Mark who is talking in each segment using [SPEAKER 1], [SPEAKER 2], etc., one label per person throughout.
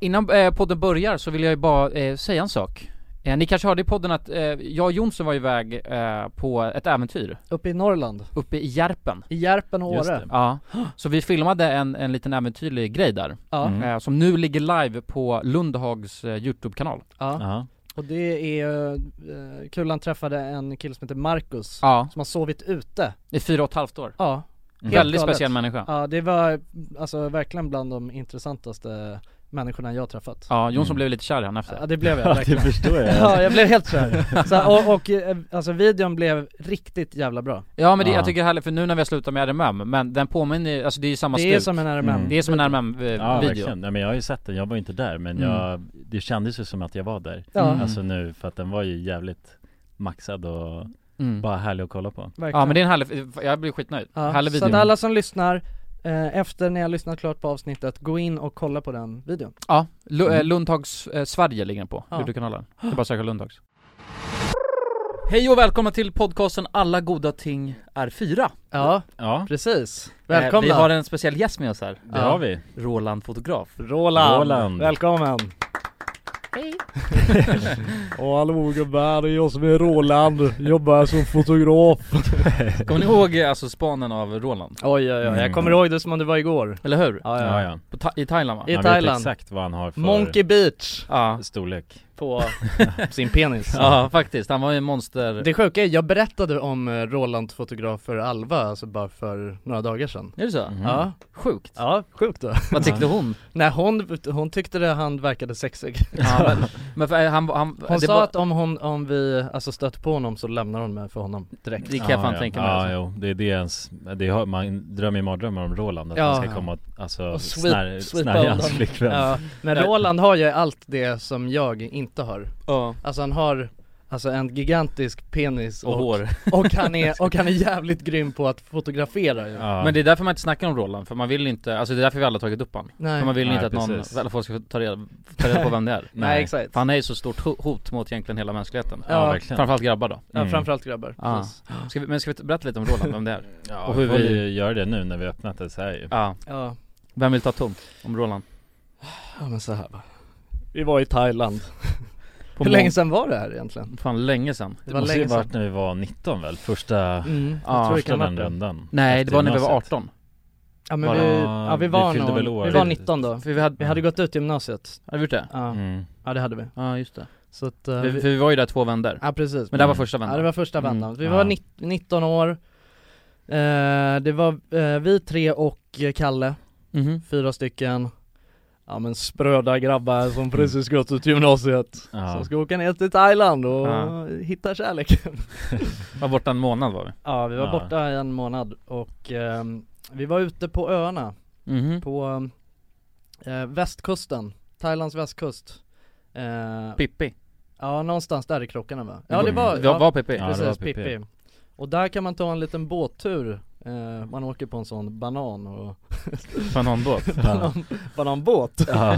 [SPEAKER 1] Innan eh, podden börjar så vill jag ju bara eh, säga en sak. Eh, ni kanske hörde i podden att eh, jag och Jonsson var iväg eh, på ett äventyr
[SPEAKER 2] Uppe i Norrland,
[SPEAKER 1] uppe i Järpen.
[SPEAKER 2] i Järpen och
[SPEAKER 3] Just det.
[SPEAKER 2] Åre
[SPEAKER 1] Ja. Så vi filmade en, en liten äventyrlig grej där,
[SPEAKER 2] ja,
[SPEAKER 3] Mm.
[SPEAKER 1] eh, som nu ligger live på Lundhags eh, YouTube-kanal.
[SPEAKER 2] ja,
[SPEAKER 3] Ja.
[SPEAKER 2] och det är, eh, Kulan träffade en kille som heter Marcus
[SPEAKER 1] Ja,
[SPEAKER 2] Som har sovit ute,
[SPEAKER 1] i fyra och ett halvt år.
[SPEAKER 2] ja,
[SPEAKER 3] Mm.
[SPEAKER 1] Väldigt
[SPEAKER 2] galet.
[SPEAKER 1] speciell människa.
[SPEAKER 2] ja det var alltså verkligen bland de intressantaste människorna jag träffat
[SPEAKER 1] Ja, Jonsson
[SPEAKER 3] Mm.
[SPEAKER 1] blev lite kär i henne efter.
[SPEAKER 2] Ja det blev jag
[SPEAKER 3] ja, det
[SPEAKER 2] verkligen
[SPEAKER 3] förstår jag.
[SPEAKER 2] Ja jag blev helt kär, så, här, och, och eh, alltså videon blev riktigt jävla bra
[SPEAKER 1] Ja men det, jag
[SPEAKER 3] Ja.
[SPEAKER 1] tycker det är härligt för nu när vi har slutat med RMM, men den påminner ju- alltså det är ju samma
[SPEAKER 2] Det är
[SPEAKER 1] stuk.
[SPEAKER 2] som en RMM
[SPEAKER 3] Mm.
[SPEAKER 1] det är som en
[SPEAKER 3] Ja,
[SPEAKER 1] RMM-video.
[SPEAKER 3] verkligen. Ja, men jag har ju sett den, jag var ju inte där men
[SPEAKER 1] Mm.
[SPEAKER 3] jag, det kändes ju som att jag var där.
[SPEAKER 2] Ja,
[SPEAKER 1] Mm.
[SPEAKER 3] Alltså nu, för att den var ju jävligt maxad och
[SPEAKER 1] mm.
[SPEAKER 3] bara härlig att kolla på.
[SPEAKER 2] verkligen
[SPEAKER 1] Ja men det är en härlig, jag blir skitnöjd.
[SPEAKER 2] Ja,
[SPEAKER 1] härlig
[SPEAKER 2] Så
[SPEAKER 1] video.
[SPEAKER 2] att alla som lyssnar, eh, efter ni har lyssnat klart på avsnittet, gå in och kolla på den videon
[SPEAKER 1] Ja, Lu-
[SPEAKER 3] Mm.
[SPEAKER 1] eh, Lundhags eh, Sverige ligger den på,
[SPEAKER 2] Ja.
[SPEAKER 1] Youtube-kanalen. Det är bara att söka Lundhags. Hej och välkomna till podcasten Alla goda ting är fyra.
[SPEAKER 2] Ja,
[SPEAKER 3] Ja,
[SPEAKER 2] precis,
[SPEAKER 1] Eh,
[SPEAKER 2] välkomna!
[SPEAKER 1] Vi har en speciell gäst med oss här.
[SPEAKER 3] det
[SPEAKER 2] Ja.
[SPEAKER 3] har vi.
[SPEAKER 1] Roland fotograf.
[SPEAKER 2] Roland.
[SPEAKER 3] Roland.
[SPEAKER 2] Välkommen!
[SPEAKER 1] Hej.
[SPEAKER 2] Och hallå gubbar, det är jag som är Roland, jobbar som fotograf
[SPEAKER 1] Kommer ni ihåg eh, alltså spanen av Roland?
[SPEAKER 2] Oj oj oj, jag
[SPEAKER 3] Mm.
[SPEAKER 2] kommer ihåg det som om det var igår
[SPEAKER 1] Eller hur?
[SPEAKER 2] Ja
[SPEAKER 3] Ja,
[SPEAKER 2] ja,
[SPEAKER 3] ja.
[SPEAKER 1] På ta- I Thailand va?
[SPEAKER 2] I
[SPEAKER 3] Man vet
[SPEAKER 2] Thailand.
[SPEAKER 3] exakt vad han har för
[SPEAKER 2] Monkey Beach
[SPEAKER 1] Ja.
[SPEAKER 3] storlek.
[SPEAKER 2] på sin penis
[SPEAKER 1] Ja faktiskt, han var ju en monster...
[SPEAKER 2] Det sjuka är, jag berättade om eh, Roland fotograf för Alva, alltså bara för några dagar sedan
[SPEAKER 1] Är det så?
[SPEAKER 3] Mhm.
[SPEAKER 2] Ja,
[SPEAKER 1] Sjukt.
[SPEAKER 2] Mm. ja sjukt då
[SPEAKER 1] Vad tyckte hon?
[SPEAKER 2] Nej hon, hon tyckte det han verkade sexig
[SPEAKER 1] Ja, men, men för, eh, han, han,
[SPEAKER 2] Hon
[SPEAKER 1] det
[SPEAKER 2] sa
[SPEAKER 1] var-
[SPEAKER 2] att om, hon, om vi alltså stöter på honom så lämnar hon mig för honom direkt
[SPEAKER 1] Det kan jag fan tänka mig
[SPEAKER 3] Ja,
[SPEAKER 1] alltså.
[SPEAKER 3] jo, det är det ens, det har, man drömmer ju mardrömmar om Roland, att
[SPEAKER 2] Ja.
[SPEAKER 3] han ska komma och, alltså,
[SPEAKER 2] Och sweep-
[SPEAKER 3] snär,
[SPEAKER 2] sweepa
[SPEAKER 3] snärja hans
[SPEAKER 2] undan.
[SPEAKER 3] flickvän.
[SPEAKER 2] ja, Men
[SPEAKER 1] Nej.
[SPEAKER 2] Roland har ju allt det som jag inte har
[SPEAKER 1] Ja.
[SPEAKER 2] Alltså han har Alltså en gigantisk penis
[SPEAKER 1] Och hår.
[SPEAKER 2] och han är, och han är jävligt grym på att fotografera ju.
[SPEAKER 3] Ja.
[SPEAKER 1] Men det är därför man inte snackar om Roland, för man vill inte, alltså det är därför vi alla tagit upp han.
[SPEAKER 2] Nej,
[SPEAKER 1] För man vill
[SPEAKER 3] Nej,
[SPEAKER 1] inte att någon,
[SPEAKER 3] precis.
[SPEAKER 1] eller folk ska ta reda, ta reda på vem det är.
[SPEAKER 2] nej exakt
[SPEAKER 1] För han är ju så stort ho- hot mot egentligen hela mänskligheten.
[SPEAKER 2] ja.
[SPEAKER 3] ja, verkligen.
[SPEAKER 1] Framförallt grabbar då.
[SPEAKER 2] Ja
[SPEAKER 3] Mm.
[SPEAKER 2] framförallt grabbar,
[SPEAKER 1] Ja.
[SPEAKER 2] precis.
[SPEAKER 1] Ska vi, men ska vi berätta lite om Roland, vem det är?
[SPEAKER 3] Ja,
[SPEAKER 1] Och
[SPEAKER 3] och
[SPEAKER 1] hur
[SPEAKER 3] hur vi får
[SPEAKER 1] vi-
[SPEAKER 3] ju göra det nu när vi öppnat det så här ju.
[SPEAKER 1] Ja.
[SPEAKER 2] ja.
[SPEAKER 1] Vem vill ta tom om Roland?
[SPEAKER 2] ja men så här va Vi var i Thailand
[SPEAKER 1] På
[SPEAKER 2] Hur länge
[SPEAKER 1] mån-
[SPEAKER 2] sedan var det här egentligen?
[SPEAKER 1] Fan länge sedan.
[SPEAKER 2] Det
[SPEAKER 3] Det
[SPEAKER 2] var
[SPEAKER 3] måste ju
[SPEAKER 2] länge sedan
[SPEAKER 3] varit när vi var 19 väl? Första,
[SPEAKER 2] Mm, jag
[SPEAKER 1] Ja,
[SPEAKER 2] tror det
[SPEAKER 3] första
[SPEAKER 2] kan vara
[SPEAKER 3] den
[SPEAKER 2] det
[SPEAKER 3] rundan
[SPEAKER 1] Nej, det
[SPEAKER 3] Efter
[SPEAKER 1] var när vi var
[SPEAKER 3] gymnasiet.
[SPEAKER 1] 18.
[SPEAKER 2] Ja men
[SPEAKER 1] Var
[SPEAKER 2] vi,
[SPEAKER 1] det-
[SPEAKER 2] ja, vi
[SPEAKER 3] vi
[SPEAKER 2] var
[SPEAKER 3] fyllde
[SPEAKER 2] nog,
[SPEAKER 3] väl
[SPEAKER 2] vi
[SPEAKER 3] år.
[SPEAKER 2] var 19 då
[SPEAKER 1] För vi hade,
[SPEAKER 2] Vi hade gått ut gymnasiet,
[SPEAKER 1] hade vi gjort det?
[SPEAKER 2] ja,
[SPEAKER 3] Mm.
[SPEAKER 2] ja det hade vi
[SPEAKER 1] Ja just det.
[SPEAKER 2] Så att, eh,
[SPEAKER 1] För,
[SPEAKER 2] vi,
[SPEAKER 1] för vi var ju där två vändor.
[SPEAKER 2] ja precis
[SPEAKER 1] Men det här var
[SPEAKER 3] Mm.
[SPEAKER 1] första vändan.
[SPEAKER 2] Ja det var första vändan,
[SPEAKER 1] Mm.
[SPEAKER 2] vi
[SPEAKER 3] Ja.
[SPEAKER 2] var nitt- 19 år eh, Det var eh, vi tre och eh, Kalle,
[SPEAKER 1] Mhm.
[SPEAKER 2] fyra stycken Ja men spröda grabbar som precis gått ut gymnasiet
[SPEAKER 3] Ja.
[SPEAKER 2] Som ska åka ner till Thailand och
[SPEAKER 1] Ja.
[SPEAKER 2] hitta kärleken
[SPEAKER 1] Var borta en månad var vi.
[SPEAKER 2] Ja vi var
[SPEAKER 3] Ja.
[SPEAKER 2] borta i en månad och ehm, vi var ute på öarna
[SPEAKER 1] Mhm.
[SPEAKER 2] på eh, västkusten, Thailands västkust eh,
[SPEAKER 1] Pippi.
[SPEAKER 2] Ja någonstans där i krockarna va? Ja det
[SPEAKER 3] Mm.
[SPEAKER 2] var,
[SPEAKER 1] Vi
[SPEAKER 2] ja,
[SPEAKER 1] var, var Pippi.
[SPEAKER 3] Ja. det
[SPEAKER 2] precis
[SPEAKER 3] var
[SPEAKER 2] Pippi.
[SPEAKER 3] Pippi.
[SPEAKER 2] Och där kan man ta en liten båttur eh, Man åker på en sån banan och
[SPEAKER 1] Bananbåt.
[SPEAKER 3] Ja.
[SPEAKER 2] bananbåt
[SPEAKER 3] Ja.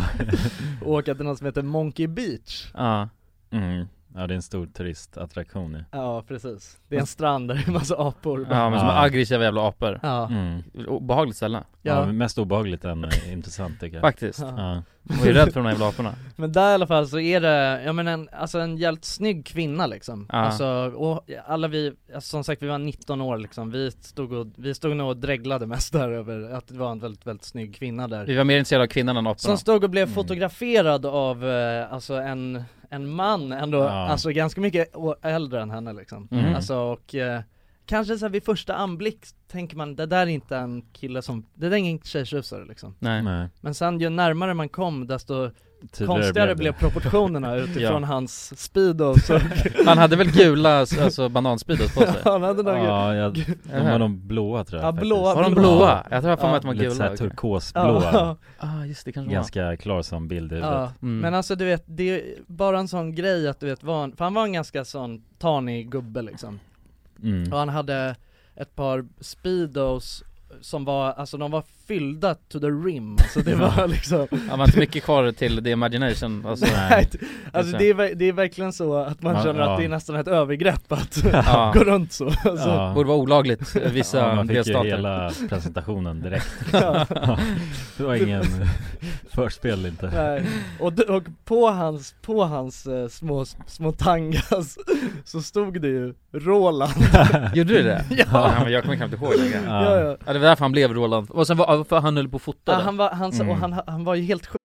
[SPEAKER 2] och åka till något som heter Monkey Beach
[SPEAKER 1] Ja.
[SPEAKER 3] Mm. ja, det är en stor turistattraktion ju
[SPEAKER 2] Ja precis, det är en strand där det är massa apor
[SPEAKER 1] Ja men som
[SPEAKER 3] Ja.
[SPEAKER 1] aggressiva jävla apor.
[SPEAKER 2] Ja,
[SPEAKER 3] mm.
[SPEAKER 1] Obehagligt ställe.
[SPEAKER 3] ja.
[SPEAKER 2] ja.
[SPEAKER 3] mest obehagligt än eh, intressant tycker jag
[SPEAKER 1] Faktiskt.
[SPEAKER 2] ja.
[SPEAKER 3] Ja,
[SPEAKER 1] Man är ju rädd för de här jävla aporna.
[SPEAKER 2] Men där i alla fall så är det, ja men en, alltså en jävligt snygg kvinna liksom
[SPEAKER 1] Ja.
[SPEAKER 2] Alltså, och alla vi, alltså, som sagt vi var 19 år liksom, vi stod och, vi stod nog och dreglade mest där över att det var en väldigt, väldigt snygg kvinna där
[SPEAKER 1] Vi var mer intresserade av kvinnan än aporna.
[SPEAKER 2] Som stod och blev
[SPEAKER 3] Mm.
[SPEAKER 2] fotograferad av, eh, alltså en, en man ändå,
[SPEAKER 3] Ja.
[SPEAKER 2] alltså ganska mycket å- äldre än henne liksom
[SPEAKER 1] Mm.
[SPEAKER 2] Alltså och, eh, kanske såhär vid första anblick tänker man det där är inte en kille som, det där är ingen tjejtjusare liksom
[SPEAKER 1] Nej.
[SPEAKER 3] Nej.
[SPEAKER 2] Men sen ju närmare man kom desto
[SPEAKER 3] Tidigare
[SPEAKER 2] konstigare blev
[SPEAKER 3] blev
[SPEAKER 2] proportionerna utifrån hans speedo så
[SPEAKER 1] Han hade väl gula, alltså bananspeedos på sig?
[SPEAKER 2] han hade
[SPEAKER 3] det.
[SPEAKER 2] nog
[SPEAKER 3] Ja, jag, de var de blåa tror jag
[SPEAKER 2] Ja,
[SPEAKER 3] faktiskt.
[SPEAKER 2] blåa.
[SPEAKER 1] Var de blåa? Jag tror jag har för mig att de var
[SPEAKER 3] Lite
[SPEAKER 1] gula
[SPEAKER 3] såhär
[SPEAKER 1] okej.
[SPEAKER 3] turkosblåa
[SPEAKER 1] Ah just det, kanske de var
[SPEAKER 3] Ganska klar som bild i huvudet
[SPEAKER 2] ja.
[SPEAKER 1] Mm.
[SPEAKER 2] Men alltså du vet, det är bara en sån grej att du vet, var han, för han var en ganska sån tanig gubbe liksom
[SPEAKER 3] mm.
[SPEAKER 2] Och han hade ett par speedos som var, alltså de var fyllda to the rim, så det var liksom
[SPEAKER 1] Ja, man har inte mycket kvar till the imagination alltså.
[SPEAKER 4] Nej.
[SPEAKER 2] Alltså det är, ver- det är verkligen så att man
[SPEAKER 4] Ja,
[SPEAKER 2] känner
[SPEAKER 4] ja.
[SPEAKER 2] att det är nästan ett övergrepp att
[SPEAKER 1] Ja.
[SPEAKER 2] gå runt så alltså,
[SPEAKER 4] Ja.
[SPEAKER 1] Borde vara olagligt eh, vissa
[SPEAKER 4] ja, man fick ju
[SPEAKER 1] delstater
[SPEAKER 4] hela presentationen direkt
[SPEAKER 2] ja.
[SPEAKER 4] Ja, Det var ingen förspel inte
[SPEAKER 2] Nej. Och, d- och på hans, på hans eh, små, små tangas så stod det ju Roland
[SPEAKER 1] Gjorde du det?
[SPEAKER 2] Ja.
[SPEAKER 1] ja men jag kommer knappt ihåg det grejen.
[SPEAKER 2] ja, ja.
[SPEAKER 1] Ja det var därför han blev Roland, och sen var, för han höll på och
[SPEAKER 2] Ja,
[SPEAKER 1] fotade
[SPEAKER 2] han, var, han, sa- och
[SPEAKER 1] Mm.
[SPEAKER 2] han, han var ju helt sjuk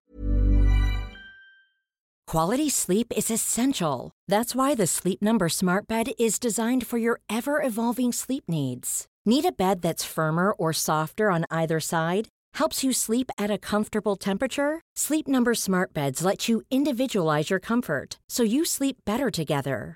[SPEAKER 5] Quality sleep is essential. That's why the Sleep Number Smart Bed is designed for your ever evolving sleep needs. Need a bed that's firmer or softer on either side? Helps you sleep at a comfortable temperature? Sleep Number Smart Beds let you individualize your comfort so you sleep better together.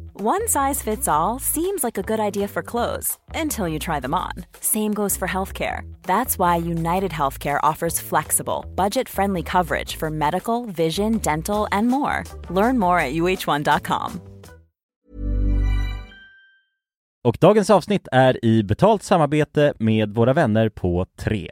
[SPEAKER 6] One size fits all seems like a good idea for clothes until you try them on. Same goes for healthcare. That's why United Healthcare offers flexible, budget friendly coverage for medical, vision, dental, and more. Learn more at uh1.com.
[SPEAKER 3] Och dagens avsnitt är i betalt samarbete med våra vänner på 3.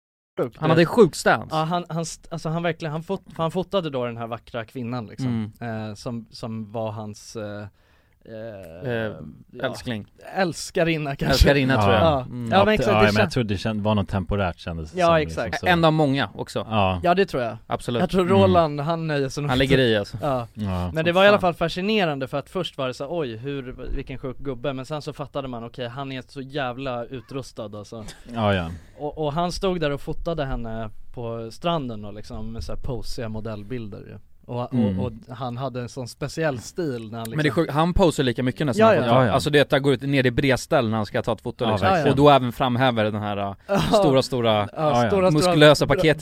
[SPEAKER 1] Han hade sjuk stans
[SPEAKER 2] Ja han, han, st- alltså han verkligen, liksom.
[SPEAKER 1] Mm.
[SPEAKER 2] han, fot, han fotade då den här vackra kvinnan liksom, eh, som, som var hans eh, eh,
[SPEAKER 1] Eh,
[SPEAKER 2] ja,
[SPEAKER 1] Älskling.
[SPEAKER 2] älskarinna kanske
[SPEAKER 1] Älskarinna tror jag.
[SPEAKER 2] Ja,
[SPEAKER 1] Mm.
[SPEAKER 2] ja men
[SPEAKER 3] Att- ja,
[SPEAKER 2] exakt, det
[SPEAKER 3] men jag
[SPEAKER 2] känns,
[SPEAKER 3] trodde det känd, var något temporärt kändes det
[SPEAKER 2] Ja,
[SPEAKER 3] som, liksom,
[SPEAKER 2] exakt.
[SPEAKER 3] så.
[SPEAKER 1] En av många också.
[SPEAKER 3] Ja,
[SPEAKER 2] ja det tror jag
[SPEAKER 1] Absolut.
[SPEAKER 2] Jag tror
[SPEAKER 3] Mm.
[SPEAKER 2] Roland, han nöjer sig nog
[SPEAKER 1] Han
[SPEAKER 2] inte.
[SPEAKER 1] ligger i alltså.
[SPEAKER 2] Ja,
[SPEAKER 3] ja.
[SPEAKER 2] men det var i alla fall fascinerande för att först var det så här, oj hur, vilken sjuk gubbe Men sen så fattade man, okej han är så jävla utrustad alltså
[SPEAKER 3] ja, ja.
[SPEAKER 2] och, och han stod där och fotade henne på stranden och liksom med så här posiga modellbilder ju och,
[SPEAKER 3] Mm.
[SPEAKER 2] och, och han hade en sån speciell stil när han liksom
[SPEAKER 1] Men det är sjukt, han posar lika mycket nästan
[SPEAKER 2] Ja,
[SPEAKER 1] han
[SPEAKER 2] ja.
[SPEAKER 1] fotar.
[SPEAKER 3] Ja, ja.
[SPEAKER 1] Alltså det att han går ut ner i bredställ när han ska ta ett foto
[SPEAKER 3] Ja,
[SPEAKER 1] liksom.
[SPEAKER 2] verkligen.
[SPEAKER 1] Och då även framhäver den här uh, stora stora
[SPEAKER 2] Ja,
[SPEAKER 3] Ja, ja.
[SPEAKER 2] stora, stora
[SPEAKER 1] muskulösa
[SPEAKER 2] bra-
[SPEAKER 1] paketet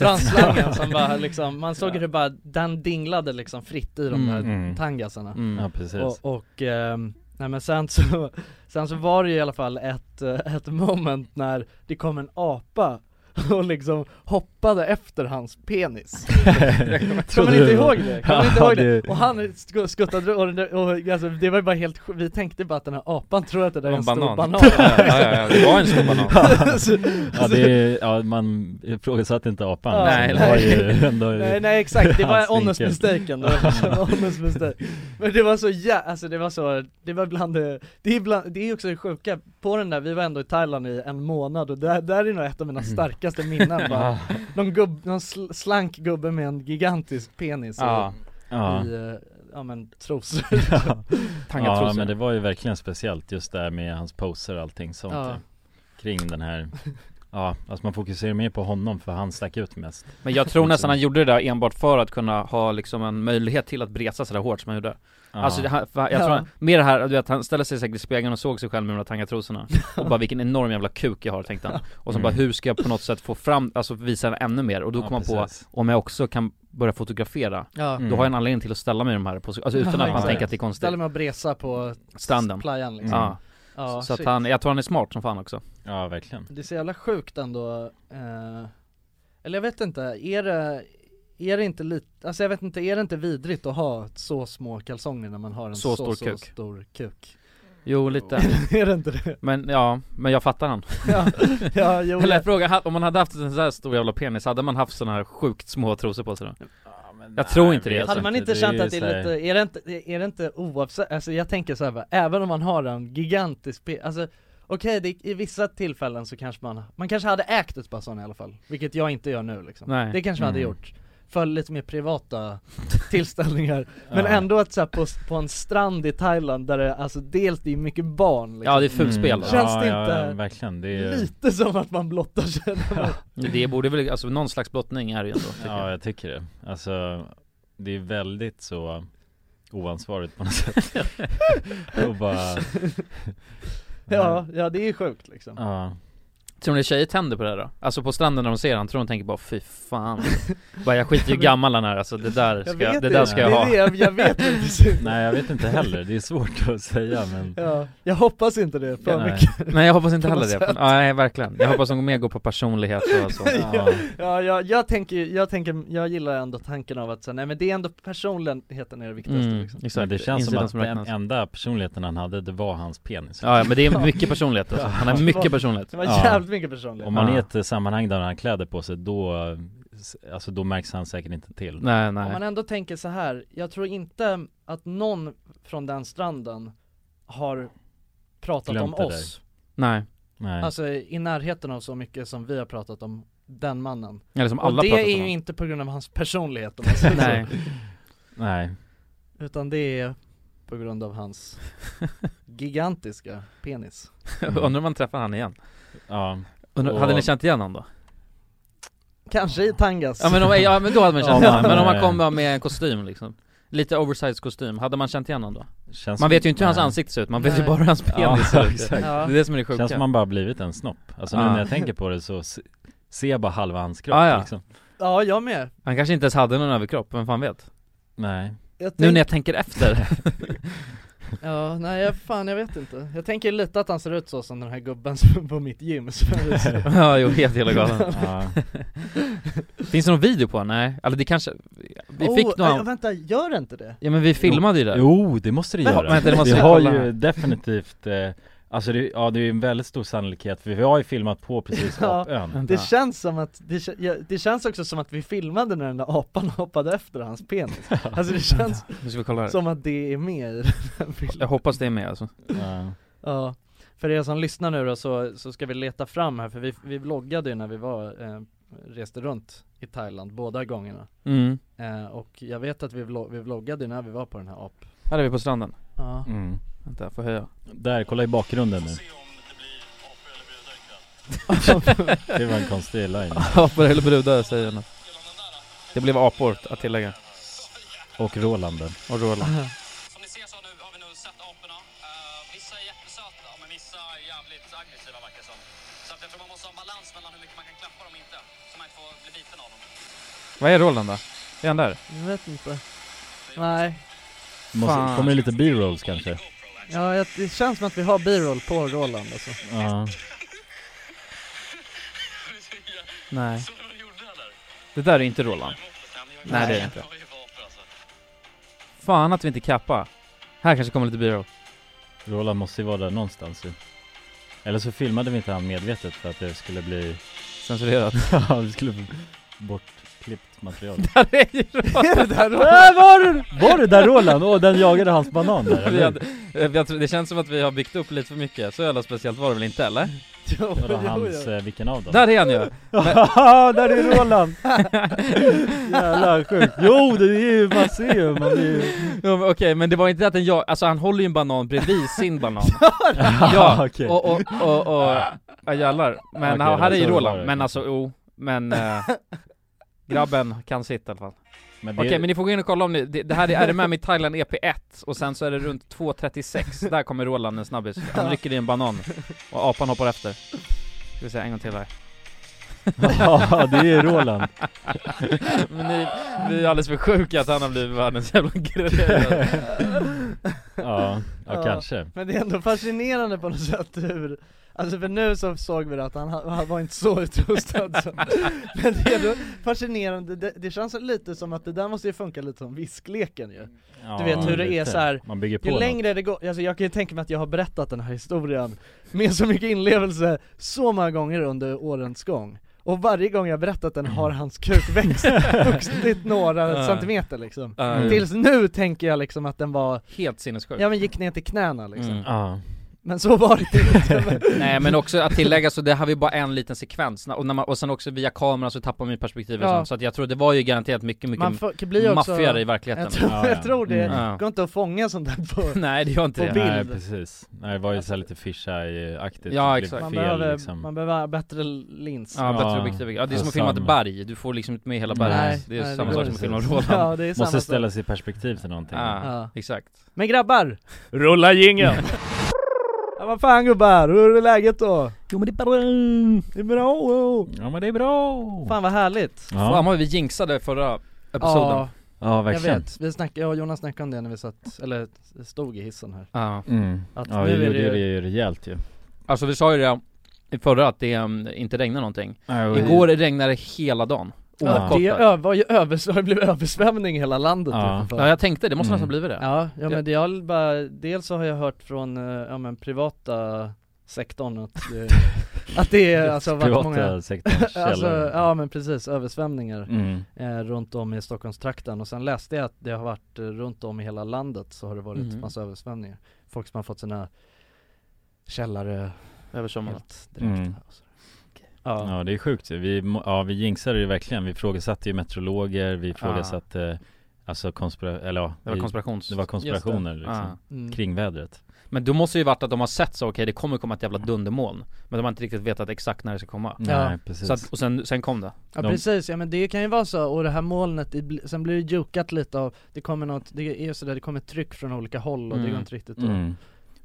[SPEAKER 2] Brandslangen som bara liksom, man såg hur det bara, den dinglade liksom fritt i de
[SPEAKER 1] Mm,
[SPEAKER 2] där
[SPEAKER 3] mm.
[SPEAKER 2] tangasarna
[SPEAKER 1] Mm.
[SPEAKER 3] ja precis
[SPEAKER 2] Och, och ehm, nej men sen så, sen så var det ju i alla fall ett, eh, ett moment när det kom en apa och liksom hoppade efter hans penis Kommer ni inte ihåg det? Kommer ni inte
[SPEAKER 3] Ja,
[SPEAKER 2] ihåg det?
[SPEAKER 3] det-
[SPEAKER 2] Och han sk- skuttade och, den där- och alltså, det var ju bara helt sj- vi tänkte bara att den här apan tror att det där är en stor banan
[SPEAKER 1] ja, ja, ja, det var en stor banan
[SPEAKER 2] Så-
[SPEAKER 3] Ja, det är, ja man ifrågasatte inte apan
[SPEAKER 2] Ja.
[SPEAKER 3] liksom.
[SPEAKER 1] Alltså. Nej,
[SPEAKER 3] det var
[SPEAKER 2] nej.
[SPEAKER 3] ju ändå
[SPEAKER 2] Nej nej exakt, det var
[SPEAKER 3] Hans
[SPEAKER 2] honest
[SPEAKER 3] vinkel.
[SPEAKER 2] mistaken, det var honest mistake Men det var så ja, alltså det var så, det var bland det, det är bland, det är också det sjuka, på den där, vi var ändå i Thailand i en månad och där, där är nog ett av mina
[SPEAKER 3] Mm.
[SPEAKER 2] starkaste minnen bara Någon gubb, någon sl- slank gubbe med en gigantisk penis
[SPEAKER 1] Ja,
[SPEAKER 3] ja.
[SPEAKER 2] i, i, eh, ja men trosor
[SPEAKER 3] ja
[SPEAKER 1] tangatrosor
[SPEAKER 3] men det var ju verkligen speciellt just där med hans poser och allting sånt
[SPEAKER 2] Ja.
[SPEAKER 3] där. Kring den här Ja, alltså man fokuserar mer på honom för han stack ut mest
[SPEAKER 1] Men jag tror nästan han gjorde det där enbart för att kunna ha liksom en möjlighet till att bresa sådär hårt som han gjorde
[SPEAKER 3] ja.
[SPEAKER 1] Alltså det, han- för jag
[SPEAKER 2] Ja.
[SPEAKER 1] tror, han- mer det här, du vet han ställde sig säkert i spegeln och såg sig själv med de där tangatrosorna Och bara vilken enorm jävla kuk jag har tänkte han Och sen
[SPEAKER 3] Mm.
[SPEAKER 1] bara hur ska jag på något sätt få fram, alltså visa den ännu mer? Och då
[SPEAKER 3] Ja,
[SPEAKER 1] kom han på,
[SPEAKER 3] precis.
[SPEAKER 1] om jag också kan börja fotografera
[SPEAKER 2] Ja,
[SPEAKER 3] Mm.
[SPEAKER 1] Då har jag en anledning till att ställa mig i de här positionerna, alltså utan
[SPEAKER 2] Ja,
[SPEAKER 1] att man
[SPEAKER 2] exakt.
[SPEAKER 1] tänker att det är konstigt
[SPEAKER 2] ställer mig och bresa på
[SPEAKER 1] Stranden Mm.
[SPEAKER 2] playan liksom
[SPEAKER 1] Ja,
[SPEAKER 2] Ja,
[SPEAKER 1] så att
[SPEAKER 2] shit.
[SPEAKER 1] han, jag tror han är smart som fan också
[SPEAKER 3] Ja verkligen
[SPEAKER 2] Det är så jävla sjukt ändå, eh, eller jag vet inte, är det, är det inte lite, alltså jag vet inte, är det inte vidrigt att ha så små kalsonger när man har en
[SPEAKER 1] Så
[SPEAKER 2] så, så,
[SPEAKER 1] stor
[SPEAKER 2] stor,
[SPEAKER 1] kuk.
[SPEAKER 2] kuk?
[SPEAKER 1] Jo lite,
[SPEAKER 2] är det inte det?
[SPEAKER 1] men ja, men jag fattar han
[SPEAKER 2] ja, ja, jo,
[SPEAKER 1] Eller
[SPEAKER 2] jag,
[SPEAKER 1] fråga, ha- om man hade haft en sån här stor jävla penis, hade man haft såna här sjukt små trosor på sig då? Jag tror inte det.
[SPEAKER 3] vet
[SPEAKER 2] hade man inte
[SPEAKER 3] Alltså, Det är
[SPEAKER 2] känt
[SPEAKER 3] ju
[SPEAKER 2] att det
[SPEAKER 3] så här-
[SPEAKER 2] är lite, är det inte, är det inte oavsett, alltså jag tänker så här, bara, även om man har en gigantisk, pe- alltså Okej, det- i vissa tillfällen så kanske man, man kanske hade ägt ett par sådana i alla fall, vilket jag inte gör nu liksom.
[SPEAKER 1] Nej.
[SPEAKER 2] Det kanske man hade
[SPEAKER 3] Mm.
[SPEAKER 2] gjort, för lite mer privata tillställningar Men
[SPEAKER 3] Ja.
[SPEAKER 2] ändå att så här, på, på en strand i Thailand där det, alltså dels det är mycket barn liksom.
[SPEAKER 1] Ja det är fult spel
[SPEAKER 3] Mm.
[SPEAKER 1] då.
[SPEAKER 2] Känns
[SPEAKER 3] ja,
[SPEAKER 2] det
[SPEAKER 3] Ja,
[SPEAKER 2] inte
[SPEAKER 3] ja, verkligen, det är ju,
[SPEAKER 2] Lite som att man blottar sig när man-
[SPEAKER 1] Det borde väl, alltså någon slags blottning är det ju ändå tycker
[SPEAKER 3] Ja
[SPEAKER 1] jag.
[SPEAKER 3] jag tycker det Alltså Det är väldigt så Oansvarigt på något sätt Och bara
[SPEAKER 2] ja, ja det är sjukt liksom
[SPEAKER 3] Ja
[SPEAKER 1] Tror ni tjejer tänder på det här då? Alltså på stranden när de ser han, tror de tänker bara fy fan Bara jag skiter ju i hur gammal han är alltså, det där ska jag, det där ska jag
[SPEAKER 2] det är
[SPEAKER 1] ha
[SPEAKER 2] det, jag- jag vet inte
[SPEAKER 3] Nej jag vet inte heller, det är svårt att säga men
[SPEAKER 2] ja, Jag hoppas inte det för
[SPEAKER 3] Nej.
[SPEAKER 2] mycket
[SPEAKER 1] Nej jag hoppas inte
[SPEAKER 2] På något
[SPEAKER 1] heller det, Men- nej verkligen Jag hoppas de går mer går på personlighet och så
[SPEAKER 3] Ja,
[SPEAKER 2] Ja, jag, jag tänker, jag tänker, jag gillar ändå tanken av att så, här, nej men det är ändå personligheten är det viktigaste
[SPEAKER 1] mm,
[SPEAKER 2] liksom
[SPEAKER 1] exakt.
[SPEAKER 3] men det känns som
[SPEAKER 1] Insidan
[SPEAKER 3] att den
[SPEAKER 1] räknas.
[SPEAKER 3] enda personligheten han hade, det var hans penis
[SPEAKER 1] Ja ja, men det är mycket personlighet alltså. han har mycket personlighet
[SPEAKER 2] Det var
[SPEAKER 3] Ja.
[SPEAKER 2] jävligt mycket personlighet
[SPEAKER 3] Om man är i
[SPEAKER 1] Ja.
[SPEAKER 3] ett sammanhang där han har kläder på sig, då Alltså då märks han säkert inte till
[SPEAKER 1] Nej
[SPEAKER 2] Om man
[SPEAKER 1] nej,
[SPEAKER 2] ändå tänker så här, jag tror inte att någon från den stranden har pratat
[SPEAKER 3] Glömt
[SPEAKER 2] om
[SPEAKER 3] det
[SPEAKER 2] oss
[SPEAKER 1] nej,
[SPEAKER 3] Nej
[SPEAKER 2] Alltså i närheten av så mycket som vi har pratat om den mannen
[SPEAKER 1] eller som alla
[SPEAKER 2] Och det
[SPEAKER 1] pratar
[SPEAKER 2] är
[SPEAKER 1] om.
[SPEAKER 2] ju inte på grund av hans personlighet om man säger
[SPEAKER 1] Nej,
[SPEAKER 2] så.
[SPEAKER 3] Nej
[SPEAKER 2] Utan det är på grund av hans gigantiska penis
[SPEAKER 1] undrar om man träffar han igen
[SPEAKER 3] Ja,
[SPEAKER 1] Undrar,
[SPEAKER 3] Och-
[SPEAKER 1] Hade ni känt igen honom då?
[SPEAKER 2] Kanske i tangas
[SPEAKER 1] Ja men, om, ja, men då hade man känt
[SPEAKER 3] Ja,
[SPEAKER 1] igen Men om
[SPEAKER 3] men-
[SPEAKER 1] man kom med en kostym liksom Lite oversized kostym, hade man känt igen honom då?
[SPEAKER 3] känns
[SPEAKER 1] Man vet ju inte hur hans
[SPEAKER 3] nej.
[SPEAKER 1] ansikte ser ut, man vet ju
[SPEAKER 2] Nej.
[SPEAKER 1] bara hur hans
[SPEAKER 3] Ja,
[SPEAKER 1] penis ser ut
[SPEAKER 3] exakt.
[SPEAKER 2] Ja.
[SPEAKER 1] Det är det som är det sjuka
[SPEAKER 3] Känns som man bara blivit en snopp Alltså nu
[SPEAKER 1] Ja.
[SPEAKER 3] när jag tänker på det så se- ser jag bara halva hans kropp
[SPEAKER 1] Ah, Ja, ja.
[SPEAKER 3] liksom
[SPEAKER 2] Ja, jag med
[SPEAKER 1] Han kanske inte ens hade någon överkropp, vem fan vet?
[SPEAKER 3] Nej
[SPEAKER 2] jag
[SPEAKER 1] Nu
[SPEAKER 2] tänk-
[SPEAKER 1] när jag tänker efter
[SPEAKER 2] Ja, nej jag, fan jag vet inte Jag tänker lite att han ser ut så som den här gubben som- på mitt gym som jag visade.
[SPEAKER 1] Ja jo, helt jävla galen
[SPEAKER 3] ja.
[SPEAKER 1] Finns det någon video på honom? Nej, eller det kanske Vi
[SPEAKER 2] oh,
[SPEAKER 1] fick nog
[SPEAKER 2] nej,
[SPEAKER 1] han...
[SPEAKER 2] vänta, gör inte det?
[SPEAKER 1] Ja men vi filmade ju det
[SPEAKER 3] Jo det måste det
[SPEAKER 1] Men-
[SPEAKER 3] göra!
[SPEAKER 1] vänta, det måste
[SPEAKER 3] vi
[SPEAKER 1] jag
[SPEAKER 3] har
[SPEAKER 1] kolla
[SPEAKER 3] ju
[SPEAKER 1] här.
[SPEAKER 3] definitivt eh, Alltså det, ja, det är ju en väldigt stor sannolikhet för vi har ju filmat på precis
[SPEAKER 2] Ja.
[SPEAKER 3] apön
[SPEAKER 2] Det känns som att, det, kä- ja, det känns också som att vi filmade när den där apan hoppade efter hans penis Alltså det känns
[SPEAKER 1] Nu ska vi kolla här
[SPEAKER 2] som att det är med i den här filmen
[SPEAKER 1] Jag hoppas det är med alltså
[SPEAKER 3] ja.
[SPEAKER 2] Ja, för er som lyssnar nu då så, så ska vi leta fram här för vi, vi vloggade ju när vi var, eh, reste runt i Thailand båda gångerna
[SPEAKER 1] Mm,
[SPEAKER 2] eh, Och jag vet att vi, vlog- vi vloggade ju när vi var på den här ap
[SPEAKER 1] här är vi på stranden
[SPEAKER 2] Ja,
[SPEAKER 3] mm.
[SPEAKER 1] Vänta, jag får höja
[SPEAKER 3] Där, kolla i bakgrunden nu Det var en konstig line
[SPEAKER 1] Apor eller brudar säger han Det blev apor att tillägga,
[SPEAKER 3] Och Roland
[SPEAKER 1] och Roland
[SPEAKER 7] Som ni ser så har, nu, har vi nu sett aporna. Eh, vissa är jättesöta, men vissa är jävligt aggressiva verkar det som. Så att jag tror man måste ha en balans mellan hur mycket man kan klappa dem och inte. Så man inte får bli biten av dem.
[SPEAKER 1] Vad är Roland då? Är han där?
[SPEAKER 2] jag vet inte Nej,
[SPEAKER 1] Fan.
[SPEAKER 3] Måste, Kommer det lite b-rolls kanske?
[SPEAKER 2] ja jag, det känns som att vi har biroll på Roland alltså
[SPEAKER 3] Ja
[SPEAKER 1] Nej
[SPEAKER 7] Såg du vad du gjorde eller?
[SPEAKER 1] Det där är inte Roland Nej det är det inte
[SPEAKER 7] alltså.
[SPEAKER 1] Fan att vi inte kappar Här kanske kommer lite byrå
[SPEAKER 3] Roland måste ju vara där någonstans ju Eller så filmade vi inte han medvetet för att det skulle bli
[SPEAKER 1] Censurerat
[SPEAKER 3] Ja, det skulle bli bortklippt material
[SPEAKER 1] Där är ju Roland!
[SPEAKER 3] Äh, var, du- var det där Roland? Åh, den jagade hans banan där
[SPEAKER 1] Vi
[SPEAKER 3] eller hur?
[SPEAKER 1] hade, eh, jag tror, det känns som att vi har byggt upp lite för mycket, så jävla speciellt var det väl inte eller?
[SPEAKER 2] Jo,
[SPEAKER 3] Vadå
[SPEAKER 2] jo,
[SPEAKER 3] hans,
[SPEAKER 2] jo.
[SPEAKER 3] eh, vilken av dem?
[SPEAKER 1] Där är han ju!
[SPEAKER 3] Haha, där är Roland! Jävlar sjukt. Jo, det är ju, man ser ju, man blir ju...
[SPEAKER 1] Ja, men Okej, men det var inte att den jag, alltså han håller ju en banan bredvid sin banan Ja,
[SPEAKER 3] okej.
[SPEAKER 1] och, och, och, och, ja jävlar Men
[SPEAKER 3] Okej,
[SPEAKER 1] ja, här är ju
[SPEAKER 3] så var
[SPEAKER 1] Roland,
[SPEAKER 3] det.
[SPEAKER 1] men alltså jo, men eh, Grabben kan sitt i alla fall.
[SPEAKER 3] Men det,
[SPEAKER 1] Okej men ni får gå in och kolla om ni, det, det här är RMM i Thailand EP1 och sen så är det runt 2.36, där kommer Roland en snabbis Han rycker i en banan och apan hoppar efter Ska vi se en gång till här
[SPEAKER 3] Ja, det är ju Roland.
[SPEAKER 1] Men ni, ni är alldeles för sjuka att han har blivit världens jävla grej
[SPEAKER 3] Ja,
[SPEAKER 2] Ja.
[SPEAKER 3] ja kanske.
[SPEAKER 2] Men det är ändå fascinerande på något sätt hur Alltså för nu så såg vi det att han, han var inte så utrustad så. Men det är ändå fascinerande, det, det känns lite som att det där måste ju funka lite som viskleken ju
[SPEAKER 3] Ja,
[SPEAKER 2] Du vet hur det är
[SPEAKER 3] lite.
[SPEAKER 2] så här,
[SPEAKER 3] Man bygger på
[SPEAKER 2] Ju längre det går, alltså jag kan ju tänka mig att jag har berättat den här historien med så mycket inlevelse så många gånger under årens gång och varje gång jag berättat den har hans kuk växt, vuxit några
[SPEAKER 1] Ja.
[SPEAKER 2] centimeter liksom
[SPEAKER 1] Mm.
[SPEAKER 2] Tills nu tänker jag liksom att den var,
[SPEAKER 1] Helt sinnessjuk
[SPEAKER 2] ja men gick ner till knäna liksom
[SPEAKER 1] Mm.
[SPEAKER 3] något. Ja.
[SPEAKER 2] Men så var det inte Men-
[SPEAKER 1] Nej men också att tillägga så det här var ju bara en liten sekvens, och, när man, och sen också via kameran så tappar man ju perspektivet
[SPEAKER 2] Ja.
[SPEAKER 1] och sånt, så att jag tror det var ju garanterat mycket,
[SPEAKER 2] Man
[SPEAKER 1] mycket
[SPEAKER 2] får, kan bli också,
[SPEAKER 1] maffigare i
[SPEAKER 2] jag
[SPEAKER 1] verkligheten
[SPEAKER 2] tror,
[SPEAKER 3] Ja, ja.
[SPEAKER 2] jag tror det,
[SPEAKER 1] Mm.
[SPEAKER 2] går inte att fånga sånt där på
[SPEAKER 1] Nej det gör inte
[SPEAKER 2] På
[SPEAKER 1] det
[SPEAKER 2] bild.
[SPEAKER 3] Nej precis. Nej det var ju så här lite fisheye-aktigt.
[SPEAKER 1] Ja,
[SPEAKER 3] Det blev
[SPEAKER 1] exakt.
[SPEAKER 2] man,
[SPEAKER 3] Fel,
[SPEAKER 2] behöver,
[SPEAKER 3] liksom.
[SPEAKER 2] man behöver bättre lins
[SPEAKER 1] Ja, bättre
[SPEAKER 3] Ja.
[SPEAKER 1] objektiv. Ja, det är som att
[SPEAKER 3] Ja,
[SPEAKER 1] filma ett
[SPEAKER 3] samma.
[SPEAKER 1] berg, du får liksom inte med hela berget.
[SPEAKER 2] Nej,
[SPEAKER 1] det är
[SPEAKER 2] nej,
[SPEAKER 1] samma sak
[SPEAKER 3] det går
[SPEAKER 1] som att
[SPEAKER 3] inte.
[SPEAKER 1] filma Roland. Ja,
[SPEAKER 2] Ja det är samma
[SPEAKER 3] Måste
[SPEAKER 2] sak.
[SPEAKER 3] ställa sig i perspektiv till någonting.
[SPEAKER 2] Ja.
[SPEAKER 1] exakt.
[SPEAKER 2] Men grabbar!
[SPEAKER 8] Rulla jingeln!
[SPEAKER 2] Ja, vad fan gubbar, hur är läget då?
[SPEAKER 1] Jo men det är bra!
[SPEAKER 2] Det är bra! oh.
[SPEAKER 3] Ja men det är bra!
[SPEAKER 2] Fan vad härligt!
[SPEAKER 3] Ja,
[SPEAKER 1] Fan vad vi jinxade förra episoden.
[SPEAKER 3] ja
[SPEAKER 2] jag
[SPEAKER 3] verkligen.
[SPEAKER 2] vet. Vi snackade, jag och Jonas snackade om det när vi satt, eller stod i hissen här
[SPEAKER 1] Ja.
[SPEAKER 3] Mm.
[SPEAKER 2] Att
[SPEAKER 3] Ja
[SPEAKER 2] nu
[SPEAKER 3] vi
[SPEAKER 2] är
[SPEAKER 3] gjorde
[SPEAKER 2] det-
[SPEAKER 3] ju det ju rejält ju.
[SPEAKER 1] Ah. Alltså vi sa ju det i förra att det um, inte regnar någonting.
[SPEAKER 3] Ja,
[SPEAKER 1] Igår regnade det hela dagen.
[SPEAKER 3] Ja.
[SPEAKER 1] Oavkortat.
[SPEAKER 2] Det ö- var ju övers- det blev översvämning i hela landet
[SPEAKER 3] Ja.
[SPEAKER 2] typ, för-
[SPEAKER 1] Ja jag tänkte, det måste
[SPEAKER 3] Mm.
[SPEAKER 1] nästan blivit det.
[SPEAKER 2] Ja, ja men det jag bara, dels så har jag hört från, eh, ja men privata sektorn att det, att det är, alltså varit
[SPEAKER 3] Privata
[SPEAKER 2] många
[SPEAKER 3] sektorns
[SPEAKER 2] Alltså,
[SPEAKER 3] källor.
[SPEAKER 2] ja men precis, översvämningar
[SPEAKER 3] Mm.
[SPEAKER 2] eh, runt om i Stockholmstrakten och sen läste jag att det har varit eh, runt om i hela landet så har det varit
[SPEAKER 1] Mhm.
[SPEAKER 2] massa översvämningar Folk som har fått sina källare
[SPEAKER 1] Över sommaren.
[SPEAKER 2] helt direkt
[SPEAKER 3] Mm.
[SPEAKER 2] här och så. Ja,
[SPEAKER 3] Ja det är sjukt ju. vi, må- ja, vi jinxade det verkligen, vi frågasatte ju meteorologer, vi frågasatte Alltså konspira... eller ja,
[SPEAKER 1] Det var
[SPEAKER 3] vi-
[SPEAKER 1] konspirations...
[SPEAKER 3] det var konspirationer
[SPEAKER 1] Ja.
[SPEAKER 3] liksom,
[SPEAKER 2] mm.
[SPEAKER 3] kring vädret
[SPEAKER 1] Men då måste ju varit att de har sett så, okej det kommer komma ett jävla dundermoln. Men de har inte riktigt vetat exakt när det ska komma.
[SPEAKER 2] Ja.
[SPEAKER 3] Nej precis
[SPEAKER 1] Så att, och sen, sen kom det.
[SPEAKER 2] ja
[SPEAKER 3] de-
[SPEAKER 2] precis, ja men det kan ju vara så och det här molnet, det, bli- sen blir det jukat lite av Det kommer något, det är ju sådär, det kommer tryck från olika håll och det
[SPEAKER 1] Mm.
[SPEAKER 2] går inte riktigt att-
[SPEAKER 3] mm.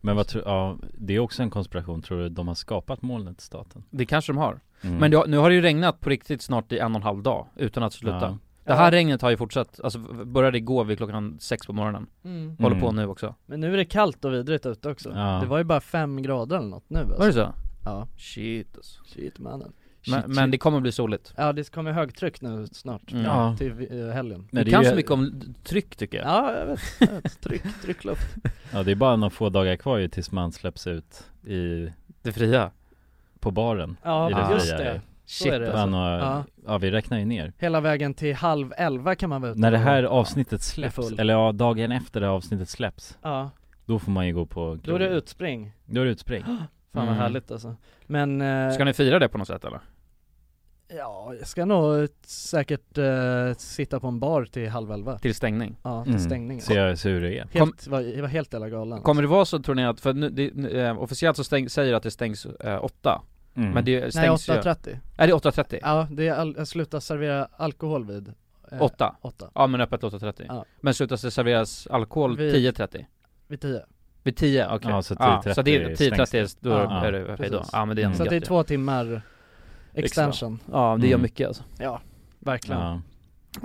[SPEAKER 3] Men vad tror, ja, det är också en konspiration, tror du de har skapat molnet staten?
[SPEAKER 1] Det kanske de har.
[SPEAKER 3] Mm.
[SPEAKER 1] Men det, har- nu har det ju regnat på riktigt snart i en och en halv dag, utan att sluta.
[SPEAKER 3] Ja.
[SPEAKER 1] Det här regnet har ju fortsatt, alltså v- började igår vid klockan sex på morgonen.
[SPEAKER 2] Mm.
[SPEAKER 1] Håller
[SPEAKER 3] Mm.
[SPEAKER 1] på nu också.
[SPEAKER 2] Men nu är det kallt och vidrigt ute också
[SPEAKER 3] Ja.
[SPEAKER 2] Det var ju bara fem grader eller något nu alltså.
[SPEAKER 1] Var det så?
[SPEAKER 2] Ja,
[SPEAKER 1] Shit alltså.
[SPEAKER 2] shit mannen
[SPEAKER 1] Men, men det kommer bli soligt.
[SPEAKER 2] Ja det kommer högtryck nu snart,
[SPEAKER 1] Mm.
[SPEAKER 3] Ja.
[SPEAKER 2] till eh, helgen
[SPEAKER 3] Men
[SPEAKER 1] du
[SPEAKER 3] det
[SPEAKER 1] kan
[SPEAKER 3] är ju-
[SPEAKER 1] så mycket om tryck tycker jag.
[SPEAKER 2] Ja jag vet, jag vet. tryck, tryckluft
[SPEAKER 3] Ja det är bara några få dagar kvar ju tills man släpps ut i,
[SPEAKER 1] Det fria.
[SPEAKER 3] på baren
[SPEAKER 2] Ja
[SPEAKER 3] I det
[SPEAKER 2] just
[SPEAKER 3] fria,
[SPEAKER 2] det,
[SPEAKER 3] ja.
[SPEAKER 2] så är det
[SPEAKER 3] Man
[SPEAKER 2] alltså.
[SPEAKER 3] har,
[SPEAKER 2] Ja.
[SPEAKER 3] ja. vi räknar ju ner
[SPEAKER 2] Hela vägen till halv elva kan man vara ute
[SPEAKER 3] När det
[SPEAKER 2] och-
[SPEAKER 3] här avsnittet släpps,
[SPEAKER 2] full.
[SPEAKER 3] eller ja, dagen efter det här avsnittet släpps
[SPEAKER 2] Ja,
[SPEAKER 3] Då får man ju gå på
[SPEAKER 2] då är det utspring
[SPEAKER 3] Då är det utspring
[SPEAKER 2] Fan vad
[SPEAKER 1] Mm.
[SPEAKER 2] härligt alltså Men, eh,
[SPEAKER 1] Ska ni fira det på något sätt eller?
[SPEAKER 2] ja jag ska nog eh, säkert eh, sitta på en bar till halv elva
[SPEAKER 1] Till stängning?
[SPEAKER 2] Ja,
[SPEAKER 3] Mm.
[SPEAKER 2] stängningen
[SPEAKER 3] Se jag ser hur det är
[SPEAKER 2] Helt, var, jag var helt jävla galen
[SPEAKER 1] Kommer det vara så tror ni att, för nu, det, nu, eh, officiellt så stäng, säger det att det stängs eh, åtta,
[SPEAKER 3] mm.
[SPEAKER 1] men det
[SPEAKER 2] Nej
[SPEAKER 1] stängs ju...
[SPEAKER 2] 8.30
[SPEAKER 1] Är det 8.30?
[SPEAKER 2] Ja, det är all, jag slutar servera alkohol vid eh,
[SPEAKER 1] Åtta?
[SPEAKER 2] åtta.
[SPEAKER 1] Ja men öppet 8.30.
[SPEAKER 2] Ja.
[SPEAKER 1] Men slutas det serveras alkohol
[SPEAKER 2] Vid-
[SPEAKER 1] 10.30?
[SPEAKER 2] vid tio
[SPEAKER 3] Mm,
[SPEAKER 1] Vid 10? Okej.
[SPEAKER 3] Ja, så 10.30
[SPEAKER 1] så det är
[SPEAKER 3] stängs
[SPEAKER 1] 10.30 då
[SPEAKER 2] Ja,
[SPEAKER 1] är det hej då.
[SPEAKER 2] precis.
[SPEAKER 1] Ja men det är
[SPEAKER 3] Mm.
[SPEAKER 2] Så att
[SPEAKER 1] gött
[SPEAKER 2] det är
[SPEAKER 1] ju.
[SPEAKER 2] två timmar
[SPEAKER 3] Extra.
[SPEAKER 2] extension,
[SPEAKER 1] Ja det gör
[SPEAKER 3] Mm.
[SPEAKER 1] mycket alltså.
[SPEAKER 2] ja verkligen
[SPEAKER 3] ja.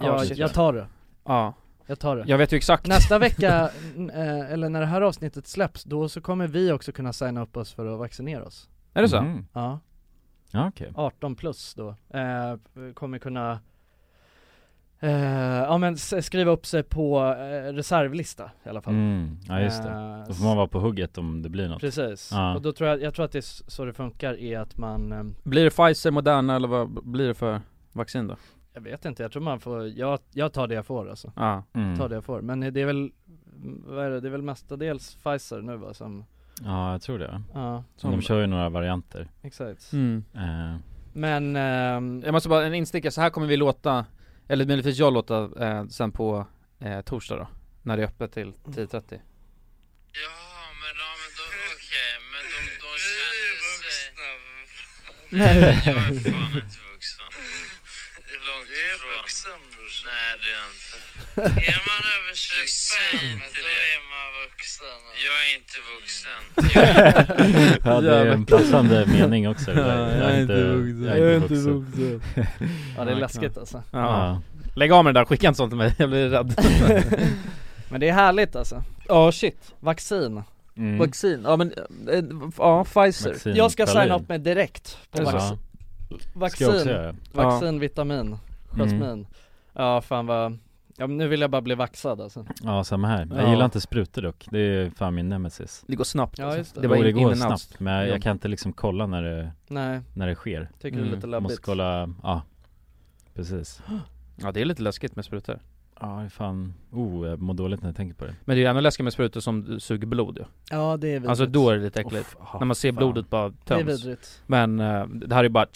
[SPEAKER 2] jag,
[SPEAKER 3] shit,
[SPEAKER 2] jag
[SPEAKER 3] ja.
[SPEAKER 2] tar det,
[SPEAKER 1] Ja.
[SPEAKER 2] jag tar det
[SPEAKER 1] Jag vet ju exakt.
[SPEAKER 2] Nästa vecka, n- eh, eller när det här avsnittet släpps, då så kommer vi också kunna signa upp oss för att vaccinera oss
[SPEAKER 1] Är det så?
[SPEAKER 3] Mhm.
[SPEAKER 2] Ja,
[SPEAKER 3] Ja okej
[SPEAKER 2] 18 plus då, eh, kommer kunna eh, ja men s- skriva upp sig på eh, reservlista i alla fall
[SPEAKER 3] mm. Ja just det
[SPEAKER 2] Eh,
[SPEAKER 3] Då får man vara på hugget om det blir något
[SPEAKER 2] Precis,
[SPEAKER 3] Ja.
[SPEAKER 2] och då tror jag, jag tror att det är s- så det funkar är att man eh,
[SPEAKER 1] Blir det Pfizer, Moderna eller vad blir det för vaccin då?
[SPEAKER 2] Jag vet inte, jag tror man får, jag, jag tar det jag får alltså
[SPEAKER 1] Ja.
[SPEAKER 3] mm.
[SPEAKER 2] Tar det jag får, men det är väl, vad är det, det är väl mestadels Pfizer nu va som,
[SPEAKER 3] Ja jag tror det
[SPEAKER 2] ja
[SPEAKER 3] De kör ju några varianter
[SPEAKER 2] exakt
[SPEAKER 1] Mm.
[SPEAKER 3] eh,
[SPEAKER 2] Men, ehm,
[SPEAKER 1] Jag måste bara, en instickare, så här kommer vi låta, eller möjligtvis jag låta eh, sen på eh, torsdag då, när det är öppet till 10.30
[SPEAKER 9] Ja, men, ja, men då, okej, men de, de känner sig...
[SPEAKER 1] Nej.
[SPEAKER 9] Jag är fan inte vuxen. Långt ifrån. Du är vuxen brorsan. Nej det är jag inte. Är man över 25 då är man vuxen. Jag är inte vuxen. Jag
[SPEAKER 3] Ja det är en passande mening också det där. Jag är inte Jag är inte vuxen
[SPEAKER 2] ja det är läskigt alltså
[SPEAKER 1] ja. Lägg av med det där, skicka inte sånt till mig, jag blir rädd
[SPEAKER 2] Men det är härligt alltså,
[SPEAKER 1] Ja shit,
[SPEAKER 2] vaccin
[SPEAKER 3] Mm.
[SPEAKER 1] vaccin, ja men, eh, ja Pfizer
[SPEAKER 3] Vaccin
[SPEAKER 2] Jag ska
[SPEAKER 3] Berlin.
[SPEAKER 2] signa upp mig direkt på
[SPEAKER 1] Är det så?
[SPEAKER 2] vaccin,
[SPEAKER 3] Ja, ska jag också
[SPEAKER 2] vaccin,
[SPEAKER 3] göra
[SPEAKER 2] vaccin, vitamin, jasmin Ja fan vad, ja, men nu vill jag bara bli vaxad alltså
[SPEAKER 3] Ja samma här, jag
[SPEAKER 2] Ja.
[SPEAKER 3] gillar inte sprutor dock, det är fan min nemesis
[SPEAKER 1] Det går snabbt
[SPEAKER 2] Ja,
[SPEAKER 1] alltså.
[SPEAKER 2] just det.
[SPEAKER 1] var
[SPEAKER 3] Jo,
[SPEAKER 1] in,
[SPEAKER 3] det går
[SPEAKER 1] in and out.
[SPEAKER 3] snabbt, men jag, jag kan inte liksom kolla när det,
[SPEAKER 2] Nej,
[SPEAKER 3] när det sker
[SPEAKER 2] tycker det
[SPEAKER 1] Mm,
[SPEAKER 2] är lite
[SPEAKER 3] Jag
[SPEAKER 2] läbbigt
[SPEAKER 3] Måste kolla, ja Precis
[SPEAKER 1] Ja det är lite läskigt med sprutor
[SPEAKER 3] Ja det är fan, oh jag mår dåligt när jag tänker på det
[SPEAKER 1] Men det är ju ännu läskigare med sprutor som suger blod ju.
[SPEAKER 2] Ja det är vidrigt
[SPEAKER 1] Alltså då är det lite äckligt,
[SPEAKER 3] Uff, ah,
[SPEAKER 1] när man ser
[SPEAKER 3] fan.
[SPEAKER 1] blodet bara
[SPEAKER 2] Det är
[SPEAKER 1] töms
[SPEAKER 2] vidrigt
[SPEAKER 1] Men eh, det här är ju bara,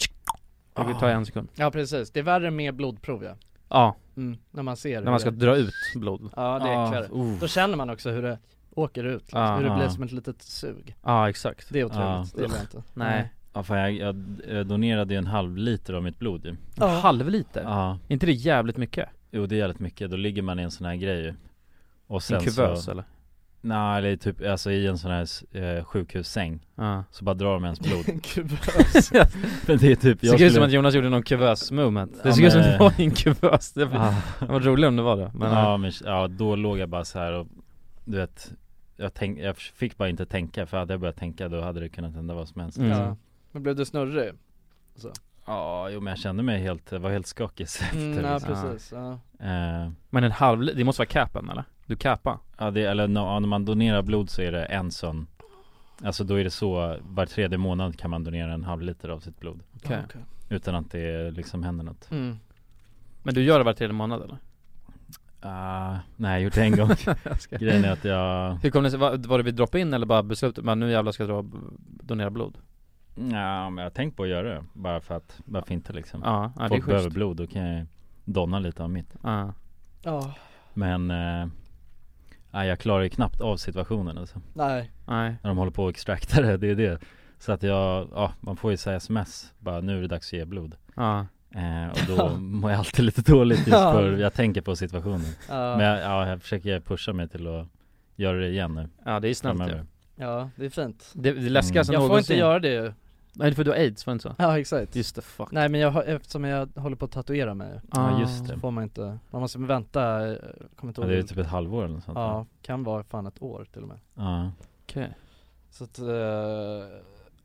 [SPEAKER 3] Ah.
[SPEAKER 1] det tar en sekund
[SPEAKER 2] Ja precis, det är värre med blodprov ja
[SPEAKER 1] Ja,
[SPEAKER 2] Mm, när man ser
[SPEAKER 1] när man ska
[SPEAKER 2] hur
[SPEAKER 1] dra ut blod
[SPEAKER 2] det, Ja det är äckligare
[SPEAKER 3] oh.
[SPEAKER 2] Då känner man också hur det åker ut, liksom.
[SPEAKER 1] Ja.
[SPEAKER 2] hur det blir
[SPEAKER 3] Ja.
[SPEAKER 2] som ett litet sug
[SPEAKER 1] Ja exakt
[SPEAKER 2] Det är otroligt,
[SPEAKER 3] Ja.
[SPEAKER 2] det gillar jag inte
[SPEAKER 1] Nej,
[SPEAKER 3] Ja fan jag, jag, jag donerade ju en halv liter av mitt blod ju
[SPEAKER 1] en halv liter?
[SPEAKER 3] Ja,
[SPEAKER 1] Är inte det jävligt mycket?
[SPEAKER 3] jo det är jävligt mycket, då ligger man i en sån här grej ju Och sen
[SPEAKER 1] en kuvös alltså.
[SPEAKER 3] så,
[SPEAKER 1] eller?
[SPEAKER 3] Nej eller typ, alltså i en sån här eh, sjukhussäng
[SPEAKER 1] Ja.
[SPEAKER 3] Så bara drar de ens blod
[SPEAKER 2] En kuvös
[SPEAKER 3] Men det är typ,
[SPEAKER 1] Det
[SPEAKER 3] jag
[SPEAKER 1] såg ut som
[SPEAKER 3] skulle
[SPEAKER 1] att Jonas gjorde någon kuvös movement Det
[SPEAKER 3] Ja,
[SPEAKER 1] såg ut som att
[SPEAKER 3] men-
[SPEAKER 1] det var i en kuvös, det var,
[SPEAKER 3] ah.
[SPEAKER 1] det var roligt om det var det men,
[SPEAKER 3] ja, men ja, då låg jag bara så här och du vet jag, tänk, jag fick bara inte tänka för hade jag börjat tänka då hade det kunnat hända vad som helst
[SPEAKER 1] Mm.
[SPEAKER 2] ja. Men blev du snurrig?
[SPEAKER 3] Ja, jo men jag kände mig helt, jag var helt skakig efter
[SPEAKER 2] Mm, ja
[SPEAKER 3] liksom.
[SPEAKER 2] precis, ja.
[SPEAKER 3] eh,
[SPEAKER 1] men en halv, li- det måste vara capen eller? Du capar?
[SPEAKER 3] Ja det, eller no, ja, när man donerar blod så är det en sån Alltså då är det så, var tredje månad kan man donera en halv liter av sitt blod
[SPEAKER 1] Okej.
[SPEAKER 2] okej.
[SPEAKER 3] Utan att det liksom händer något
[SPEAKER 2] Mm.
[SPEAKER 1] Men du gör det var tredje månad eller?
[SPEAKER 3] Ah, nej jag gjorde det en gång Grejen är att jag,
[SPEAKER 1] Hur kom det sig, var, var det vid drop-in eller bara beslutet, men nu jävlar ska jag dra, donera blod?
[SPEAKER 3] ja, men jag har tänkt på att göra det Bara för att, varför inte liksom?
[SPEAKER 1] Ja, ja det är
[SPEAKER 3] Folk behöver
[SPEAKER 1] schysst
[SPEAKER 3] blod, då kan jag donna lite av mitt
[SPEAKER 1] ja.
[SPEAKER 2] Ja,
[SPEAKER 3] Men, eh, nej, jag klarar ju knappt av situationen alltså.
[SPEAKER 2] nej,
[SPEAKER 1] Nej,
[SPEAKER 3] När de håller på och extraktar det, det är det Så att jag, ja man får ju säga sms, bara nu är det dags att ge blod
[SPEAKER 1] ja
[SPEAKER 3] eh, Och då mår jag alltid lite dåligt just
[SPEAKER 2] Ja.
[SPEAKER 3] för jag tänker på situationen
[SPEAKER 2] ja,
[SPEAKER 3] Men jag, ja, jag försöker pusha mig till att göra det igen nu
[SPEAKER 1] Ja det är snällt ju
[SPEAKER 3] framöver
[SPEAKER 2] ja det är fint
[SPEAKER 1] Det, det läskigaste
[SPEAKER 2] Mm. Jag får inte
[SPEAKER 1] någonsin
[SPEAKER 2] göra det ju,
[SPEAKER 1] Nej för du har aids, var det inte så?
[SPEAKER 2] ja exakt
[SPEAKER 1] Just the fuck
[SPEAKER 2] Nej men jag, har- eftersom jag håller på att tatuera mig
[SPEAKER 3] Ja just det,
[SPEAKER 2] så får man inte, man måste vänta, eh, kommer inte
[SPEAKER 3] ja,
[SPEAKER 2] ihåg
[SPEAKER 3] det är typ ett halvår eller något sånt va?
[SPEAKER 2] Ja, kan vara fan ett år till och med
[SPEAKER 3] ja.
[SPEAKER 1] Okej
[SPEAKER 2] Så att, eh, ja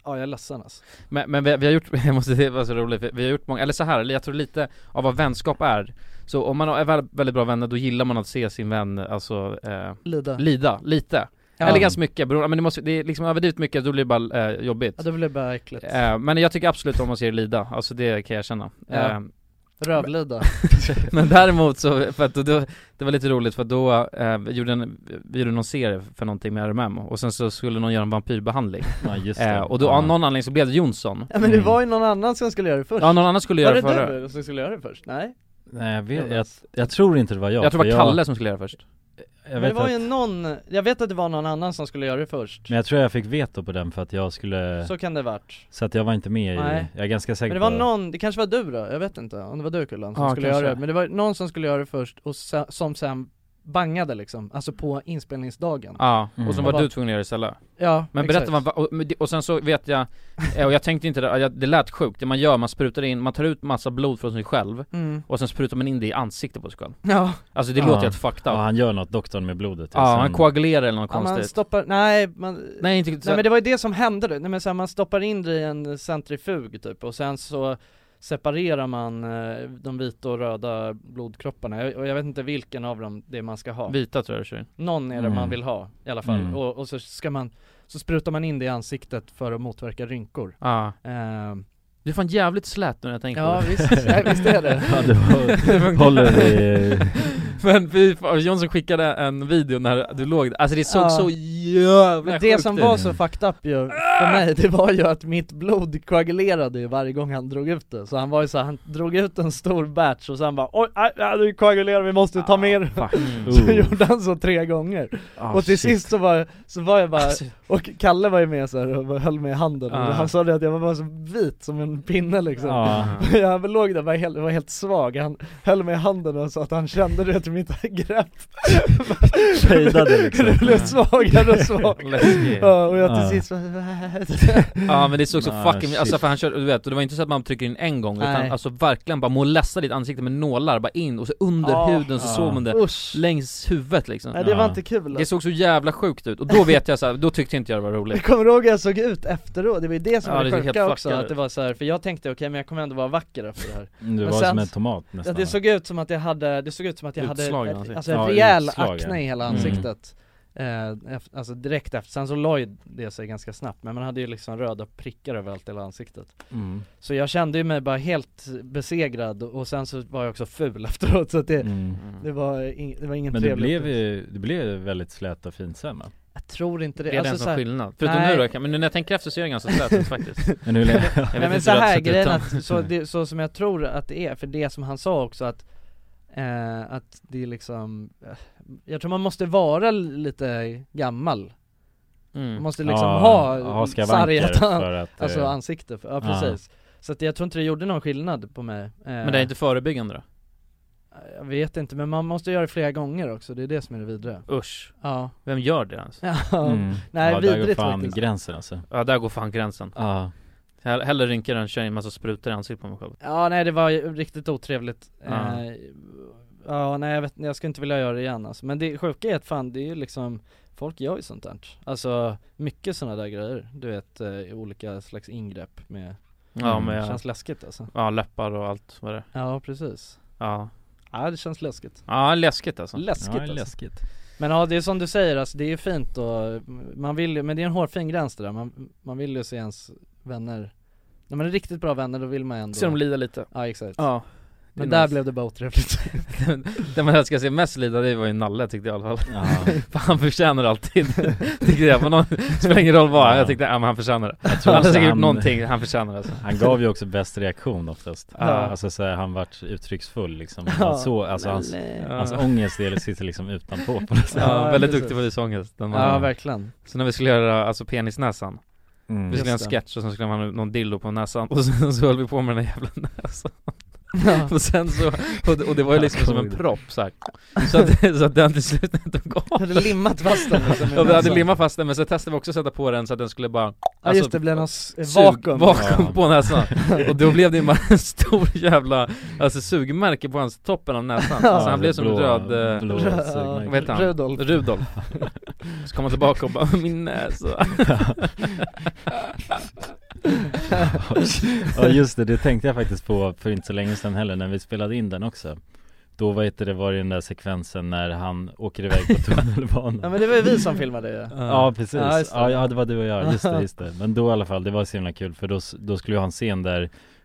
[SPEAKER 2] ja jag är ledsen alltså.
[SPEAKER 1] Men, men vi, vi har gjort, jag måste det var så roligt, vi, vi har gjort många, eller så här, eller jag tror lite av vad vänskap är Så om man är väl- väldigt bra vänner, då gillar man att se sin vän, alltså, eh,
[SPEAKER 2] Lida.
[SPEAKER 1] lida, lite
[SPEAKER 2] Ja.
[SPEAKER 1] Eller ganska mycket, beroende, men det måste, det är liksom överdrivet mycket, då blir det bara eh, jobbigt
[SPEAKER 2] Ja det blev bara äckligt.
[SPEAKER 1] eh, Men jag tycker absolut om att se er lida, alltså det kan jag känna
[SPEAKER 2] Ja.
[SPEAKER 1] eh,
[SPEAKER 2] Rövlida.
[SPEAKER 1] Men däremot så, för att då, då, det var lite roligt för att då eh, vi gjorde en, vi gjorde någon serie för någonting med RMM och sen så skulle någon göra en vampyrbehandling
[SPEAKER 3] Ja just det
[SPEAKER 1] eh, Och då av någon anledning så blev det Jonsson
[SPEAKER 2] Ja men det var ju någon annan som skulle göra det först.
[SPEAKER 1] Ja någon annan skulle
[SPEAKER 2] var
[SPEAKER 1] göra
[SPEAKER 2] Mm. det
[SPEAKER 1] det förra
[SPEAKER 2] du som skulle göra det först? Nej?
[SPEAKER 3] Nej jag, vet, jag, jag tror inte det var jag
[SPEAKER 1] Jag tror det
[SPEAKER 3] för
[SPEAKER 1] var Kalle som skulle göra det först
[SPEAKER 3] jag,
[SPEAKER 2] Men
[SPEAKER 3] jag
[SPEAKER 2] det
[SPEAKER 3] vet
[SPEAKER 2] var
[SPEAKER 3] att,
[SPEAKER 2] ju någon, jag vet att det var någon annan som skulle göra det först.
[SPEAKER 3] Men jag tror jag fick veto på den för att jag skulle Så,
[SPEAKER 2] Så kan det varit.
[SPEAKER 3] att jag var inte med
[SPEAKER 2] Nej.
[SPEAKER 3] i, jag är ganska säker
[SPEAKER 2] Men det var
[SPEAKER 3] på
[SPEAKER 2] någon, det kanske var du då? Jag vet inte om det var du Kullen som
[SPEAKER 1] Ja,
[SPEAKER 2] skulle
[SPEAKER 1] kanske.
[SPEAKER 2] göra det. Men det var någon som skulle göra det först och se, som sen bangade liksom, alltså på inspelningsdagen.
[SPEAKER 1] Ja,
[SPEAKER 3] Mm.
[SPEAKER 1] och så
[SPEAKER 2] Och
[SPEAKER 1] var
[SPEAKER 2] bara-
[SPEAKER 1] du tvungen att göra det istället
[SPEAKER 2] Ja,
[SPEAKER 1] Men
[SPEAKER 2] exakt.
[SPEAKER 1] berätta vad, vad- och, men det- och sen så vet jag, eh, och jag tänkte inte det, jag- det lät sjukt, det man gör, man sprutar in, man tar ut massa blod från sig själv
[SPEAKER 2] Mm.
[SPEAKER 1] och sen sprutar man in det i ansiktet på sig själv
[SPEAKER 2] Ja,
[SPEAKER 1] Alltså det
[SPEAKER 3] Ja.
[SPEAKER 1] låter helt fucked
[SPEAKER 3] Ja
[SPEAKER 1] up
[SPEAKER 3] han gör något, doktorn med blodet alltså.
[SPEAKER 1] Ja,
[SPEAKER 3] och
[SPEAKER 1] han
[SPEAKER 3] sen-
[SPEAKER 1] koagulerar eller något
[SPEAKER 2] ja man
[SPEAKER 1] konstigt
[SPEAKER 2] stoppar, nej man
[SPEAKER 1] Nej inte
[SPEAKER 2] Nej men det var ju det som hände då, nej men så här, man stoppar in det i en centrifug typ och sen så separerar man eh, de vita och röda blodkropparna, jag, och jag vet inte vilken av dem det är man ska ha
[SPEAKER 1] Vita tror jag det kör in.
[SPEAKER 2] Någon är det
[SPEAKER 3] Mm.
[SPEAKER 2] man vill ha i alla fall,
[SPEAKER 3] Mm.
[SPEAKER 2] och, och så ska man, så sprutar man in det i ansiktet för att motverka rynkor
[SPEAKER 1] Ja
[SPEAKER 2] Ehm,
[SPEAKER 1] Du är fan jävligt slät nu när jag tänker på
[SPEAKER 2] Ja
[SPEAKER 1] det
[SPEAKER 2] visst, nej, visst är det
[SPEAKER 3] Ja det var, håller i,
[SPEAKER 1] Men fy fan, Jonsson skickade en video när du låg alltså det såg
[SPEAKER 2] Ja.
[SPEAKER 1] så jävla
[SPEAKER 2] Men
[SPEAKER 1] sjukt
[SPEAKER 2] det som
[SPEAKER 1] ut.
[SPEAKER 2] var så fucked up ju för mig, det var ju att mitt blod koagulerade ju varje gång han drog ut det Så han var ju så här, han drog ut en stor batch och sen bara oj, aj, aj, du koagulerar, vi måste ta mer
[SPEAKER 3] fuck.
[SPEAKER 2] Så
[SPEAKER 3] Oh.
[SPEAKER 2] gjorde han så tre gånger,
[SPEAKER 3] Ah,
[SPEAKER 2] och till
[SPEAKER 3] shit.
[SPEAKER 2] sist så var, så var jag bara,
[SPEAKER 1] Alltså,
[SPEAKER 2] och Kalle var ju med så här och höll mig i handen
[SPEAKER 1] Ah.
[SPEAKER 2] och han sa det att jag var bara så vit som en pinne liksom
[SPEAKER 3] Ja,
[SPEAKER 2] Jag låg där, var helt, var helt svag, han höll mig i handen och sa att han kände det till mitt grepp
[SPEAKER 3] Fejdade liksom
[SPEAKER 2] Det blev svagare och svagare
[SPEAKER 1] läskigt.
[SPEAKER 2] Ja, och jag till
[SPEAKER 3] Ah.
[SPEAKER 2] sist bara, "Äh,
[SPEAKER 1] Ja men det såg så
[SPEAKER 3] Ah,
[SPEAKER 1] fucking,
[SPEAKER 3] shit.
[SPEAKER 1] alltså för han körde, du vet, och det var inte så att man trycker in en gång
[SPEAKER 2] Nej.
[SPEAKER 1] utan alltså verkligen bara molesta ditt ansikte med nålar, bara in och så under
[SPEAKER 2] Ah,
[SPEAKER 1] huden så
[SPEAKER 3] ah.
[SPEAKER 1] såg man det
[SPEAKER 2] usch
[SPEAKER 1] längs huvudet liksom
[SPEAKER 2] Nej det var
[SPEAKER 3] Ja.
[SPEAKER 2] inte kul alltså.
[SPEAKER 1] Det såg så jävla sjukt ut, och då vet jag så här, då tyckte inte jag det var
[SPEAKER 2] Jag
[SPEAKER 1] roligt
[SPEAKER 2] kommer ihåg hur jag såg ut efteråt, det var ju det som
[SPEAKER 1] Ja,
[SPEAKER 2] var
[SPEAKER 1] det
[SPEAKER 2] det
[SPEAKER 1] såg helt
[SPEAKER 2] sjuka också,
[SPEAKER 1] fuckad
[SPEAKER 2] att det var så här, för jag tänkte okej men jag kommer ändå vara vacker efter det här
[SPEAKER 3] Du var
[SPEAKER 2] sen-
[SPEAKER 3] som en tomat
[SPEAKER 2] Ja,
[SPEAKER 3] nästan
[SPEAKER 2] det såg ut som att jag hade, det såg ut som att jag
[SPEAKER 1] Utslag i
[SPEAKER 2] hade
[SPEAKER 1] ansiktet.
[SPEAKER 2] alltså,
[SPEAKER 3] Ja,
[SPEAKER 2] rejäl
[SPEAKER 3] utslag, ja.
[SPEAKER 2] akne i hela
[SPEAKER 3] Mm.
[SPEAKER 2] ansiktet eh, ef- Alltså direkt efter, sen så la ju det sig ganska snabbt men man hade ju liksom röda prickar överallt i hela ansiktet
[SPEAKER 3] mm.
[SPEAKER 2] Så jag kände ju mig bara helt besegrad och sen så var jag också ful efteråt så att det,
[SPEAKER 3] Mm.
[SPEAKER 2] det, var, ing, det var ingen
[SPEAKER 3] Men det
[SPEAKER 2] trevlig
[SPEAKER 3] blev
[SPEAKER 2] upplevelse.
[SPEAKER 3] ju, det blev ju väldigt slät och fint sen va?
[SPEAKER 2] Jag tror inte det,
[SPEAKER 1] Det är den
[SPEAKER 2] alltså, så
[SPEAKER 1] som
[SPEAKER 2] här,
[SPEAKER 1] skillnad, förutom
[SPEAKER 2] Nej.
[SPEAKER 1] nu då, jag kan- men nu när jag tänker efter så är det ganska slät ut faktiskt
[SPEAKER 3] Men hur länge?
[SPEAKER 1] Jag
[SPEAKER 2] Nej
[SPEAKER 1] vet
[SPEAKER 2] men
[SPEAKER 1] inte
[SPEAKER 2] så
[SPEAKER 1] hur jag hade
[SPEAKER 2] här
[SPEAKER 1] sett ut
[SPEAKER 2] grejen
[SPEAKER 1] utan.
[SPEAKER 2] att, så, det, så som jag tror att det är, för det som han sa också att eh, Att det är liksom eh, Jag tror man måste vara lite gammal, man
[SPEAKER 1] mm.
[SPEAKER 2] måste liksom ha,
[SPEAKER 3] ha skavanker
[SPEAKER 2] sargat
[SPEAKER 3] för att eh,
[SPEAKER 2] alltså ansikte, för, ja
[SPEAKER 3] Ja.
[SPEAKER 2] precis Så att jag tror inte det gjorde någon skillnad på mig eh,
[SPEAKER 1] Men det är inte förebyggande då?
[SPEAKER 2] Jag vet inte, men man måste göra det flera gånger också, det är det som är det vidriga
[SPEAKER 1] Usch,
[SPEAKER 2] Ja,
[SPEAKER 1] vem gör det ens?
[SPEAKER 2] ja,
[SPEAKER 3] mm.
[SPEAKER 2] nej,
[SPEAKER 3] ja, där går
[SPEAKER 2] vidrigt
[SPEAKER 3] fan
[SPEAKER 2] faktiskt.
[SPEAKER 3] gränsen alltså
[SPEAKER 1] Ja där går fan gränsen
[SPEAKER 3] Ja,
[SPEAKER 1] Hell- Hellre rynkor än kör in massa sprutor i ansiktet på mig själv
[SPEAKER 2] ja nej det var ju riktigt otrevligt
[SPEAKER 1] Ja.
[SPEAKER 2] eh, Ja nej jag vet jag skulle inte vilja göra det igen alltså. men det sjuka är att fan det är ju liksom Folk gör ju sånt där, alltså mycket sådana där grejer, du vet eh, olika slags ingrepp med,
[SPEAKER 1] Ja
[SPEAKER 3] Mm.
[SPEAKER 1] men jag,
[SPEAKER 2] känns läskigt alltså
[SPEAKER 1] ja läppar och allt vad det är.
[SPEAKER 2] Ja precis,
[SPEAKER 1] Ja,
[SPEAKER 2] ja det känns läskigt
[SPEAKER 1] ja läskigt alltså
[SPEAKER 2] Läskigt
[SPEAKER 3] ja,
[SPEAKER 2] alltså.
[SPEAKER 3] läskigt
[SPEAKER 2] Men ja det är som du säger alltså, det är ju fint och man vill ju, men det är en hårfin gräns det där, man, man vill ju se ens vänner När man är riktigt bra vänner då vill man ändå
[SPEAKER 1] Ser de lida lite?
[SPEAKER 2] Ja exakt
[SPEAKER 1] Ja
[SPEAKER 2] Men där blev det bara otrevligt
[SPEAKER 1] Det man ska se mest lida det var ju Nalle tyckte jag i alla fall
[SPEAKER 3] Ja,
[SPEAKER 1] För han förtjänar alltid, tyckte jag, men någon, spelar ingen roll vad, jag tyckte ja, men han förtjänar det Han har
[SPEAKER 3] också
[SPEAKER 1] säkert gjort
[SPEAKER 3] han-
[SPEAKER 1] någonting, han förtjänar det alltså.
[SPEAKER 3] han gav ju också bäst reaktion oftast
[SPEAKER 1] Ja.
[SPEAKER 3] Alltså så här, han vart uttrycksfull liksom han så, alltså hans,
[SPEAKER 2] Ja,
[SPEAKER 3] hans
[SPEAKER 1] Ja,
[SPEAKER 3] ångest det sitter liksom utanpå på något sätt
[SPEAKER 1] ja,
[SPEAKER 2] Ja,
[SPEAKER 1] väldigt
[SPEAKER 2] precis.
[SPEAKER 1] duktig på visångest den
[SPEAKER 2] ja
[SPEAKER 1] mannen.
[SPEAKER 2] verkligen
[SPEAKER 1] Så när vi skulle göra alltså penisnäsan, vi
[SPEAKER 3] mm.
[SPEAKER 1] skulle göra en
[SPEAKER 2] Just det.
[SPEAKER 1] sketch och sen skulle man ha någon dildo på näsan och sen så höll vi på med den där jävla näsan
[SPEAKER 2] ja.
[SPEAKER 1] Och sen så, och det, och det var ju liksom som en propp så här. Så att, så att den till slut när den tog
[SPEAKER 2] Jag
[SPEAKER 1] av
[SPEAKER 2] hade limmat fast den liksom i
[SPEAKER 1] Ja vi hade
[SPEAKER 2] näsan.
[SPEAKER 1] limmat fast den men så testade vi också att sätta på den så att den skulle bara
[SPEAKER 2] Ja just det, det blev någon s-
[SPEAKER 1] sug-
[SPEAKER 2] alltså, vakuum
[SPEAKER 1] vakuum
[SPEAKER 3] Ja.
[SPEAKER 1] på näsan Och då blev det bara en stor jävla, alltså sugmärke på hans toppen av näsan Så han blev som en röd, eh,
[SPEAKER 3] blå
[SPEAKER 2] Ja,
[SPEAKER 3] sugmärke.
[SPEAKER 1] vad heter han?
[SPEAKER 2] Rudolf
[SPEAKER 1] Rudolf Så kommer han tillbaka och bara 'min näsa'
[SPEAKER 3] Ja just det, det tänkte jag faktiskt på för inte så länge sedan heller när vi spelade in den också Då vad heter det, var det den där sekvensen när han åker iväg på tunnelbanan
[SPEAKER 2] Ja men det var ju vi som filmade ju
[SPEAKER 3] Ja precis,
[SPEAKER 2] Ja,
[SPEAKER 3] ja,
[SPEAKER 2] just det.
[SPEAKER 3] ja, det var du och jag, just det, just det Men då i alla fall, det var så himla kul för då, s- då skulle vi ha en scen där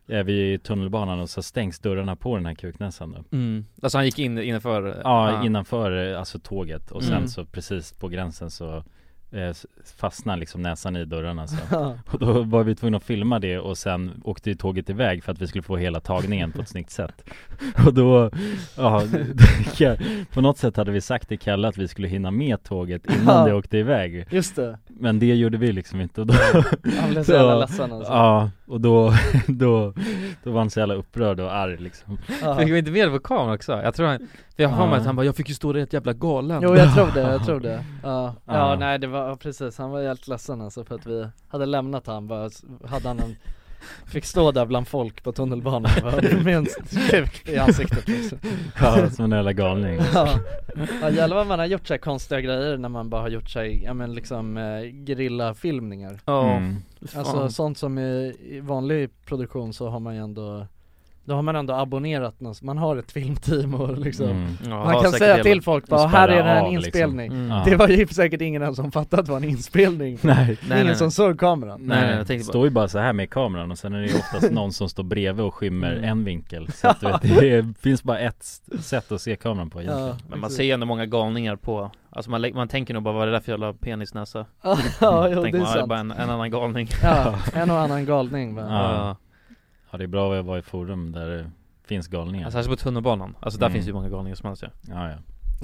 [SPEAKER 3] eh, vi är i tunnelbanan och så stängs dörrarna på den här kuknäsan då.
[SPEAKER 1] mm. Alltså han gick in innanför
[SPEAKER 3] Ja,
[SPEAKER 1] ah.
[SPEAKER 3] innanför eh, alltså tåget och sen
[SPEAKER 1] Mm.
[SPEAKER 3] så precis på gränsen så eh, s- fastnar liksom näsan i dörrarna så
[SPEAKER 2] Ja.
[SPEAKER 3] Och då var vi tvungna att filma det och sen åkte ju tåget iväg för att vi skulle få hela tagningen på ett snyggt sätt Och då, ja, på något sätt hade vi sagt till Kalle att vi skulle hinna med tåget innan det åkte iväg
[SPEAKER 2] Just det,
[SPEAKER 3] Men det gjorde vi liksom inte och då,
[SPEAKER 2] han blev så
[SPEAKER 3] Ja.
[SPEAKER 2] jävla ledsen alltså
[SPEAKER 3] ja, och då, då, då var han så jävla upprörd och arg liksom
[SPEAKER 2] Ja.
[SPEAKER 1] Fick vi inte med det på kameran också? Jag tror han, för jag har
[SPEAKER 3] Ja.
[SPEAKER 1] med att han bara 'jag fick ju stå där helt jävla galen'
[SPEAKER 2] Jo jag tror det, jag tror det Ja, ja
[SPEAKER 3] Ja.
[SPEAKER 2] nej det var, ja, precis, han var helt ledsen alltså för att vi hade lämnat han bara, s- hade han en Fick stå där bland folk på tunnelbanan bara, med en kuk i ansiktet liksom
[SPEAKER 3] Ja, som en jävla galning
[SPEAKER 2] Ja, ja jävlar vad man har gjort så här konstiga grejer när man bara har gjort sig, ja men liksom eh, gerillafilmningar
[SPEAKER 1] Ja,
[SPEAKER 3] Mm.
[SPEAKER 1] fan.
[SPEAKER 2] Alltså sånt som i, i vanlig produktion så har man ju ändå Då har man ändå abonnerat något, man har ett filmteam och liksom
[SPEAKER 3] Mm.
[SPEAKER 1] Ja,
[SPEAKER 2] Man
[SPEAKER 1] har
[SPEAKER 2] kan
[SPEAKER 1] säkert
[SPEAKER 2] säga
[SPEAKER 1] hela-
[SPEAKER 2] till folk bara
[SPEAKER 3] Och
[SPEAKER 2] här är
[SPEAKER 3] spärra
[SPEAKER 2] det en
[SPEAKER 3] av, liksom.
[SPEAKER 2] inspelning
[SPEAKER 1] Mm.
[SPEAKER 3] Ja.
[SPEAKER 2] Det var ju säkert ingen ens som fattade att det var en inspelning
[SPEAKER 3] Nej,
[SPEAKER 2] Det är ingen som såg kameran
[SPEAKER 1] Nej, nej, jag tänkte bara-
[SPEAKER 3] Står ju bara så här med kameran och sen är det ju oftast någon som står bredvid och skymmer en vinkel Så att du vet, det är, finns bara ett sätt att se kameran på egentligen
[SPEAKER 2] Ja,
[SPEAKER 1] Men man
[SPEAKER 2] exakt.
[SPEAKER 1] ser ju ändå många galningar på, alltså man, lä- man tänker nog bara vad är det där för jävla penisnäsa?
[SPEAKER 2] Ja, jo,
[SPEAKER 1] tänker
[SPEAKER 2] det är
[SPEAKER 1] man, "Ah, det är
[SPEAKER 2] sant
[SPEAKER 1] bara en, en annan galning
[SPEAKER 2] Ja, en och annan galning bara.
[SPEAKER 3] Ja. Ja det är bra att vara i forum där det finns galningar
[SPEAKER 1] Alltså här på tunnelbanan, alltså där
[SPEAKER 3] Mm.
[SPEAKER 1] finns ju många galningar som helst ja.
[SPEAKER 3] ja, ja.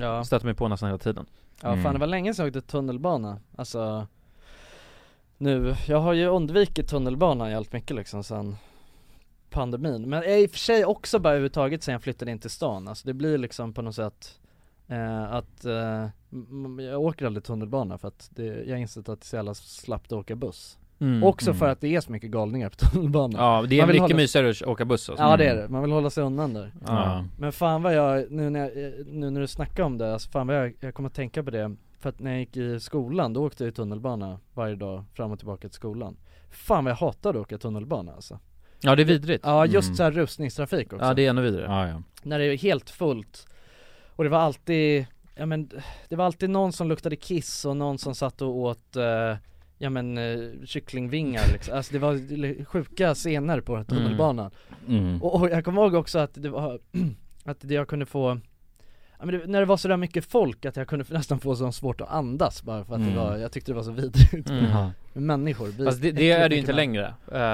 [SPEAKER 2] Ja.
[SPEAKER 1] Stöter mig på nästan hela tiden
[SPEAKER 2] Ja fan
[SPEAKER 3] Mm.
[SPEAKER 2] det var länge sedan jag åkte tunnelbana, alltså Nu, jag har ju undvikit tunnelbanan jävligt mycket liksom sen pandemin Men i och för sig också bara överhuvudtaget sen jag flyttade in till stan, alltså det blir liksom på något sätt eh, att eh, m- jag åker aldrig tunnelbana för att det, jag har insett att det är så jävla slappt att åka buss Också
[SPEAKER 3] mm.
[SPEAKER 2] för att det är så mycket galningar på tunnelbanan Ja,
[SPEAKER 1] Ja, det är
[SPEAKER 2] Man
[SPEAKER 1] mycket
[SPEAKER 2] vill hålla-
[SPEAKER 1] mysigare att åka buss alltså.
[SPEAKER 2] det
[SPEAKER 3] mm.
[SPEAKER 2] är det, man vill hålla sig undan där
[SPEAKER 3] Ja.
[SPEAKER 2] men fan vad jag, nu när, jag, eh, nu när du snackar om det, alltså fan vad jag, jag kommer att tänka på det För att när jag gick i skolan, då åkte jag i tunnelbana varje dag fram och tillbaka till skolan Fan vad jag hatade att åka tunnelbana alltså
[SPEAKER 1] Ja det är vidrigt
[SPEAKER 2] Ja just
[SPEAKER 3] Mm.
[SPEAKER 2] så här rusningstrafik också
[SPEAKER 1] Ja det är ännu vidare
[SPEAKER 3] Ja, ja.
[SPEAKER 2] När det är helt fullt Och det var alltid, ja men det var alltid någon som luktade kiss och någon som satt och åt eh, Ja men eh, kycklingvingar liksom. alltså det var sjuka scener på den här
[SPEAKER 1] Mm.
[SPEAKER 2] tunnelbanan
[SPEAKER 3] Mm.
[SPEAKER 2] och, och jag kommer ihåg också att det var, att det jag kunde få Ja, men det, när det var sådär mycket folk att jag kunde nästan få så svårt att andas bara för att
[SPEAKER 3] Mm.
[SPEAKER 2] det var, jag tyckte det var så vidrigt
[SPEAKER 1] Mm.
[SPEAKER 3] Ja.
[SPEAKER 2] med människor vi-
[SPEAKER 1] Alltså det, det
[SPEAKER 2] äckligt
[SPEAKER 1] är det
[SPEAKER 2] mycket
[SPEAKER 1] ju inte
[SPEAKER 2] män-
[SPEAKER 1] längre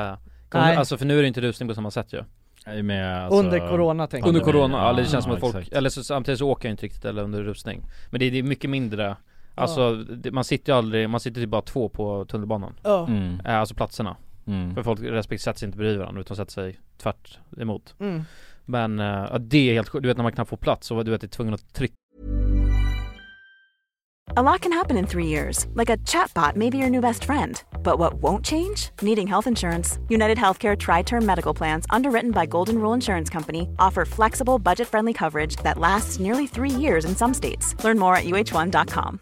[SPEAKER 1] Eh, kommer-
[SPEAKER 2] Nej.
[SPEAKER 1] Alltså för nu är det inte rusning på samma sätt ju
[SPEAKER 3] Jag är med, alltså,
[SPEAKER 2] Under corona tänker
[SPEAKER 1] Under
[SPEAKER 2] jag
[SPEAKER 1] corona, ja, det
[SPEAKER 3] Ja,
[SPEAKER 1] känns som att folk,
[SPEAKER 3] exakt.
[SPEAKER 1] eller så, samtidigt så åker jag inte riktigt eller under rusning Men det, är- det är mycket mindre Alltså det, man sitter ju aldrig, man sitter typ bara två på tunnelbanan
[SPEAKER 2] Ja,
[SPEAKER 3] mm.
[SPEAKER 1] Eh, Alltså platserna
[SPEAKER 3] Mm.
[SPEAKER 1] För folk respekt sätter sig inte bredvid varandra utan sätter sig tvärt emot
[SPEAKER 2] mm.
[SPEAKER 1] Men eh, ja, det är helt sjukt, du vet när man knappt får plats och du vet är tvungen att trycka
[SPEAKER 6] A lot can happen in three years, like a chatbot may be your new best friend. But what won't change? Needing health insurance. United Healthcare Tri Term Medical Plans, underwritten by Golden Rule Insurance Company, offer flexible, budget friendly coverage that lasts nearly three years in some states. Learn more at uh1.com.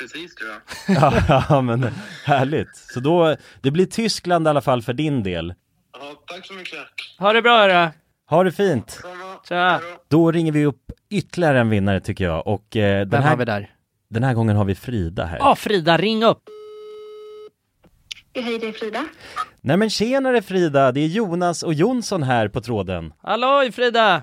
[SPEAKER 6] precis tror jag.
[SPEAKER 3] ja, men eh, härligt. Så då, det blir Tyskland i alla fall för din del.
[SPEAKER 6] Ja, tack så mycket.
[SPEAKER 2] Ha det bra hörru.
[SPEAKER 3] Ha det fint!
[SPEAKER 6] Samma.
[SPEAKER 2] Tja.
[SPEAKER 3] Då ringer vi upp ytterligare en vinnare tycker jag och eh, den,
[SPEAKER 2] Vem har vi
[SPEAKER 3] här,
[SPEAKER 2] där?
[SPEAKER 3] den här gången har vi Frida här.
[SPEAKER 2] Ja, Frida, ring upp.
[SPEAKER 6] Hej, det är Frida.
[SPEAKER 3] Nej men tjenare Frida, det är Jonas och Jonsson här på tråden.
[SPEAKER 2] Halloj Frida!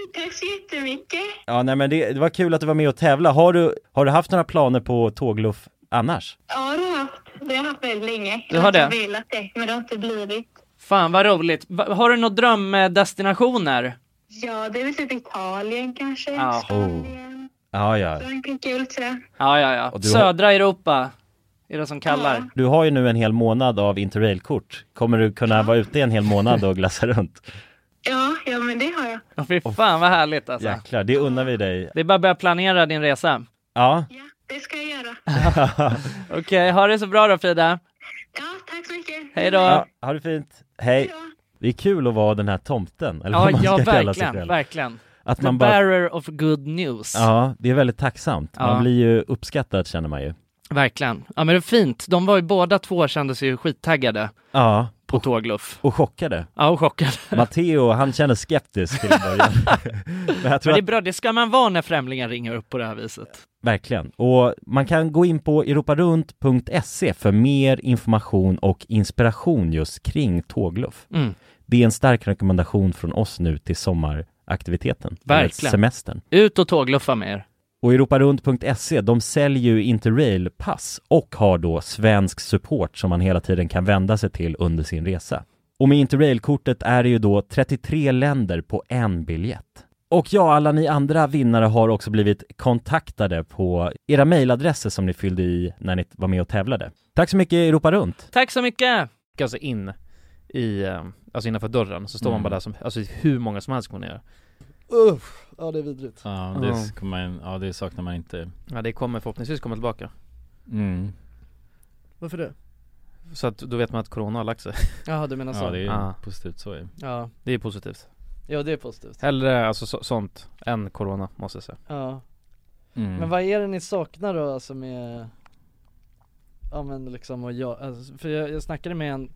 [SPEAKER 6] så jättemycket.
[SPEAKER 3] Ja, nej men det, det var kul att du var med och tävla. Har du, har du haft några planer på tågluff annars?
[SPEAKER 6] Ja, det har jag haft. Det har jag haft väldigt länge.
[SPEAKER 2] Du har det?
[SPEAKER 6] Jag har velat det, men det har inte blivit.
[SPEAKER 2] Fan vad roligt. Va- har du några drömdestinationer?
[SPEAKER 6] Ja, det är väl typ Italien kanske.
[SPEAKER 2] Ja.
[SPEAKER 6] Spanien.
[SPEAKER 3] Oh. Ja, ja.
[SPEAKER 6] Frankrike är väl sådär.
[SPEAKER 2] Ja, ja, ja.
[SPEAKER 3] Och du har-
[SPEAKER 2] Södra Europa är det som kallar.
[SPEAKER 3] Du har ju nu en hel månad av interrailkort. Kommer du kunna vara ute i en hel månad och glassa runt?
[SPEAKER 6] Ja, ja, men det har jag.
[SPEAKER 2] Åh, Fy fan vad härligt alltså.
[SPEAKER 3] Jäklar, det unnar vi dig.
[SPEAKER 2] Det är bara att börja planera din resa.
[SPEAKER 3] Ja,
[SPEAKER 6] Ja, det ska jag göra.
[SPEAKER 2] Okej, ha det så bra då Frida.
[SPEAKER 6] Ja, tack så mycket.
[SPEAKER 2] Hej då.
[SPEAKER 3] ja
[SPEAKER 2] Ja,
[SPEAKER 3] ha det fint. Hej. Det är kul att vara den här tomten, eller vad
[SPEAKER 2] ja,
[SPEAKER 3] man ska kalla sig
[SPEAKER 2] verkligen,
[SPEAKER 3] själv.
[SPEAKER 2] verkligen.
[SPEAKER 3] Att
[SPEAKER 2] The
[SPEAKER 3] man bara,
[SPEAKER 2] bearer of good news.
[SPEAKER 3] ja, det är väldigt tacksamt. Man
[SPEAKER 2] Ja.
[SPEAKER 3] blir ju uppskattad känner man ju.
[SPEAKER 2] Verkligen. Ja men det är fint. De var ju båda två kändes ju skittaggade
[SPEAKER 3] Ja,
[SPEAKER 2] på tågluff.
[SPEAKER 3] och chockade.
[SPEAKER 2] Ja, och chockade.
[SPEAKER 3] Matteo, han känner skeptisk till en början. Men jag
[SPEAKER 2] Men
[SPEAKER 3] tror
[SPEAKER 2] det är
[SPEAKER 3] att,
[SPEAKER 2] bra, det ska man vara när främlingar ringer upp på det här viset.
[SPEAKER 3] verkligen. Och man kan gå in på europarunt.se E för mer information och inspiration just kring tågluff.
[SPEAKER 2] Mm.
[SPEAKER 3] Det är en stark rekommendation från oss nu till sommaraktiviteten. eller
[SPEAKER 2] Verkligen.
[SPEAKER 3] Semestern.
[SPEAKER 2] Ut och tågluffa med er.
[SPEAKER 3] Och europarunt.se, E, de säljer ju Interrail-pass och har då svensk support som man hela tiden kan vända sig till under sin resa. Och med Interrail-kortet är det ju då 33 länder på en biljett. Och ja, alla ni andra vinnare har också blivit kontaktade på era mejladresser som ni fyllde i när ni var med och tävlade. Tack så mycket Europa Runt!
[SPEAKER 2] Tack så mycket!
[SPEAKER 1] Alltså in i, eh, alltså innanför dörren, så står
[SPEAKER 3] Mm.
[SPEAKER 1] man bara där som, alltså hur många som helst kommer ner
[SPEAKER 10] Uff, ja det är vidrigt.
[SPEAKER 11] Ja det, s- kommer man, ja, det saknar man inte
[SPEAKER 1] Ja det kommer förhoppningsvis komma tillbaka
[SPEAKER 11] mm.
[SPEAKER 10] Varför det?
[SPEAKER 1] Så att då vet man att corona har lagt sig
[SPEAKER 2] Ja, du menar så.
[SPEAKER 11] Ja det är ju
[SPEAKER 1] Ah.
[SPEAKER 11] positivt så ju
[SPEAKER 2] Ja.
[SPEAKER 1] Det är positivt
[SPEAKER 10] Ja det är positivt.
[SPEAKER 1] Hellre alltså så, sånt än corona måste jag säga
[SPEAKER 10] Ja.
[SPEAKER 11] mm.
[SPEAKER 10] Men vad är det ni saknar då alltså med Ja men liksom och jag, alltså, för jag, jag snackade med en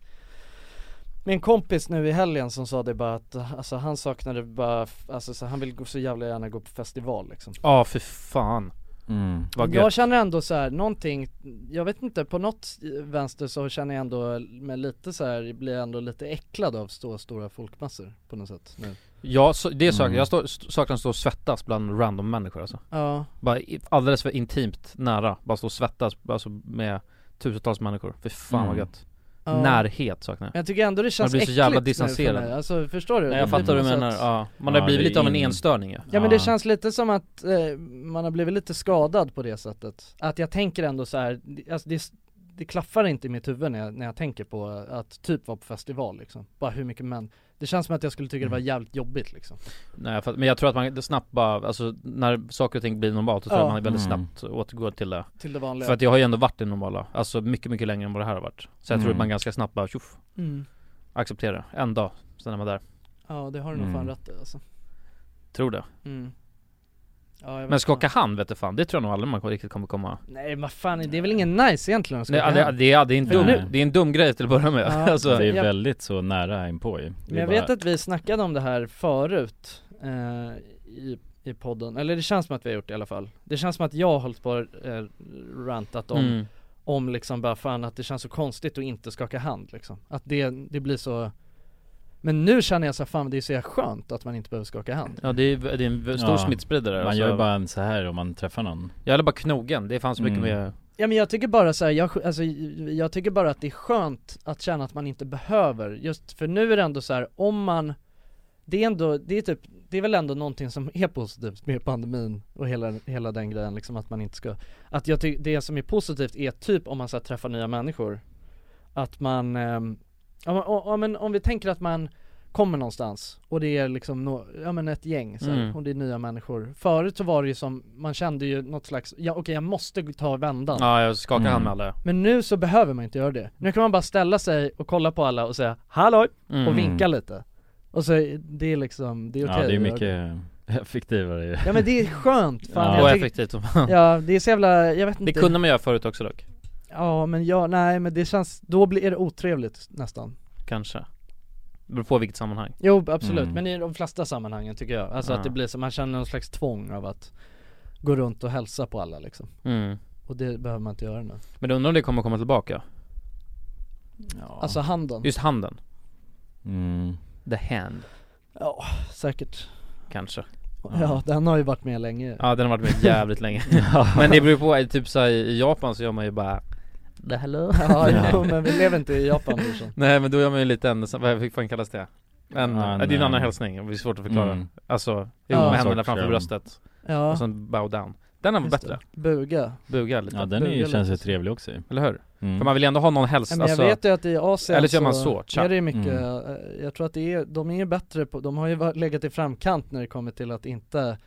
[SPEAKER 10] Med en kompis nu i helgen som sa det bara att alltså han saknade bara, f- alltså så han vill gå, så jävla gärna gå på festival liksom
[SPEAKER 1] Ja för fan
[SPEAKER 11] Mm.
[SPEAKER 1] vad gött
[SPEAKER 10] Jag känner ändå så här någonting, jag vet inte, på något vänster så känner jag ändå med lite så här blir jag ändå lite äcklad av stora, stora folkmassor på något sätt nu
[SPEAKER 1] Ja så, det saknar
[SPEAKER 11] Mm.
[SPEAKER 1] jag, står- st- saknar att stå och svettas bland random människor alltså
[SPEAKER 10] Ja,
[SPEAKER 1] Bara i- alldeles för intimt nära, bara stå och svettas alltså med tusentals människor För fan vad
[SPEAKER 11] Mm.
[SPEAKER 1] gött
[SPEAKER 2] Ja.
[SPEAKER 1] närhet saknar
[SPEAKER 2] Men jag tycker ändå det känns
[SPEAKER 1] blir så jävla
[SPEAKER 2] äckligt nu för
[SPEAKER 1] distanserad.
[SPEAKER 2] mig. Alltså förstår du?
[SPEAKER 1] Nej
[SPEAKER 2] Det
[SPEAKER 1] jag fattar
[SPEAKER 2] blir
[SPEAKER 1] vad du
[SPEAKER 2] på
[SPEAKER 1] menar,
[SPEAKER 2] sätt-
[SPEAKER 1] ja. Man
[SPEAKER 3] Ja,
[SPEAKER 1] har blivit
[SPEAKER 3] det är
[SPEAKER 1] lite av en
[SPEAKER 3] in-
[SPEAKER 1] enstöring ju.
[SPEAKER 2] Ja men det känns lite som att eh, man har blivit lite skadad på det sättet. Att jag tänker ändå så här, det- alltså det, det klaffar inte i mitt huvud när jag, när jag tänker på att typ vara på festival liksom. Bara hur mycket män. Det känns som att jag skulle tycka det
[SPEAKER 1] Mm.
[SPEAKER 2] var jävligt jobbigt liksom.
[SPEAKER 1] Nej, jag fattar- men jag tror att man snabbt bara, alltså när saker och ting blir normalt så tror jag
[SPEAKER 2] Ja.
[SPEAKER 1] man väldigt
[SPEAKER 3] Mm.
[SPEAKER 1] snabbt återgår till det
[SPEAKER 2] Till det vanliga.
[SPEAKER 1] För att jag har ju ändå varit i det normala, alltså mycket mycket längre än vad det här har varit Så jag tror
[SPEAKER 3] Mm.
[SPEAKER 1] att man ganska snabbt bara tjoff,
[SPEAKER 2] mm.
[SPEAKER 1] acceptera det. en dag, sen är man där
[SPEAKER 2] Ja det har du nog fan
[SPEAKER 3] Mm.
[SPEAKER 2] rätt i alltså.
[SPEAKER 1] Tror det
[SPEAKER 2] Mm. Ja, jag vet
[SPEAKER 1] Men
[SPEAKER 2] inte.
[SPEAKER 1] skaka hand vet du fan, det tror jag nog aldrig man riktigt kommer komma
[SPEAKER 2] Nej men fan det är väl ingen nice egentligen att
[SPEAKER 1] Nej,
[SPEAKER 2] skaka
[SPEAKER 1] det,
[SPEAKER 2] hand.
[SPEAKER 1] det, är- det, är en
[SPEAKER 3] För
[SPEAKER 1] dum,
[SPEAKER 3] nu-
[SPEAKER 1] det är en dum grej till att börja med
[SPEAKER 2] Ja.
[SPEAKER 1] alltså,
[SPEAKER 3] Det är
[SPEAKER 2] Jag-
[SPEAKER 3] väldigt så nära inpå ju Det
[SPEAKER 2] Men
[SPEAKER 3] är
[SPEAKER 2] jag
[SPEAKER 3] bara-
[SPEAKER 2] vet att vi snackade om det här förut eh, i, i podden, eller det känns som att vi har gjort det i alla fall Det känns som att jag har hållit på och eh, rantat om,
[SPEAKER 1] mm.
[SPEAKER 2] om liksom bara fan att det känns så konstigt att inte skaka hand liksom Att det, det blir så Men nu känner jag så här, fan det är så jävla skönt att man inte behöver skaka hand
[SPEAKER 1] Ja det är, det är en stor
[SPEAKER 3] Ja.
[SPEAKER 1] smittspridare
[SPEAKER 3] Man
[SPEAKER 1] alltså.
[SPEAKER 3] gör ju bara en så här om man träffar någon
[SPEAKER 1] Jag gillar bara knogen, det fanns mycket
[SPEAKER 3] Mm.
[SPEAKER 1] mer
[SPEAKER 2] Ja men jag tycker bara så här, jag, alltså, jag tycker bara att det är skönt att känna att man inte behöver, just för nu är det ändå så här, om man Det är ändå, det är typ, det är väl ändå någonting som är positivt med pandemin och hela, hela den grejen liksom att man inte ska Att jag tycker, det som är positivt är typ om man så här, träffar nya människor Att man, ehm, ja, men- ja, ja, men om vi tänker att man kommer någonstans och det är liksom nå ja men ett gäng så här,
[SPEAKER 1] Mm.
[SPEAKER 2] och det är nya människor Förut så var det ju som, man kände ju något slags, ja okej jag måste ta vändan
[SPEAKER 1] Ja jag skakar
[SPEAKER 3] Mm.
[SPEAKER 1] hand med alla
[SPEAKER 2] men nu så behöver man inte göra det. Nu kan man bara ställa sig och kolla på alla och säga hallå
[SPEAKER 1] Mm.
[SPEAKER 2] och vinka lite. Och så är det är liksom, det är okej.
[SPEAKER 3] Ja det är
[SPEAKER 2] att göra
[SPEAKER 3] mycket effektivare ju
[SPEAKER 2] Ja men det är skönt, fan
[SPEAKER 1] Och
[SPEAKER 3] Ja.
[SPEAKER 2] jag tycker,
[SPEAKER 1] effektivt som
[SPEAKER 2] Ja det är så jävla, jag vet
[SPEAKER 1] Det
[SPEAKER 2] inte.
[SPEAKER 1] kunde man göra förut också dock,
[SPEAKER 2] Ja men jag, nej men det känns, då blir är det otrevligt nästan.
[SPEAKER 1] kanske Beror på vilket sammanhang
[SPEAKER 2] Jo absolut,
[SPEAKER 3] Mm.
[SPEAKER 2] men i de flesta sammanhangen tycker jag. Alltså
[SPEAKER 1] Ja.
[SPEAKER 2] att det blir så, man känner någon slags tvång av att gå runt och hälsa på alla liksom.
[SPEAKER 1] mm.
[SPEAKER 2] Och det behöver man inte göra nu.
[SPEAKER 1] Men undrar om det kommer komma tillbaka?
[SPEAKER 3] ja.
[SPEAKER 2] Alltså handen,
[SPEAKER 1] Just handen,
[SPEAKER 3] mm.
[SPEAKER 1] the hand
[SPEAKER 2] ja säkert.
[SPEAKER 1] kanske
[SPEAKER 2] Ja. den har ju varit med länge.
[SPEAKER 1] Ja den har varit med jävligt länge Men det beror på, typ såhär i Japan så gör man ju bara The hello
[SPEAKER 2] Ja, jo, men vi lever inte i Japan brorsan.
[SPEAKER 1] Nej men då gör man ju lite en, vad fan kallas det? En,
[SPEAKER 3] Ja,
[SPEAKER 1] det är en
[SPEAKER 3] en,
[SPEAKER 1] annan
[SPEAKER 3] eh,
[SPEAKER 1] hälsning, det blir svårt att förklara
[SPEAKER 3] Mm.
[SPEAKER 1] Alltså,
[SPEAKER 2] Ja.
[SPEAKER 1] ja, med
[SPEAKER 3] Sorts,
[SPEAKER 1] händerna framför
[SPEAKER 3] ehm,
[SPEAKER 1] bröstet
[SPEAKER 2] Ja.
[SPEAKER 1] och sen bow down Den har varit
[SPEAKER 2] Just
[SPEAKER 1] bättre,
[SPEAKER 2] det. Buga.
[SPEAKER 1] buga lite,
[SPEAKER 3] Ja den är ju,
[SPEAKER 2] Bugga
[SPEAKER 3] känns ju
[SPEAKER 2] lite.
[SPEAKER 3] trevlig också ju.
[SPEAKER 1] eller hur?
[SPEAKER 3] mm.
[SPEAKER 1] För man vill ju ändå ha någon hälsning,
[SPEAKER 2] Men
[SPEAKER 1] alltså
[SPEAKER 2] jag vet ju att i Asien
[SPEAKER 1] eller så gör man så, tja.
[SPEAKER 2] är det ju mycket,
[SPEAKER 3] Mm.
[SPEAKER 2] eh, jag tror att det är, de är ju bättre på, de har ju varit- legat i framkant när det kommer till att inte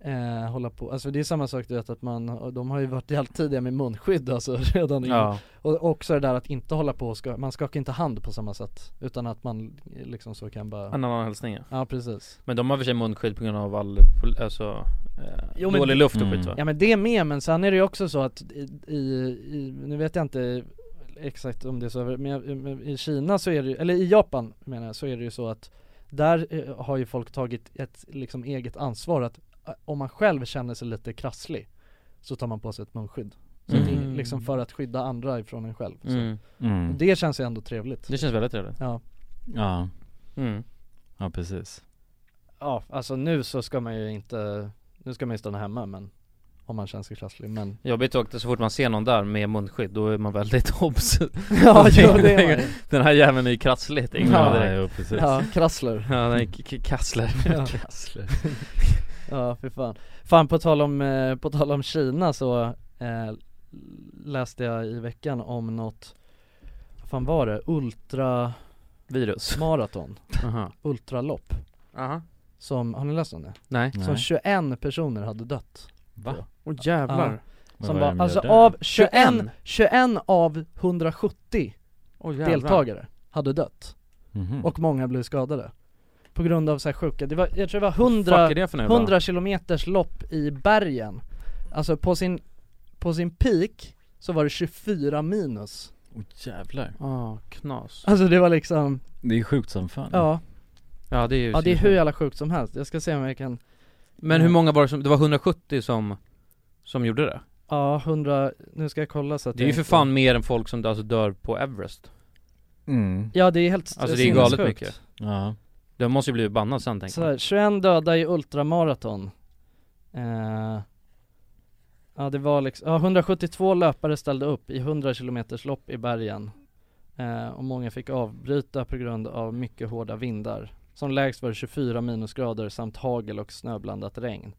[SPEAKER 2] eh, hålla på, alltså det är samma sak du vet att man, de har ju varit helt tidiga med munskydd alltså redan innan.
[SPEAKER 1] Ja,
[SPEAKER 2] Och också det där att inte hålla på och ska, man skakar inte hand på samma sätt utan att man liksom så kan bara
[SPEAKER 1] en annan hälsning ja.
[SPEAKER 2] Ja precis.
[SPEAKER 1] Men de har för sig munskydd på grund av all, pol- alltså, eh,
[SPEAKER 2] Jo, men
[SPEAKER 1] dålig
[SPEAKER 2] det-
[SPEAKER 1] luft och
[SPEAKER 3] Mm.
[SPEAKER 1] skit va?
[SPEAKER 2] Ja men det är med, men sen är det ju också så att i, i, i nu vet jag inte exakt om det är så, men jag- men i Kina så är det ju- eller i Japan menar jag, så är det ju så att där eh, har ju folk tagit ett liksom eget ansvar att eh, om man själv känner sig lite krasslig så tar man på sig ett munskydd. Så det är
[SPEAKER 1] Mm.
[SPEAKER 2] liksom för att skydda andra ifrån en själv. Så.
[SPEAKER 1] Mm.
[SPEAKER 2] Och
[SPEAKER 3] Mm.
[SPEAKER 2] Det känns ju ändå trevligt.
[SPEAKER 1] Det känns väldigt trevligt
[SPEAKER 2] Ja.
[SPEAKER 3] Ja,
[SPEAKER 1] mm.
[SPEAKER 3] ja precis
[SPEAKER 2] ja, alltså nu så ska man ju inte, nu ska man ju stanna hemma men om man känner sig krasslig men
[SPEAKER 1] Jobbigt dock, så fort man ser någon där med munskydd då är man väldigt obs
[SPEAKER 2] Ja, jo, det är man ju.
[SPEAKER 1] Den här jäveln är ju krasslig, tänker man
[SPEAKER 3] Ja,
[SPEAKER 1] direkt
[SPEAKER 3] jo, precis
[SPEAKER 2] Ja, krassler
[SPEAKER 1] Ja, den är k- k- kassler
[SPEAKER 2] Ja.
[SPEAKER 1] Kassler
[SPEAKER 2] Ja för fan. Fan på tal om, eh, på tal om Kina så eh, läste jag i veckan om något, vad fan var det? Ultramaraton,
[SPEAKER 1] Virus Aha.
[SPEAKER 2] ultralopp
[SPEAKER 1] Aha.
[SPEAKER 2] som, har ni läst om det?
[SPEAKER 1] Nej
[SPEAKER 3] Nej.
[SPEAKER 2] Som 21 personer hade dött
[SPEAKER 3] Va?
[SPEAKER 1] Åh jävlar
[SPEAKER 3] Men
[SPEAKER 2] Som
[SPEAKER 3] vad är
[SPEAKER 2] var,
[SPEAKER 3] det de
[SPEAKER 2] alltså
[SPEAKER 3] gör där?
[SPEAKER 2] av 21, 21 av 170
[SPEAKER 1] Åh
[SPEAKER 2] deltagare hade dött
[SPEAKER 3] Mhm.
[SPEAKER 2] och många blev skadade På grund av så här sjuka, det var, jag tror det var 100
[SPEAKER 1] Fuck är det för nu
[SPEAKER 2] 100 kilometers lopp i bergen Alltså på sin, på sin peak så var det 24 minus
[SPEAKER 3] Åh, jävlar
[SPEAKER 1] Ja, knas
[SPEAKER 2] Alltså det var liksom,
[SPEAKER 3] Det är ju sjukt som fan
[SPEAKER 2] ja,
[SPEAKER 1] Ja det är ju
[SPEAKER 2] ja det är hur jävla sjukt som helst Jag ska se om jag kan,
[SPEAKER 1] Men hur många var det som, det var 170 som, som gjorde det?
[SPEAKER 2] ja 100, nu ska jag kolla så att
[SPEAKER 1] Det är ju
[SPEAKER 2] jag
[SPEAKER 1] för
[SPEAKER 2] inte-
[SPEAKER 1] fan mer än folk som alltså dör på Everest
[SPEAKER 3] mm.
[SPEAKER 2] Ja det är helt
[SPEAKER 1] Alltså, det är galet
[SPEAKER 2] sinnessjukt.
[SPEAKER 1] mycket,
[SPEAKER 3] Ja,
[SPEAKER 1] De måste ju bli bannade sen tänker
[SPEAKER 2] så
[SPEAKER 1] jag
[SPEAKER 2] här, 21 döda i ultramaraton eh, Ja det var liksom, ja 172 löpare ställde upp i 100 kilometers lopp i bergen eh, och många fick avbryta på grund av mycket hårda vindar. Som lägst var det 24 minusgrader samt hagel och snöblandat regn.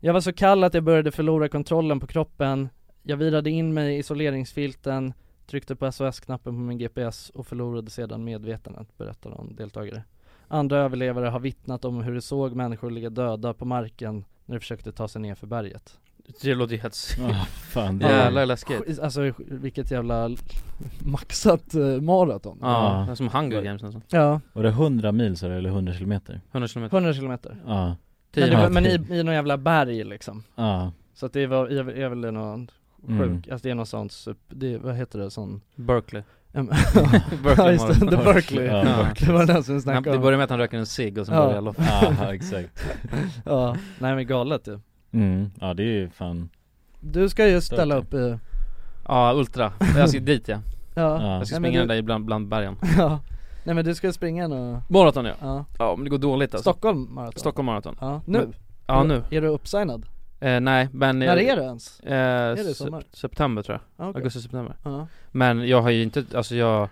[SPEAKER 2] Jag var så kall att jag började förlora kontrollen på kroppen. Jag virade in mig i isoleringsfilten, tryckte på SOS-knappen på min GPS och förlorade sedan medvetandet, berättar någon deltagare. Andra överlevare har vittnat om hur de såg människor ligga döda på marken när de försökte ta sig ner för berget.
[SPEAKER 1] Det låter ju helt sick.
[SPEAKER 3] Ja, fan det
[SPEAKER 1] Jävlar läskigt.
[SPEAKER 2] Skit- Alltså vilket jävla maxat eh, maraton
[SPEAKER 1] Ja,
[SPEAKER 3] Ja.
[SPEAKER 1] det är som Hunger Games nästan.
[SPEAKER 2] Ja,
[SPEAKER 3] Var det 100 mil så eller 100 kilometer?
[SPEAKER 1] 100 kilometer.
[SPEAKER 2] 100 kilometer
[SPEAKER 3] Ja,
[SPEAKER 2] Men, det
[SPEAKER 3] mil.
[SPEAKER 2] var, men i, i någon jävla berg liksom
[SPEAKER 3] ja
[SPEAKER 2] Så att det var, är väl- är väl någon sjuk,
[SPEAKER 3] Mm.
[SPEAKER 2] alltså det är någon sån, sup- det, vad heter det, sån
[SPEAKER 1] Berkeley.
[SPEAKER 2] em- Ja
[SPEAKER 1] Berkeley
[SPEAKER 2] just det, The
[SPEAKER 1] Marathon.
[SPEAKER 2] Berkeley
[SPEAKER 3] Ja,
[SPEAKER 1] Ja.
[SPEAKER 2] Det var den som vi
[SPEAKER 1] Han,
[SPEAKER 2] snackade
[SPEAKER 1] det
[SPEAKER 2] om
[SPEAKER 1] började med att han röker en cigg och sen
[SPEAKER 2] Ja.
[SPEAKER 1] började jag loppa.
[SPEAKER 3] ja exakt
[SPEAKER 2] Ja, nej men galet ju
[SPEAKER 3] mm. Ja det är ju fan,
[SPEAKER 2] Du ska ju ställa upp i,
[SPEAKER 1] Ja, Ultra. Jag ska dit ja.
[SPEAKER 2] ja,
[SPEAKER 3] ja
[SPEAKER 1] Jag ska
[SPEAKER 2] Nej, men
[SPEAKER 1] springa
[SPEAKER 2] du-
[SPEAKER 1] där ibland bland bergen.
[SPEAKER 2] ja Nej men du ska springa nu,
[SPEAKER 1] Maraton ja.
[SPEAKER 2] ja
[SPEAKER 1] Ja men det går dåligt alltså.
[SPEAKER 2] Stockholm maraton
[SPEAKER 1] Stockholm maraton.
[SPEAKER 2] Ja, nu?
[SPEAKER 1] Men- Ja nu.
[SPEAKER 2] Är du uppsignad?
[SPEAKER 1] Eh, nej men...
[SPEAKER 2] När är det ens?
[SPEAKER 1] Eh,
[SPEAKER 2] det i
[SPEAKER 1] sep-
[SPEAKER 2] sommar?
[SPEAKER 1] september tror jag.
[SPEAKER 2] Ja, okej. Ah,
[SPEAKER 1] Augusti-september.
[SPEAKER 2] Ja,
[SPEAKER 1] Men jag har ju inte, alltså jag,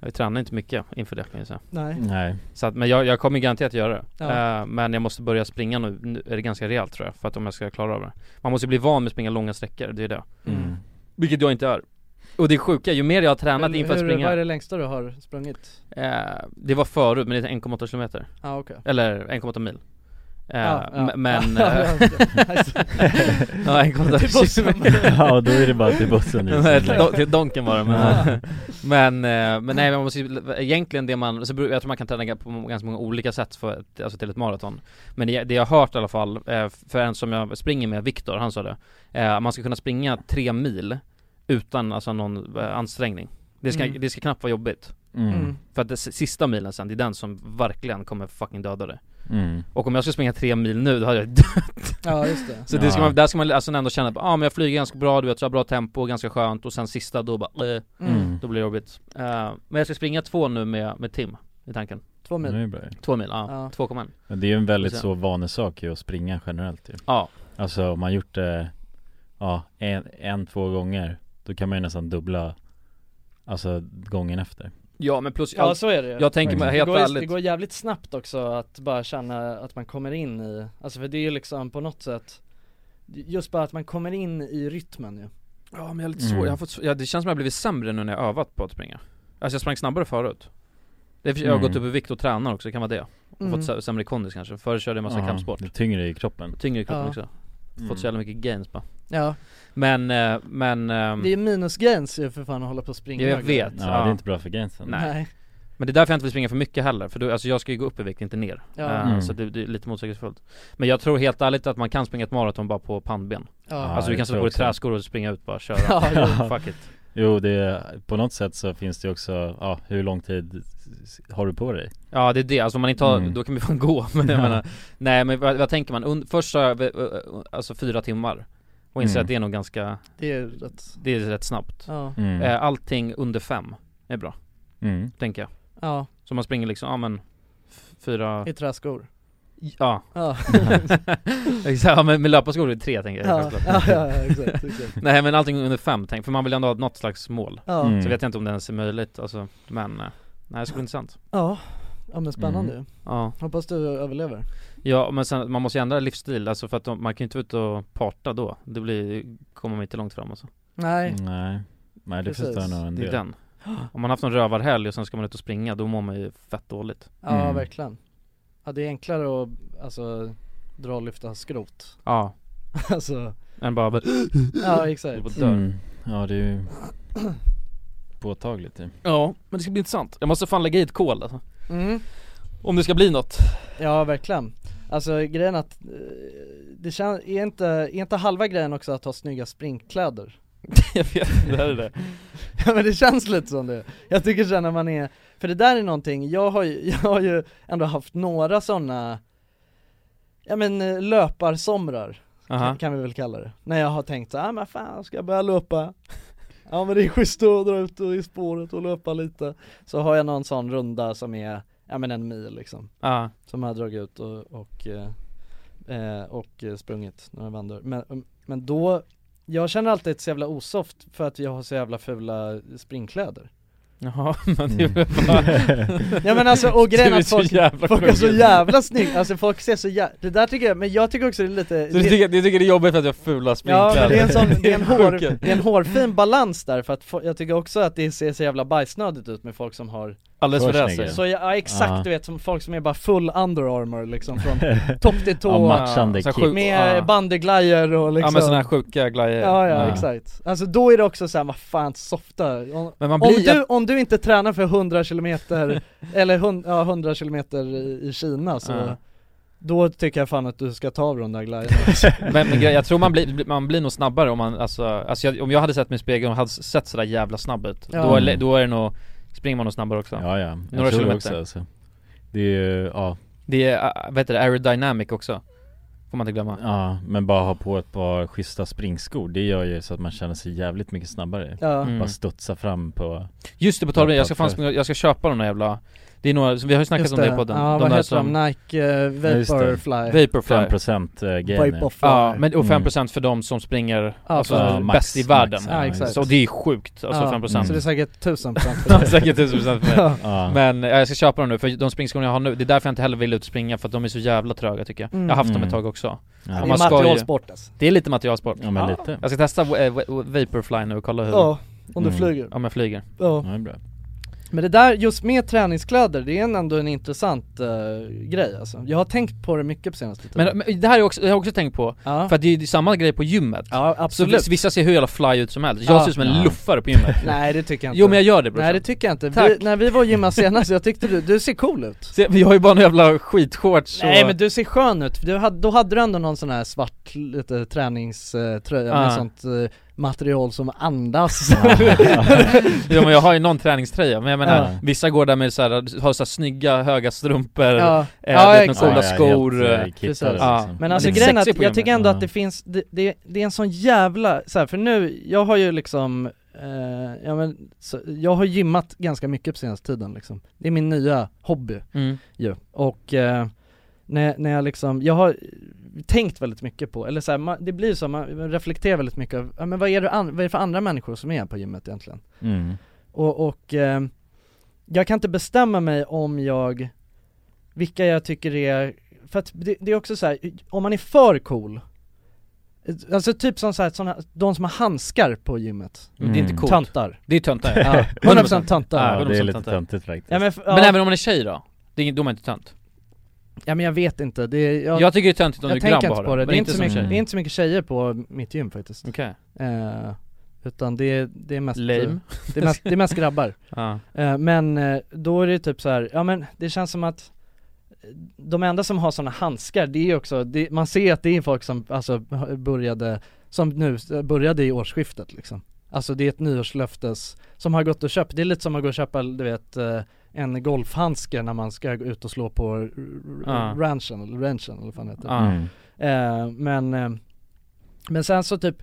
[SPEAKER 1] jag tränar inte mycket inför det kan jag säga.
[SPEAKER 2] nej
[SPEAKER 3] nej
[SPEAKER 1] Så att, men jag, jag kommer garanterat göra det.
[SPEAKER 2] Ja.
[SPEAKER 1] Eh, men jag måste börja springa nu, nu är det ganska rejält tror jag, för att om jag ska klara av det. Man måste bli van med att springa långa sträckor, det är det.
[SPEAKER 3] mm.
[SPEAKER 1] Vilket jag inte är. Och det är sjuka, ju mer jag har tränat
[SPEAKER 2] Hur-
[SPEAKER 1] inför att
[SPEAKER 2] hur- Vad är
[SPEAKER 1] springa,
[SPEAKER 2] det längsta du har sprungit?
[SPEAKER 1] eh, det var förut men det är 1,8 kilometer.
[SPEAKER 2] Ja ah, okej
[SPEAKER 1] Eller 1,8 mil. Eh,
[SPEAKER 2] Ja, ja.
[SPEAKER 1] m- Men...
[SPEAKER 2] Ja,
[SPEAKER 1] eh, ja, 1,8
[SPEAKER 2] Det var som-
[SPEAKER 3] Ja då är det bara till bussen
[SPEAKER 1] Nej, till
[SPEAKER 3] liksom.
[SPEAKER 1] Don- Till Donken var det men, men, eh, men nej man måste ju, egentligen det man, så beror- jag tror man kan träna på ganska många olika sätt för, ett- alltså till ett maraton Men det, det jag har hört i alla fall, eh, för en som jag springer med, Viktor, han sa det eh, Man ska kunna springa tre mil utan alltså någon eh, ansträngning det ska,
[SPEAKER 2] Mm.
[SPEAKER 1] det ska knappt vara jobbigt
[SPEAKER 3] mm.
[SPEAKER 1] För att det s- sista milen sen, det är den som verkligen kommer fucking döda dig
[SPEAKER 3] Mm.
[SPEAKER 1] Och om jag ska springa tre mil nu, då hade jag
[SPEAKER 2] Ja just det
[SPEAKER 1] Så det ska
[SPEAKER 3] Ja.
[SPEAKER 1] man, där ska man alltså ändå känna, ja ah, men jag flyger ganska bra, du vet så jag har bra tempo, ganska skönt och sen sista då bara eh,
[SPEAKER 3] Mm.
[SPEAKER 1] då blir det jobbigt. Eh, men jag ska springa två nu med, med Tim, i tanken.
[SPEAKER 2] Två
[SPEAKER 3] Nu är
[SPEAKER 2] mil
[SPEAKER 3] det bra.
[SPEAKER 1] Två mil, ja.
[SPEAKER 2] Ja.
[SPEAKER 1] 2,1.
[SPEAKER 3] Men det är ju en väldigt
[SPEAKER 1] Precis.
[SPEAKER 3] så vanesak ju att springa generellt ju
[SPEAKER 1] Ja.
[SPEAKER 3] Alltså om man gjort det, ja, en, en, två gånger Då kan man ju nästan dubbla Alltså gången efter
[SPEAKER 1] Ja men plus,
[SPEAKER 2] Ja så är det ju.
[SPEAKER 1] jag tänker mig
[SPEAKER 3] Mm.
[SPEAKER 2] det
[SPEAKER 1] helt
[SPEAKER 2] går, ju- det
[SPEAKER 1] ärligt,
[SPEAKER 2] går jävligt snabbt också att bara känna att man kommer in i, alltså för det är ju liksom på något sätt Just bara att man kommer in i rytmen ju
[SPEAKER 1] ja men jag är lite
[SPEAKER 3] Mm.
[SPEAKER 1] svår, jag har fått, sv- ja, det känns som jag blivit sämre nu när jag övat på att springa. Alltså jag sprang snabbare förut. Det är, för- jag har
[SPEAKER 3] Mm.
[SPEAKER 1] gått upp i vikt och tränar också, kan vara det. Och
[SPEAKER 2] Mm.
[SPEAKER 1] fått sä- sämre kondis kanske, förr körde jag massa
[SPEAKER 3] Ja,
[SPEAKER 1] kampsport.
[SPEAKER 3] Det är tyngre i kroppen
[SPEAKER 1] Tyngre i kroppen
[SPEAKER 2] Ja.
[SPEAKER 1] också.
[SPEAKER 3] Mm.
[SPEAKER 1] Fått så jävla mycket gains bara.
[SPEAKER 2] Ja,
[SPEAKER 1] Men, eh, men, ehm,
[SPEAKER 2] det är ju minusgräns ju för fan att hålla på och springa
[SPEAKER 1] Ja, jag
[SPEAKER 2] högre.
[SPEAKER 1] vet.
[SPEAKER 3] Ja,
[SPEAKER 1] Ja.
[SPEAKER 3] det är inte bra för gainsen
[SPEAKER 1] Nej.
[SPEAKER 2] Nej,
[SPEAKER 1] Men det är därför jag inte vill springa för mycket heller, för då, alltså jag ska ju gå upp i vikt, inte ner.
[SPEAKER 2] Ja.
[SPEAKER 1] Eh,
[SPEAKER 3] Mm.
[SPEAKER 1] Så det, det är lite motsägelsefullt. Men jag tror helt ärligt att man kan springa ett maraton bara på pannben.
[SPEAKER 2] ja,
[SPEAKER 1] alltså du
[SPEAKER 3] det
[SPEAKER 1] kan sätta
[SPEAKER 3] tror
[SPEAKER 1] på
[SPEAKER 3] jag
[SPEAKER 1] dig
[SPEAKER 3] också.
[SPEAKER 1] träskor och springa ut bara, köra.
[SPEAKER 2] ja, ja.
[SPEAKER 1] Fuck it.
[SPEAKER 3] Jo det, är- på något sätt så finns det ju också, ja hur lång tid s- har du på dig?
[SPEAKER 1] Ja det är det, alltså om man inte har,
[SPEAKER 3] Mm.
[SPEAKER 1] då kan vi fan gå. Men jag
[SPEAKER 3] Ja.
[SPEAKER 1] menar, nej men vad, vad tänker man? Und, först sa jag, eh, eh, alltså fyra timmar. Och inser
[SPEAKER 3] Mm.
[SPEAKER 1] att det är nog ganska,
[SPEAKER 2] det är ju rätt
[SPEAKER 1] det är rätt snabbt.
[SPEAKER 2] Ja,
[SPEAKER 3] Mm.
[SPEAKER 1] Eh, Allting under fem är bra,
[SPEAKER 3] Mm.
[SPEAKER 1] tänker jag.
[SPEAKER 2] ja,
[SPEAKER 1] Så man springer liksom, ja men, f- fyra,
[SPEAKER 2] i träskor
[SPEAKER 1] ja.
[SPEAKER 2] Ja,
[SPEAKER 1] Exakt, ja men med löparskor är det tre tänker jag.
[SPEAKER 2] ja,
[SPEAKER 1] självklart.
[SPEAKER 2] ja, ja exakt, exakt
[SPEAKER 1] Nej men allting under fem, tänk, för man vill ändå ha något slags mål
[SPEAKER 2] Ja,
[SPEAKER 3] Mm.
[SPEAKER 1] Så vet jag inte om det ens är möjligt alltså, men eh, Nej det skulle vara intressant
[SPEAKER 2] ja, ja men spännande
[SPEAKER 3] Mm.
[SPEAKER 2] ju
[SPEAKER 1] Ja,
[SPEAKER 2] Hoppas du överlever
[SPEAKER 1] ja men sen, man måste ju ändra livsstil alltså för att de, man kan ju inte vara ute och parta då Det blir, kommer man inte långt fram alltså.
[SPEAKER 2] Nej,
[SPEAKER 3] Nej Nej det
[SPEAKER 2] Precis.
[SPEAKER 3] förstår jag nog en
[SPEAKER 1] Det är
[SPEAKER 3] del
[SPEAKER 1] den Om man haft en rövarhelg och sen ska man ut och springa, då mår man ju fett dåligt
[SPEAKER 2] ja
[SPEAKER 3] Mm.
[SPEAKER 2] verkligen Ja det är enklare att, alltså, dra och lyfta skrot
[SPEAKER 1] Ja,
[SPEAKER 2] Alltså,
[SPEAKER 1] än bara
[SPEAKER 2] ja
[SPEAKER 1] håller
[SPEAKER 2] exakt
[SPEAKER 1] på att dö.
[SPEAKER 3] mm. Ja det är ju påtagligt ju
[SPEAKER 1] Ja, men det ska bli intressant Jag måste fan lägga i ett kol alltså.
[SPEAKER 2] mm.
[SPEAKER 1] Om det ska bli något
[SPEAKER 2] Ja verkligen Alltså grejen att, eh, det känns, är inte, är inte halva grejen också att ha snygga springkläder?
[SPEAKER 1] Jag vet inte, det här är det
[SPEAKER 2] Ja men det känns lite som det, jag tycker sen när man är, för det där är någonting, jag har ju, jag har ju ändå haft några sådana, ja men eh, löparsomrar
[SPEAKER 1] Aha.
[SPEAKER 2] kan, kan vi väl kalla det. När jag har tänkt så här, ah, men fan ska jag börja löpa? Ja men det är schysst att dra ut i spåret och löpa lite. Så har jag någon sån runda som är, ja men en mil liksom.
[SPEAKER 1] Ja,
[SPEAKER 2] Som jag har dragit ut och, och, eh, eh, och eh, sprungit några vändor. Men, um, men då, jag känner alltid ett så jävla osoft för att jag har så jävla fula springkläder.
[SPEAKER 1] Jaha, men det är väl bara...
[SPEAKER 2] Ja men alltså och grejen
[SPEAKER 1] Mm. Du är
[SPEAKER 2] att
[SPEAKER 1] så
[SPEAKER 2] folk,
[SPEAKER 1] jävla
[SPEAKER 2] folk är så
[SPEAKER 1] sjuk.
[SPEAKER 2] jävla snygga, alltså folk ser så jävla, det där tycker jag, men jag tycker också det är lite
[SPEAKER 1] Så du tycker, du tycker det är jobbigt för att jag har fula
[SPEAKER 2] Ja
[SPEAKER 1] sprinklar?
[SPEAKER 2] men det är en sån, det är en, hår,
[SPEAKER 1] sjukt.
[SPEAKER 2] det är en hårfin balans där för att fo- jag tycker också att det ser så jävla bajsnödigt ut med folk som har
[SPEAKER 1] Alldeles för
[SPEAKER 3] För
[SPEAKER 1] det
[SPEAKER 3] snygga.
[SPEAKER 2] Så ja, ja exakt
[SPEAKER 3] Ja.
[SPEAKER 2] du vet, som folk som är bara full under armor liksom från topp till
[SPEAKER 3] Ja,
[SPEAKER 2] tå
[SPEAKER 3] matchande
[SPEAKER 1] så här
[SPEAKER 3] kick
[SPEAKER 1] sjuk-
[SPEAKER 2] Med
[SPEAKER 1] Ja.
[SPEAKER 2] ah. bandeglajjor och liksom
[SPEAKER 1] Ja men såna här sjuka glajjor
[SPEAKER 2] Ja, ja
[SPEAKER 3] Ja.
[SPEAKER 2] exakt, alltså då är det också såhär, vad fan softa om,
[SPEAKER 1] Men man
[SPEAKER 2] om,
[SPEAKER 1] blir
[SPEAKER 2] du, om du inte tränar för 100 kilometer, eller hun, ja, 100 kilometer i, i Kina så
[SPEAKER 1] Ja.
[SPEAKER 2] Då tycker jag fan att du ska ta av de där
[SPEAKER 1] Mm.
[SPEAKER 2] glajjorna
[SPEAKER 1] Men, men grej- jag tror man blir, man blir nog snabbare om man, alltså, alltså jag, om jag hade sett mig i spegeln och hade sett sådär jävla snabb ut
[SPEAKER 2] Ja.
[SPEAKER 1] då, är, le- då är det nog, springer man nog snabbare också
[SPEAKER 3] Ja ja, jag
[SPEAKER 1] Några
[SPEAKER 3] tror det
[SPEAKER 1] kilometer.
[SPEAKER 3] också alltså. Det är ju, ja,
[SPEAKER 1] Det är, äh, vad heter det, aerodynamic också Får man inte glömma
[SPEAKER 3] ja, men bara ha på ett par schyssta springskor Det gör ju så att man känner sig jävligt mycket snabbare
[SPEAKER 2] Ja,
[SPEAKER 1] Mm.
[SPEAKER 3] Bara studsa fram på
[SPEAKER 1] Just det, på tal om det, jag ska fan springa, jag ska köpa de där jävla Det är några, som vi har ju snackat om det i podden
[SPEAKER 2] Ja
[SPEAKER 1] de
[SPEAKER 2] vad
[SPEAKER 1] där
[SPEAKER 2] heter
[SPEAKER 1] som,
[SPEAKER 2] de? Nike eh,
[SPEAKER 3] Ja, just det.
[SPEAKER 2] Vaporfly?
[SPEAKER 1] Vaporfly
[SPEAKER 3] 5% eh, grejen
[SPEAKER 2] Vaporfly
[SPEAKER 1] Ja, men och
[SPEAKER 3] Mm.
[SPEAKER 1] 5% för de som springer,
[SPEAKER 2] Ja,
[SPEAKER 1] alltså
[SPEAKER 2] för-
[SPEAKER 3] max,
[SPEAKER 1] bäst i
[SPEAKER 3] max.
[SPEAKER 1] världen
[SPEAKER 2] Ja, exakt.
[SPEAKER 1] Så det är sjukt, alltså
[SPEAKER 2] Ja,
[SPEAKER 1] 5%
[SPEAKER 2] Så det är säkert 1000%
[SPEAKER 1] Ja,
[SPEAKER 2] för dig.
[SPEAKER 1] Säkert 1000% för mig
[SPEAKER 2] Ja.
[SPEAKER 3] Ja,
[SPEAKER 1] Men ja, jag ska köpa dem nu, för de springskorna jag har nu, det är därför jag inte heller vill ut och springa för att de är så jävla tröga tycker jag
[SPEAKER 2] Mm.
[SPEAKER 1] Jag har haft dem
[SPEAKER 3] Mm.
[SPEAKER 1] ett tag också
[SPEAKER 2] Det
[SPEAKER 3] ja.
[SPEAKER 2] är
[SPEAKER 1] man ska ju-
[SPEAKER 2] materialsport alltså
[SPEAKER 1] Det är lite materialsport
[SPEAKER 3] ja men lite
[SPEAKER 1] Jag ska testa eh, va- Vaporfly nu och kolla hur,
[SPEAKER 2] Ja, om du
[SPEAKER 3] Mm.
[SPEAKER 2] flyger
[SPEAKER 1] om jag flyger
[SPEAKER 2] Ja
[SPEAKER 3] Ja, det är bra.
[SPEAKER 2] Men det där, just med träningskläder, det är en- ändå en intressant eh, grej alltså. Jag har tänkt på det mycket på senaste tiden
[SPEAKER 1] Men, men det här är också, jag har också tänkt på,
[SPEAKER 2] ja.
[SPEAKER 1] för att det är ju samma grej på gymmet
[SPEAKER 2] ja,
[SPEAKER 1] Så
[SPEAKER 2] absolut
[SPEAKER 1] vis- vissa ser hur jävla fly ut som helst, jag
[SPEAKER 2] Ja.
[SPEAKER 1] ser ut som en
[SPEAKER 3] Ja.
[SPEAKER 1] luffare på gymmet
[SPEAKER 2] Nej det tycker jag inte
[SPEAKER 1] Jo men jag gör det brorsan
[SPEAKER 2] Nej det tycker jag inte, vi,
[SPEAKER 1] Tack.
[SPEAKER 2] när vi var och gymmade senast, jag tyckte du, du ser cool ut
[SPEAKER 1] Se, men Jag har ju bara en jävla skitshorts och...
[SPEAKER 2] Nej men du ser skön ut, du hade, då hade du ändå någon sån här svart lite träningströja med
[SPEAKER 1] Ja.
[SPEAKER 2] sånt eh, material som andas
[SPEAKER 1] ja, men jag har ju någon träningströja, men jag menar
[SPEAKER 3] Ja.
[SPEAKER 1] Vissa går där med så här, har så här snygga höga strumpor, eh,
[SPEAKER 2] Ja,
[SPEAKER 1] du
[SPEAKER 2] ja
[SPEAKER 1] vet, med
[SPEAKER 2] exakt
[SPEAKER 1] coola skor
[SPEAKER 3] helt, eh,
[SPEAKER 1] eh,
[SPEAKER 3] kittade,
[SPEAKER 2] precis.
[SPEAKER 3] liksom.
[SPEAKER 2] Men alltså
[SPEAKER 1] Lite
[SPEAKER 2] grejen är
[SPEAKER 1] sexig
[SPEAKER 2] att
[SPEAKER 1] på
[SPEAKER 2] jag
[SPEAKER 1] gymmet.
[SPEAKER 2] tycker ändå
[SPEAKER 3] Ja.
[SPEAKER 2] att det finns, det, det, det är en sån jävla, så här, för nu, jag har ju liksom, eh, ja men, så, jag har gymmat ganska mycket på senaste tiden liksom. Det är min nya hobby
[SPEAKER 1] mm.
[SPEAKER 2] ju. Och eh, när, när jag liksom, jag har tänkt väldigt mycket på, eller så här, man, det blir ju så, man reflekterar väldigt mycket över, ja men vad är, det an, vad är det för andra människor som är på gymmet egentligen?
[SPEAKER 3] Mm.
[SPEAKER 2] Och, och eh, jag kan inte bestämma mig om jag, vilka jag tycker är, för att det, det är också så här, om man är för cool Alltså typ som så här, såna, de som har handskar på gymmet,
[SPEAKER 1] Men Det är inte
[SPEAKER 3] Mm.
[SPEAKER 1] coolt,
[SPEAKER 2] töntar
[SPEAKER 1] det är töntar
[SPEAKER 2] ja, 100%
[SPEAKER 1] Ja,
[SPEAKER 2] töntar
[SPEAKER 3] Ja, det är
[SPEAKER 1] 100%
[SPEAKER 3] lite
[SPEAKER 1] inte.
[SPEAKER 3] töntigt faktiskt
[SPEAKER 2] ja, men, f- ja,
[SPEAKER 1] Men även om man är tjej då? Det är, ingen- då är man inte tönt
[SPEAKER 2] ja men jag vet inte, det är, jag,
[SPEAKER 1] Jag, tycker det är töntigt om
[SPEAKER 2] jag
[SPEAKER 1] du är grabb
[SPEAKER 2] tänker
[SPEAKER 1] och har
[SPEAKER 2] inte på det,
[SPEAKER 1] men
[SPEAKER 2] det är inte, så
[SPEAKER 1] som
[SPEAKER 2] mycket,
[SPEAKER 1] tjej.
[SPEAKER 2] det är inte så mycket tjejer på mitt gym faktiskt
[SPEAKER 1] Okej,
[SPEAKER 2] eh, Utan det är, det är mest,
[SPEAKER 1] lame
[SPEAKER 2] Det är mest, det är mest grabbar
[SPEAKER 1] Alltså, typ. ja.
[SPEAKER 2] Eh, Men eh, då är det typ så här, ja men det känns som att eh, de enda som har sådana handskar, det är ju också, det, man ser att det är folk som alltså började, som nu eh, började i årsskiftet liksom Alltså det är ett nyårslöftes, som har gått och köpt, det är lite som att gå och köpa du vet eh, en golfhandske när man ska gå ut och slå på r- r-
[SPEAKER 1] Ja.
[SPEAKER 2] ranchen, eller ranchen eller vad fan det heter
[SPEAKER 1] Ja.
[SPEAKER 3] Mm.
[SPEAKER 2] Eh, men, eh, men sen så typ,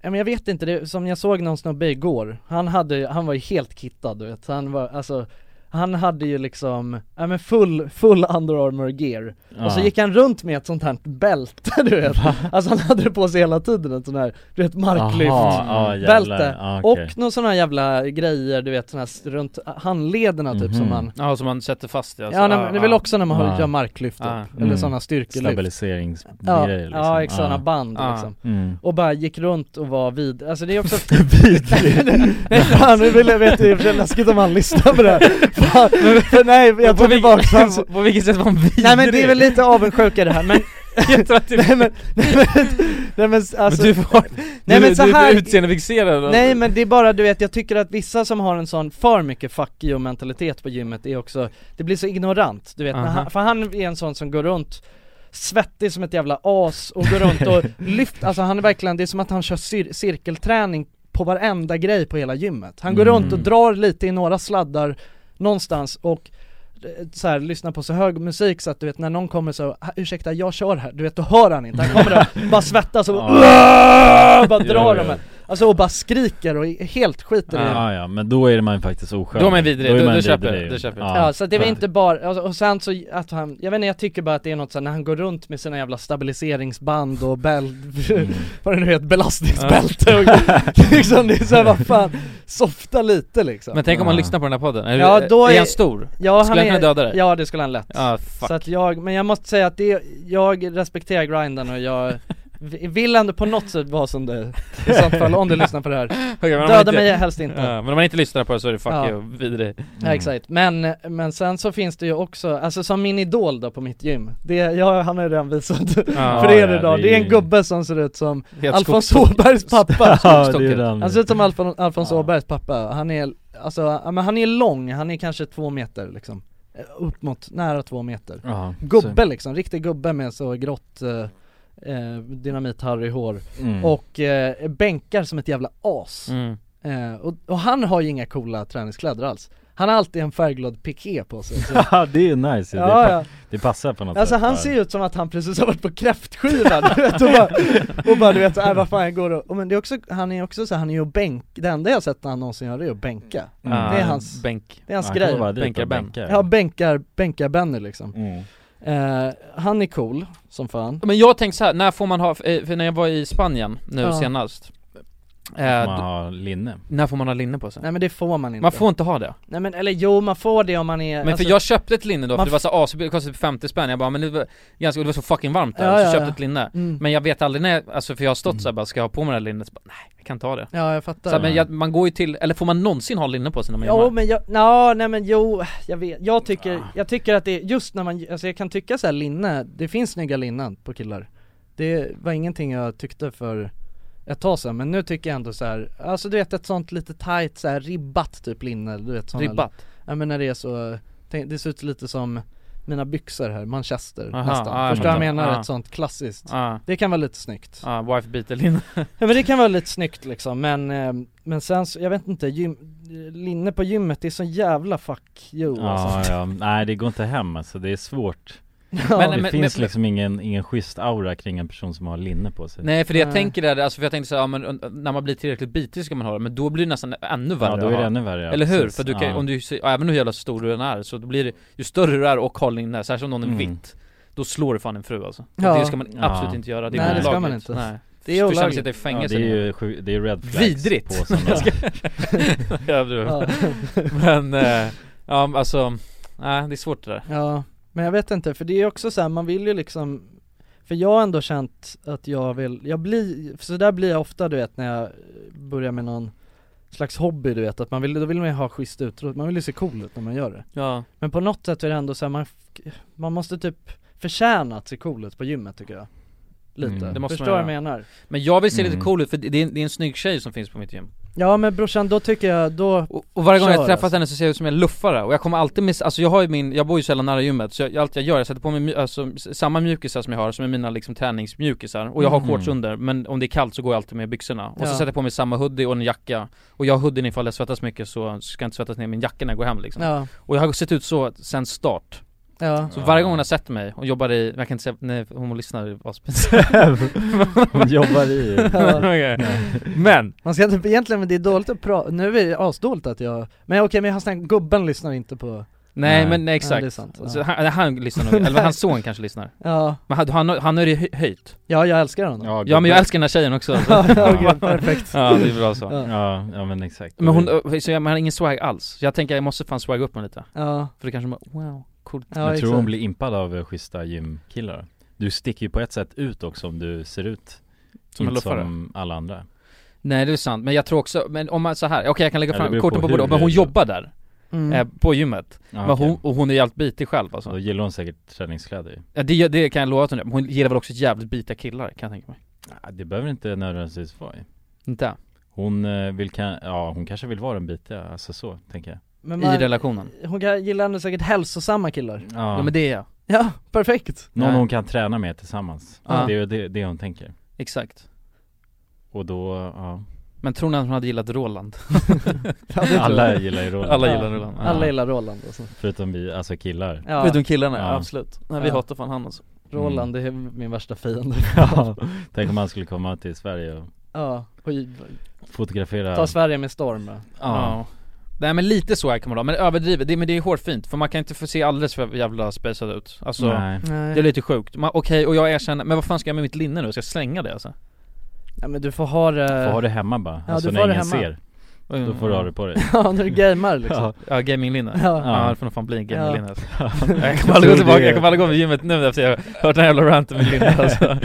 [SPEAKER 2] ja, men jag vet inte, det, som jag såg någon snubbe igår, han hade, han var ju helt kittad du vet, han var, alltså han hade ju liksom, ja men full, full under armor gear Och så
[SPEAKER 3] Ja.
[SPEAKER 2] alltså, gick han runt med ett sånt här bälte du vet Alltså han hade det på sig hela tiden, ett sånt här, du vet marklyft
[SPEAKER 3] Aha, ja, jävlar.
[SPEAKER 2] Bälte,
[SPEAKER 3] Ja, okej.
[SPEAKER 2] och någon sån här jävla grejer du vet, sån här s- runt handlederna typ som
[SPEAKER 3] Mhm.
[SPEAKER 2] man
[SPEAKER 1] ja, som man sätter fast alltså.
[SPEAKER 2] Ja, nej, men det är väl också när man
[SPEAKER 3] Ja.
[SPEAKER 2] gör marklyft
[SPEAKER 1] Ja.
[SPEAKER 2] typ, eller
[SPEAKER 3] Mm.
[SPEAKER 2] sådana styrkelyft
[SPEAKER 3] Stabiliseringsgrejer
[SPEAKER 2] Ja,
[SPEAKER 3] liksom.
[SPEAKER 2] ja exakt, sådana band
[SPEAKER 1] Ja.
[SPEAKER 2] liksom
[SPEAKER 3] Mm.
[SPEAKER 2] och bara gick runt och var vid, alltså det är också Vidrig! nej fan, nu vill jag veta, det är i och för sig läskigt om han lyssnar på det här fan, för nej jag tar tillbaka hans
[SPEAKER 1] på, på vilket sätt var han vidrig?
[SPEAKER 2] Nej men det är väl lite avundsjuka det här men,
[SPEAKER 1] Jag tror att du,
[SPEAKER 2] nej men, nej men, nej men alltså
[SPEAKER 1] du får,
[SPEAKER 2] Nej,
[SPEAKER 1] du,
[SPEAKER 2] men så
[SPEAKER 1] du,
[SPEAKER 2] här-
[SPEAKER 1] du är utseendefixerad
[SPEAKER 2] Nej men det är bara du vet, jag tycker att vissa som har en sån för mycket fuck you mentalitet på gymmet är också, det blir så ignorant du vet, när
[SPEAKER 1] Aha.
[SPEAKER 2] han, för han är en sån som går runt svettig som ett jävla as och går runt och lyfter, alltså han är verkligen, det är som att han kör cir- cirkelträning på varenda grej på hela gymmet. Han går
[SPEAKER 3] Mm.
[SPEAKER 2] runt och drar lite i några sladdar någonstans och eh, så här, lyssnar på så hög musik så att du vet när någon kommer så, "Ah, ursäkta jag kör här, du vet då hör han inte, han kommer och bara svettas och bara, bara drar
[SPEAKER 3] Jo,
[SPEAKER 2] dem
[SPEAKER 3] jo.
[SPEAKER 2] Alltså och bara skriker och är helt skiter i
[SPEAKER 1] Ah.
[SPEAKER 2] det.
[SPEAKER 3] Ja, ja, men då är man faktiskt oskön
[SPEAKER 1] Då är man vidrig, då- då köper jag det,
[SPEAKER 3] ju.
[SPEAKER 1] då köper jag
[SPEAKER 2] Ja, så att det var inte bara, alltså, och sen så att han, jag vet inte jag tycker bara att det är något såhär när han går runt med sina jävla stabiliseringsband
[SPEAKER 1] Ah.
[SPEAKER 2] och bäl, vad det nu heter, belastningsbälte och liksom det är såhär vad fan softa lite liksom
[SPEAKER 1] Men tänk om man lyssnar på den här podden, är,
[SPEAKER 2] Ja,
[SPEAKER 1] du,
[SPEAKER 2] då
[SPEAKER 1] är,
[SPEAKER 2] är-
[SPEAKER 1] han stor?
[SPEAKER 2] Ja,
[SPEAKER 1] Skulle han
[SPEAKER 2] är-
[SPEAKER 1] kunna döda dig?
[SPEAKER 2] Ja det skulle han lätt
[SPEAKER 1] Ah, fuck.
[SPEAKER 2] Så att jag, men jag måste säga att det, jag respekterar grinden och jag vi- vill ändå på något sätt vara som du i sånt fall om du lyssnar på det här
[SPEAKER 1] Okej, men om man
[SPEAKER 2] Döda
[SPEAKER 1] inte- Ah.
[SPEAKER 2] mig helst inte
[SPEAKER 1] Ja, men om man inte lyssnar på det så är det fuck
[SPEAKER 2] Ja.
[SPEAKER 1] you, vidrig
[SPEAKER 3] Mm.
[SPEAKER 2] Ja exakt, men, men sen så finns det ju också, alltså som min idol då på mitt gym Det, jag, han har ju redan visat för er
[SPEAKER 3] ja,
[SPEAKER 2] idag,
[SPEAKER 3] det
[SPEAKER 2] det är
[SPEAKER 3] är
[SPEAKER 2] en
[SPEAKER 3] ju-
[SPEAKER 2] gubbe som ser ut som
[SPEAKER 1] Helt
[SPEAKER 2] Alfons
[SPEAKER 1] skogstokig.
[SPEAKER 2] Åbergs pappa
[SPEAKER 3] Ja, det är den.
[SPEAKER 1] Alltså,
[SPEAKER 2] Han ser ut som Alfon, Alfons Åbergs pappa, han är, alltså, ja, men han är lång, han är kanske två meter liksom Eh, Upp mot, nära två meter
[SPEAKER 3] Ja,
[SPEAKER 2] Gubbe liksom, riktig gubbe med så grått eh, eh, Dynamit-Harry-hår
[SPEAKER 3] så- mm.
[SPEAKER 2] och eh, bänkar som ett jävla as
[SPEAKER 1] mm.
[SPEAKER 2] eh, och, och han har ju inga coola träningskläder alls Han har alltid en färgglad piké på sig så.
[SPEAKER 3] Ja det är ju nice ju. det,
[SPEAKER 2] Ja,
[SPEAKER 3] pa-
[SPEAKER 2] ja.
[SPEAKER 3] det passar på något
[SPEAKER 2] Alltså
[SPEAKER 3] sätt
[SPEAKER 2] han
[SPEAKER 3] där.
[SPEAKER 2] ser ju ut som att han precis har varit på kräftskiva du vet, och, bara, och bara du vet, äh, vad fan jag går och, och men det är också, han är också så här, han är ju bänk, det enda jag har sett han någonsin gör är att bänka
[SPEAKER 3] Mm.
[SPEAKER 2] det är hans-
[SPEAKER 1] bänk
[SPEAKER 2] Det är hans
[SPEAKER 3] Han kommer
[SPEAKER 2] grej
[SPEAKER 3] bara dit och
[SPEAKER 1] Bänkar Ben.
[SPEAKER 3] bänkar.
[SPEAKER 2] Ja bänkar, bänkar Benny liksom
[SPEAKER 3] Mm.
[SPEAKER 2] eh, Han är cool som fan
[SPEAKER 1] Men jag tänkte så här, när får man ha, eh, för när jag var i Spanien nu
[SPEAKER 2] Ja.
[SPEAKER 1] senast eh,
[SPEAKER 3] Man
[SPEAKER 1] d-
[SPEAKER 3] har linne
[SPEAKER 1] När får man ha linne på sig?
[SPEAKER 2] Nej men det får man inte
[SPEAKER 1] Man får inte ha det.
[SPEAKER 2] Nej men eller jo man får det om man är alltså-
[SPEAKER 1] Men för jag köpte ett linne då, för
[SPEAKER 2] man
[SPEAKER 1] det var så as, det kostade 50 spänn, jag bara men det var, ganska, det var så fucking varmt där,
[SPEAKER 2] Ja,
[SPEAKER 1] så
[SPEAKER 2] ja,
[SPEAKER 1] köpte
[SPEAKER 2] ja.
[SPEAKER 1] ett linne
[SPEAKER 2] mm.
[SPEAKER 1] Men jag vet aldrig när, jag- alltså för jag har stått såhär bara, ska jag ha på mig det här linnet? Så bara, nej, jag kan inte ha det
[SPEAKER 2] Ja jag
[SPEAKER 1] så
[SPEAKER 2] fattar
[SPEAKER 1] här, men jag, man går ju till, eller får man någonsin ha linne på sig när man Ah.
[SPEAKER 2] Jo
[SPEAKER 1] gör
[SPEAKER 2] men jag, nå, nej men jo, jag vet, jag tycker, jag tycker att det, just när man, alltså jag kan tycka så här linne, det finns snygga linnen på killar Det var ingenting jag tyckte för ett tag sedan, men nu tycker jag ändå så här, alltså du vet ett sånt lite tight så här ribbat typ linne, du vet såna
[SPEAKER 1] Ribbat?
[SPEAKER 2] Ja men när det är så, tänk, det ser ut lite som mina byxor här, manchester
[SPEAKER 1] Aha,
[SPEAKER 2] nästan,
[SPEAKER 1] ja, jag
[SPEAKER 2] förstår vad
[SPEAKER 1] fattar.
[SPEAKER 2] jag
[SPEAKER 1] Ah.
[SPEAKER 2] menar?
[SPEAKER 1] Ja.
[SPEAKER 2] Ett sånt klassiskt
[SPEAKER 1] Ja,
[SPEAKER 2] Det kan vara lite snyggt
[SPEAKER 1] ah, ah, wife beater linne
[SPEAKER 2] Ja men det kan vara lite snyggt liksom men, eh, men sen så, jag vet inte, gym, linne på gymmet det är så jävla fuck you
[SPEAKER 1] Oh,
[SPEAKER 3] Ja,
[SPEAKER 2] alltså.
[SPEAKER 3] ja, nej det går inte hem alltså, det är svårt
[SPEAKER 2] Ja.
[SPEAKER 3] Det
[SPEAKER 1] men-
[SPEAKER 3] finns
[SPEAKER 1] men-
[SPEAKER 3] liksom ingen, ingen schysst aura kring en person som har linne på sig
[SPEAKER 1] Nej för det jag
[SPEAKER 2] Nej.
[SPEAKER 1] tänker är, alltså för jag tänkte såhär, ja, men un- när man blir tillräckligt bitig ska man ha det, men då blir det nästan ännu värre
[SPEAKER 3] Ja då
[SPEAKER 1] att
[SPEAKER 3] är
[SPEAKER 1] ha.
[SPEAKER 3] det ännu värre ja,
[SPEAKER 1] Eller hur?
[SPEAKER 3] precis.
[SPEAKER 1] För du kan,
[SPEAKER 3] ja.
[SPEAKER 1] om du, ser- ja, även hur jävla stor du än är, så då blir det, ju större du är och har linne, särskilt om någon är
[SPEAKER 3] Mm.
[SPEAKER 1] vitt Då slår du fan en fru alltså
[SPEAKER 2] Ja.
[SPEAKER 1] Och Det ska man
[SPEAKER 3] Ja.
[SPEAKER 1] absolut inte göra, det är
[SPEAKER 2] Nej, det ska
[SPEAKER 1] olagligt.
[SPEAKER 2] man inte.
[SPEAKER 1] Nej.
[SPEAKER 2] Det är
[SPEAKER 1] Du kan
[SPEAKER 2] olagligt.
[SPEAKER 1] sitta i
[SPEAKER 3] ja,
[SPEAKER 1] fängelse
[SPEAKER 3] det är ju sju- det är red flags
[SPEAKER 1] Vidrigt.
[SPEAKER 3] på sådana
[SPEAKER 1] Ja, du.
[SPEAKER 2] Ja.
[SPEAKER 1] Men, eh, ja alltså, nej det är svårt det där
[SPEAKER 2] ja, men jag vet inte för det är också så här, man vill ju liksom För jag har ändå känt att jag vill, jag blir, för så där blir jag ofta du vet när jag börjar med någon slags hobby du vet, att man vill, då vill man ju ha schysst utrustning, man vill ju se cool ut när man gör det
[SPEAKER 1] Ja,
[SPEAKER 2] Men på något sätt är det ändå så här, man, man måste typ förtjäna att se cool ut på gymmet tycker jag Lite,
[SPEAKER 3] Mm.
[SPEAKER 1] Det måste
[SPEAKER 2] förstår
[SPEAKER 1] man
[SPEAKER 2] vad
[SPEAKER 1] göra.
[SPEAKER 2] jag menar?
[SPEAKER 1] men jag vill se lite
[SPEAKER 3] Mm.
[SPEAKER 1] cool ut för det är, en- det är en snygg tjej som finns på mitt gym
[SPEAKER 2] Ja men brorsan, då tycker jag, då
[SPEAKER 1] Och, och varje gång
[SPEAKER 2] Kör,
[SPEAKER 1] jag träffat
[SPEAKER 2] alltså.
[SPEAKER 1] henne så ser jag ut som en luffare och jag kommer alltid missa, alltså jag har ju min, jag bor ju sällan nära gymmet så jag, allt jag gör, jag sätter på mig my- alltså, s- samma mjukisar som jag har, som är mina liksom träningsmjukisar och jag har
[SPEAKER 3] Mm.
[SPEAKER 1] shorts under men om det är kallt så går jag alltid med byxorna och så
[SPEAKER 2] Ja.
[SPEAKER 1] sätter jag på mig samma hoodie och en jacka och jag har hoodien ifall jag svettas mycket så ska jag inte svettas ner min jacka när jag går hem liksom
[SPEAKER 2] Ja,
[SPEAKER 1] och jag har sett ut så sen start
[SPEAKER 2] ja,
[SPEAKER 1] så varje gång hon har sett mig och jobbar i, jag kan inte säga, nej hon lyssnar, det var spe-
[SPEAKER 3] Hon jobbar i
[SPEAKER 2] ja.
[SPEAKER 1] Men!
[SPEAKER 2] Man ska inte, egentligen, men det är dåligt att prata, nu är det asdåligt att jag Men okej, men jag har snackat, gubben lyssnar inte på
[SPEAKER 1] Nej,
[SPEAKER 3] Nej.
[SPEAKER 1] men nej,
[SPEAKER 2] Ja,
[SPEAKER 1] exakt
[SPEAKER 2] det är sant, ja.
[SPEAKER 1] så han, han lyssnar nog, eller hans son kanske lyssnar
[SPEAKER 2] Ja,
[SPEAKER 1] Men han, han, har- han har ju hö- höjt
[SPEAKER 2] ja jag älskar honom Ja,
[SPEAKER 1] Ja men jag
[SPEAKER 3] gubbar.
[SPEAKER 1] älskar den här tjejen också
[SPEAKER 2] ja okej, perfekt
[SPEAKER 1] Ja det är bra så
[SPEAKER 2] Ja,
[SPEAKER 3] Ja, ja men exakt
[SPEAKER 1] Men hon, eh, så jag, man har ingen swag alls, så jag tänker jag måste fan swagga upp mig lite
[SPEAKER 2] ja,
[SPEAKER 1] För då kanske man, wow, coolt
[SPEAKER 2] ja
[SPEAKER 3] jag tror
[SPEAKER 2] exakt.
[SPEAKER 3] hon blir impad av eh, schyssta gymkillar Du sticker ju på ett sätt ut också om du ser ut
[SPEAKER 1] Som en
[SPEAKER 3] inte
[SPEAKER 1] luffare
[SPEAKER 3] som alla andra
[SPEAKER 1] Nej det är sant, men jag tror också, men om man så här, okej jag kan lägga
[SPEAKER 3] Ja, det
[SPEAKER 1] fram
[SPEAKER 3] beror
[SPEAKER 1] korten
[SPEAKER 3] på
[SPEAKER 1] på bordet,
[SPEAKER 3] hur
[SPEAKER 1] men hon
[SPEAKER 3] du-
[SPEAKER 1] jobbar där,
[SPEAKER 2] mm.
[SPEAKER 1] eh, på gymmet
[SPEAKER 3] ja,
[SPEAKER 1] men
[SPEAKER 3] okej. Mm.
[SPEAKER 1] hon, Och hon är jävligt bitig själv
[SPEAKER 3] Så
[SPEAKER 1] alltså
[SPEAKER 3] Då gillar hon säkert träningskläder
[SPEAKER 1] ja, det, det kan jag lova att hon gör, men hon gillar väl också jävligt bitiga killar kan jag tänka mig
[SPEAKER 3] ja, Det behöver inte nödvändigtvis vara i.
[SPEAKER 1] Inte?
[SPEAKER 3] Hon eh, vill kan, ja hon kanske vill vara den bitiga, alltså så tänker jag
[SPEAKER 2] Men
[SPEAKER 1] I
[SPEAKER 2] man,
[SPEAKER 1] relationen?
[SPEAKER 2] hon kan- gillar ändå säkert hälsosamma killar
[SPEAKER 3] Ja,
[SPEAKER 1] Ja, men det är jag,
[SPEAKER 2] Ja, perfekt!
[SPEAKER 3] Någon
[SPEAKER 1] Nej.
[SPEAKER 3] hon kan träna med tillsammans
[SPEAKER 1] Ja.
[SPEAKER 3] Det är ju det, det hon tänker
[SPEAKER 1] exakt
[SPEAKER 3] Och då, ja
[SPEAKER 1] Men tror ni att hon hade gillat Roland?
[SPEAKER 2] Ja, det tror
[SPEAKER 3] Alla
[SPEAKER 2] jag.
[SPEAKER 3] gillar ju Roland
[SPEAKER 1] Alla gillar Roland ja.
[SPEAKER 2] Alla gillar Roland alltså.
[SPEAKER 3] Förutom vi, alltså killar
[SPEAKER 2] ja.
[SPEAKER 1] Förutom killarna,
[SPEAKER 3] Ja.
[SPEAKER 1] absolut Nej vi
[SPEAKER 2] Ja.
[SPEAKER 1] hatar fan han alltså
[SPEAKER 2] Roland det är min värsta fiende
[SPEAKER 3] Ja, tänk om han skulle komma till Sverige och
[SPEAKER 2] Ja, och ju-
[SPEAKER 3] fotografera
[SPEAKER 2] ta Sverige med storm ja.
[SPEAKER 3] Ja,
[SPEAKER 1] Ja Nej men lite så här kan man ha, men överdrivet, det, men det är hårfint för man kan inte få se alldeles för jävla spejsad ut Alltså,
[SPEAKER 3] nej
[SPEAKER 2] Nej.
[SPEAKER 1] det är lite sjukt, Man- okej och jag erkänner, men vad fan ska jag med mitt linne nu? Ska jag slänga det alltså?
[SPEAKER 2] Ja men du får ha det,
[SPEAKER 3] Får ha det hemma bara,
[SPEAKER 2] Eh, Ja,
[SPEAKER 3] alltså
[SPEAKER 2] du
[SPEAKER 3] när
[SPEAKER 2] får ha
[SPEAKER 3] ingen
[SPEAKER 2] det hemma.
[SPEAKER 3] ser Då får du ha det på dig
[SPEAKER 2] Ja, när du gamear liksom
[SPEAKER 3] Ja.
[SPEAKER 1] Ja, gaminglinne.
[SPEAKER 2] Ja.
[SPEAKER 1] Ja. det får nog fan bli en gaminglinne alltså. Jag
[SPEAKER 3] tror
[SPEAKER 1] kommer aldrig gå
[SPEAKER 3] det
[SPEAKER 1] tillbaka,
[SPEAKER 3] är-
[SPEAKER 1] jag kommer aldrig gå med gymmet nu efter jag hört den här jävla ranten med linne alltså.
[SPEAKER 3] Nej,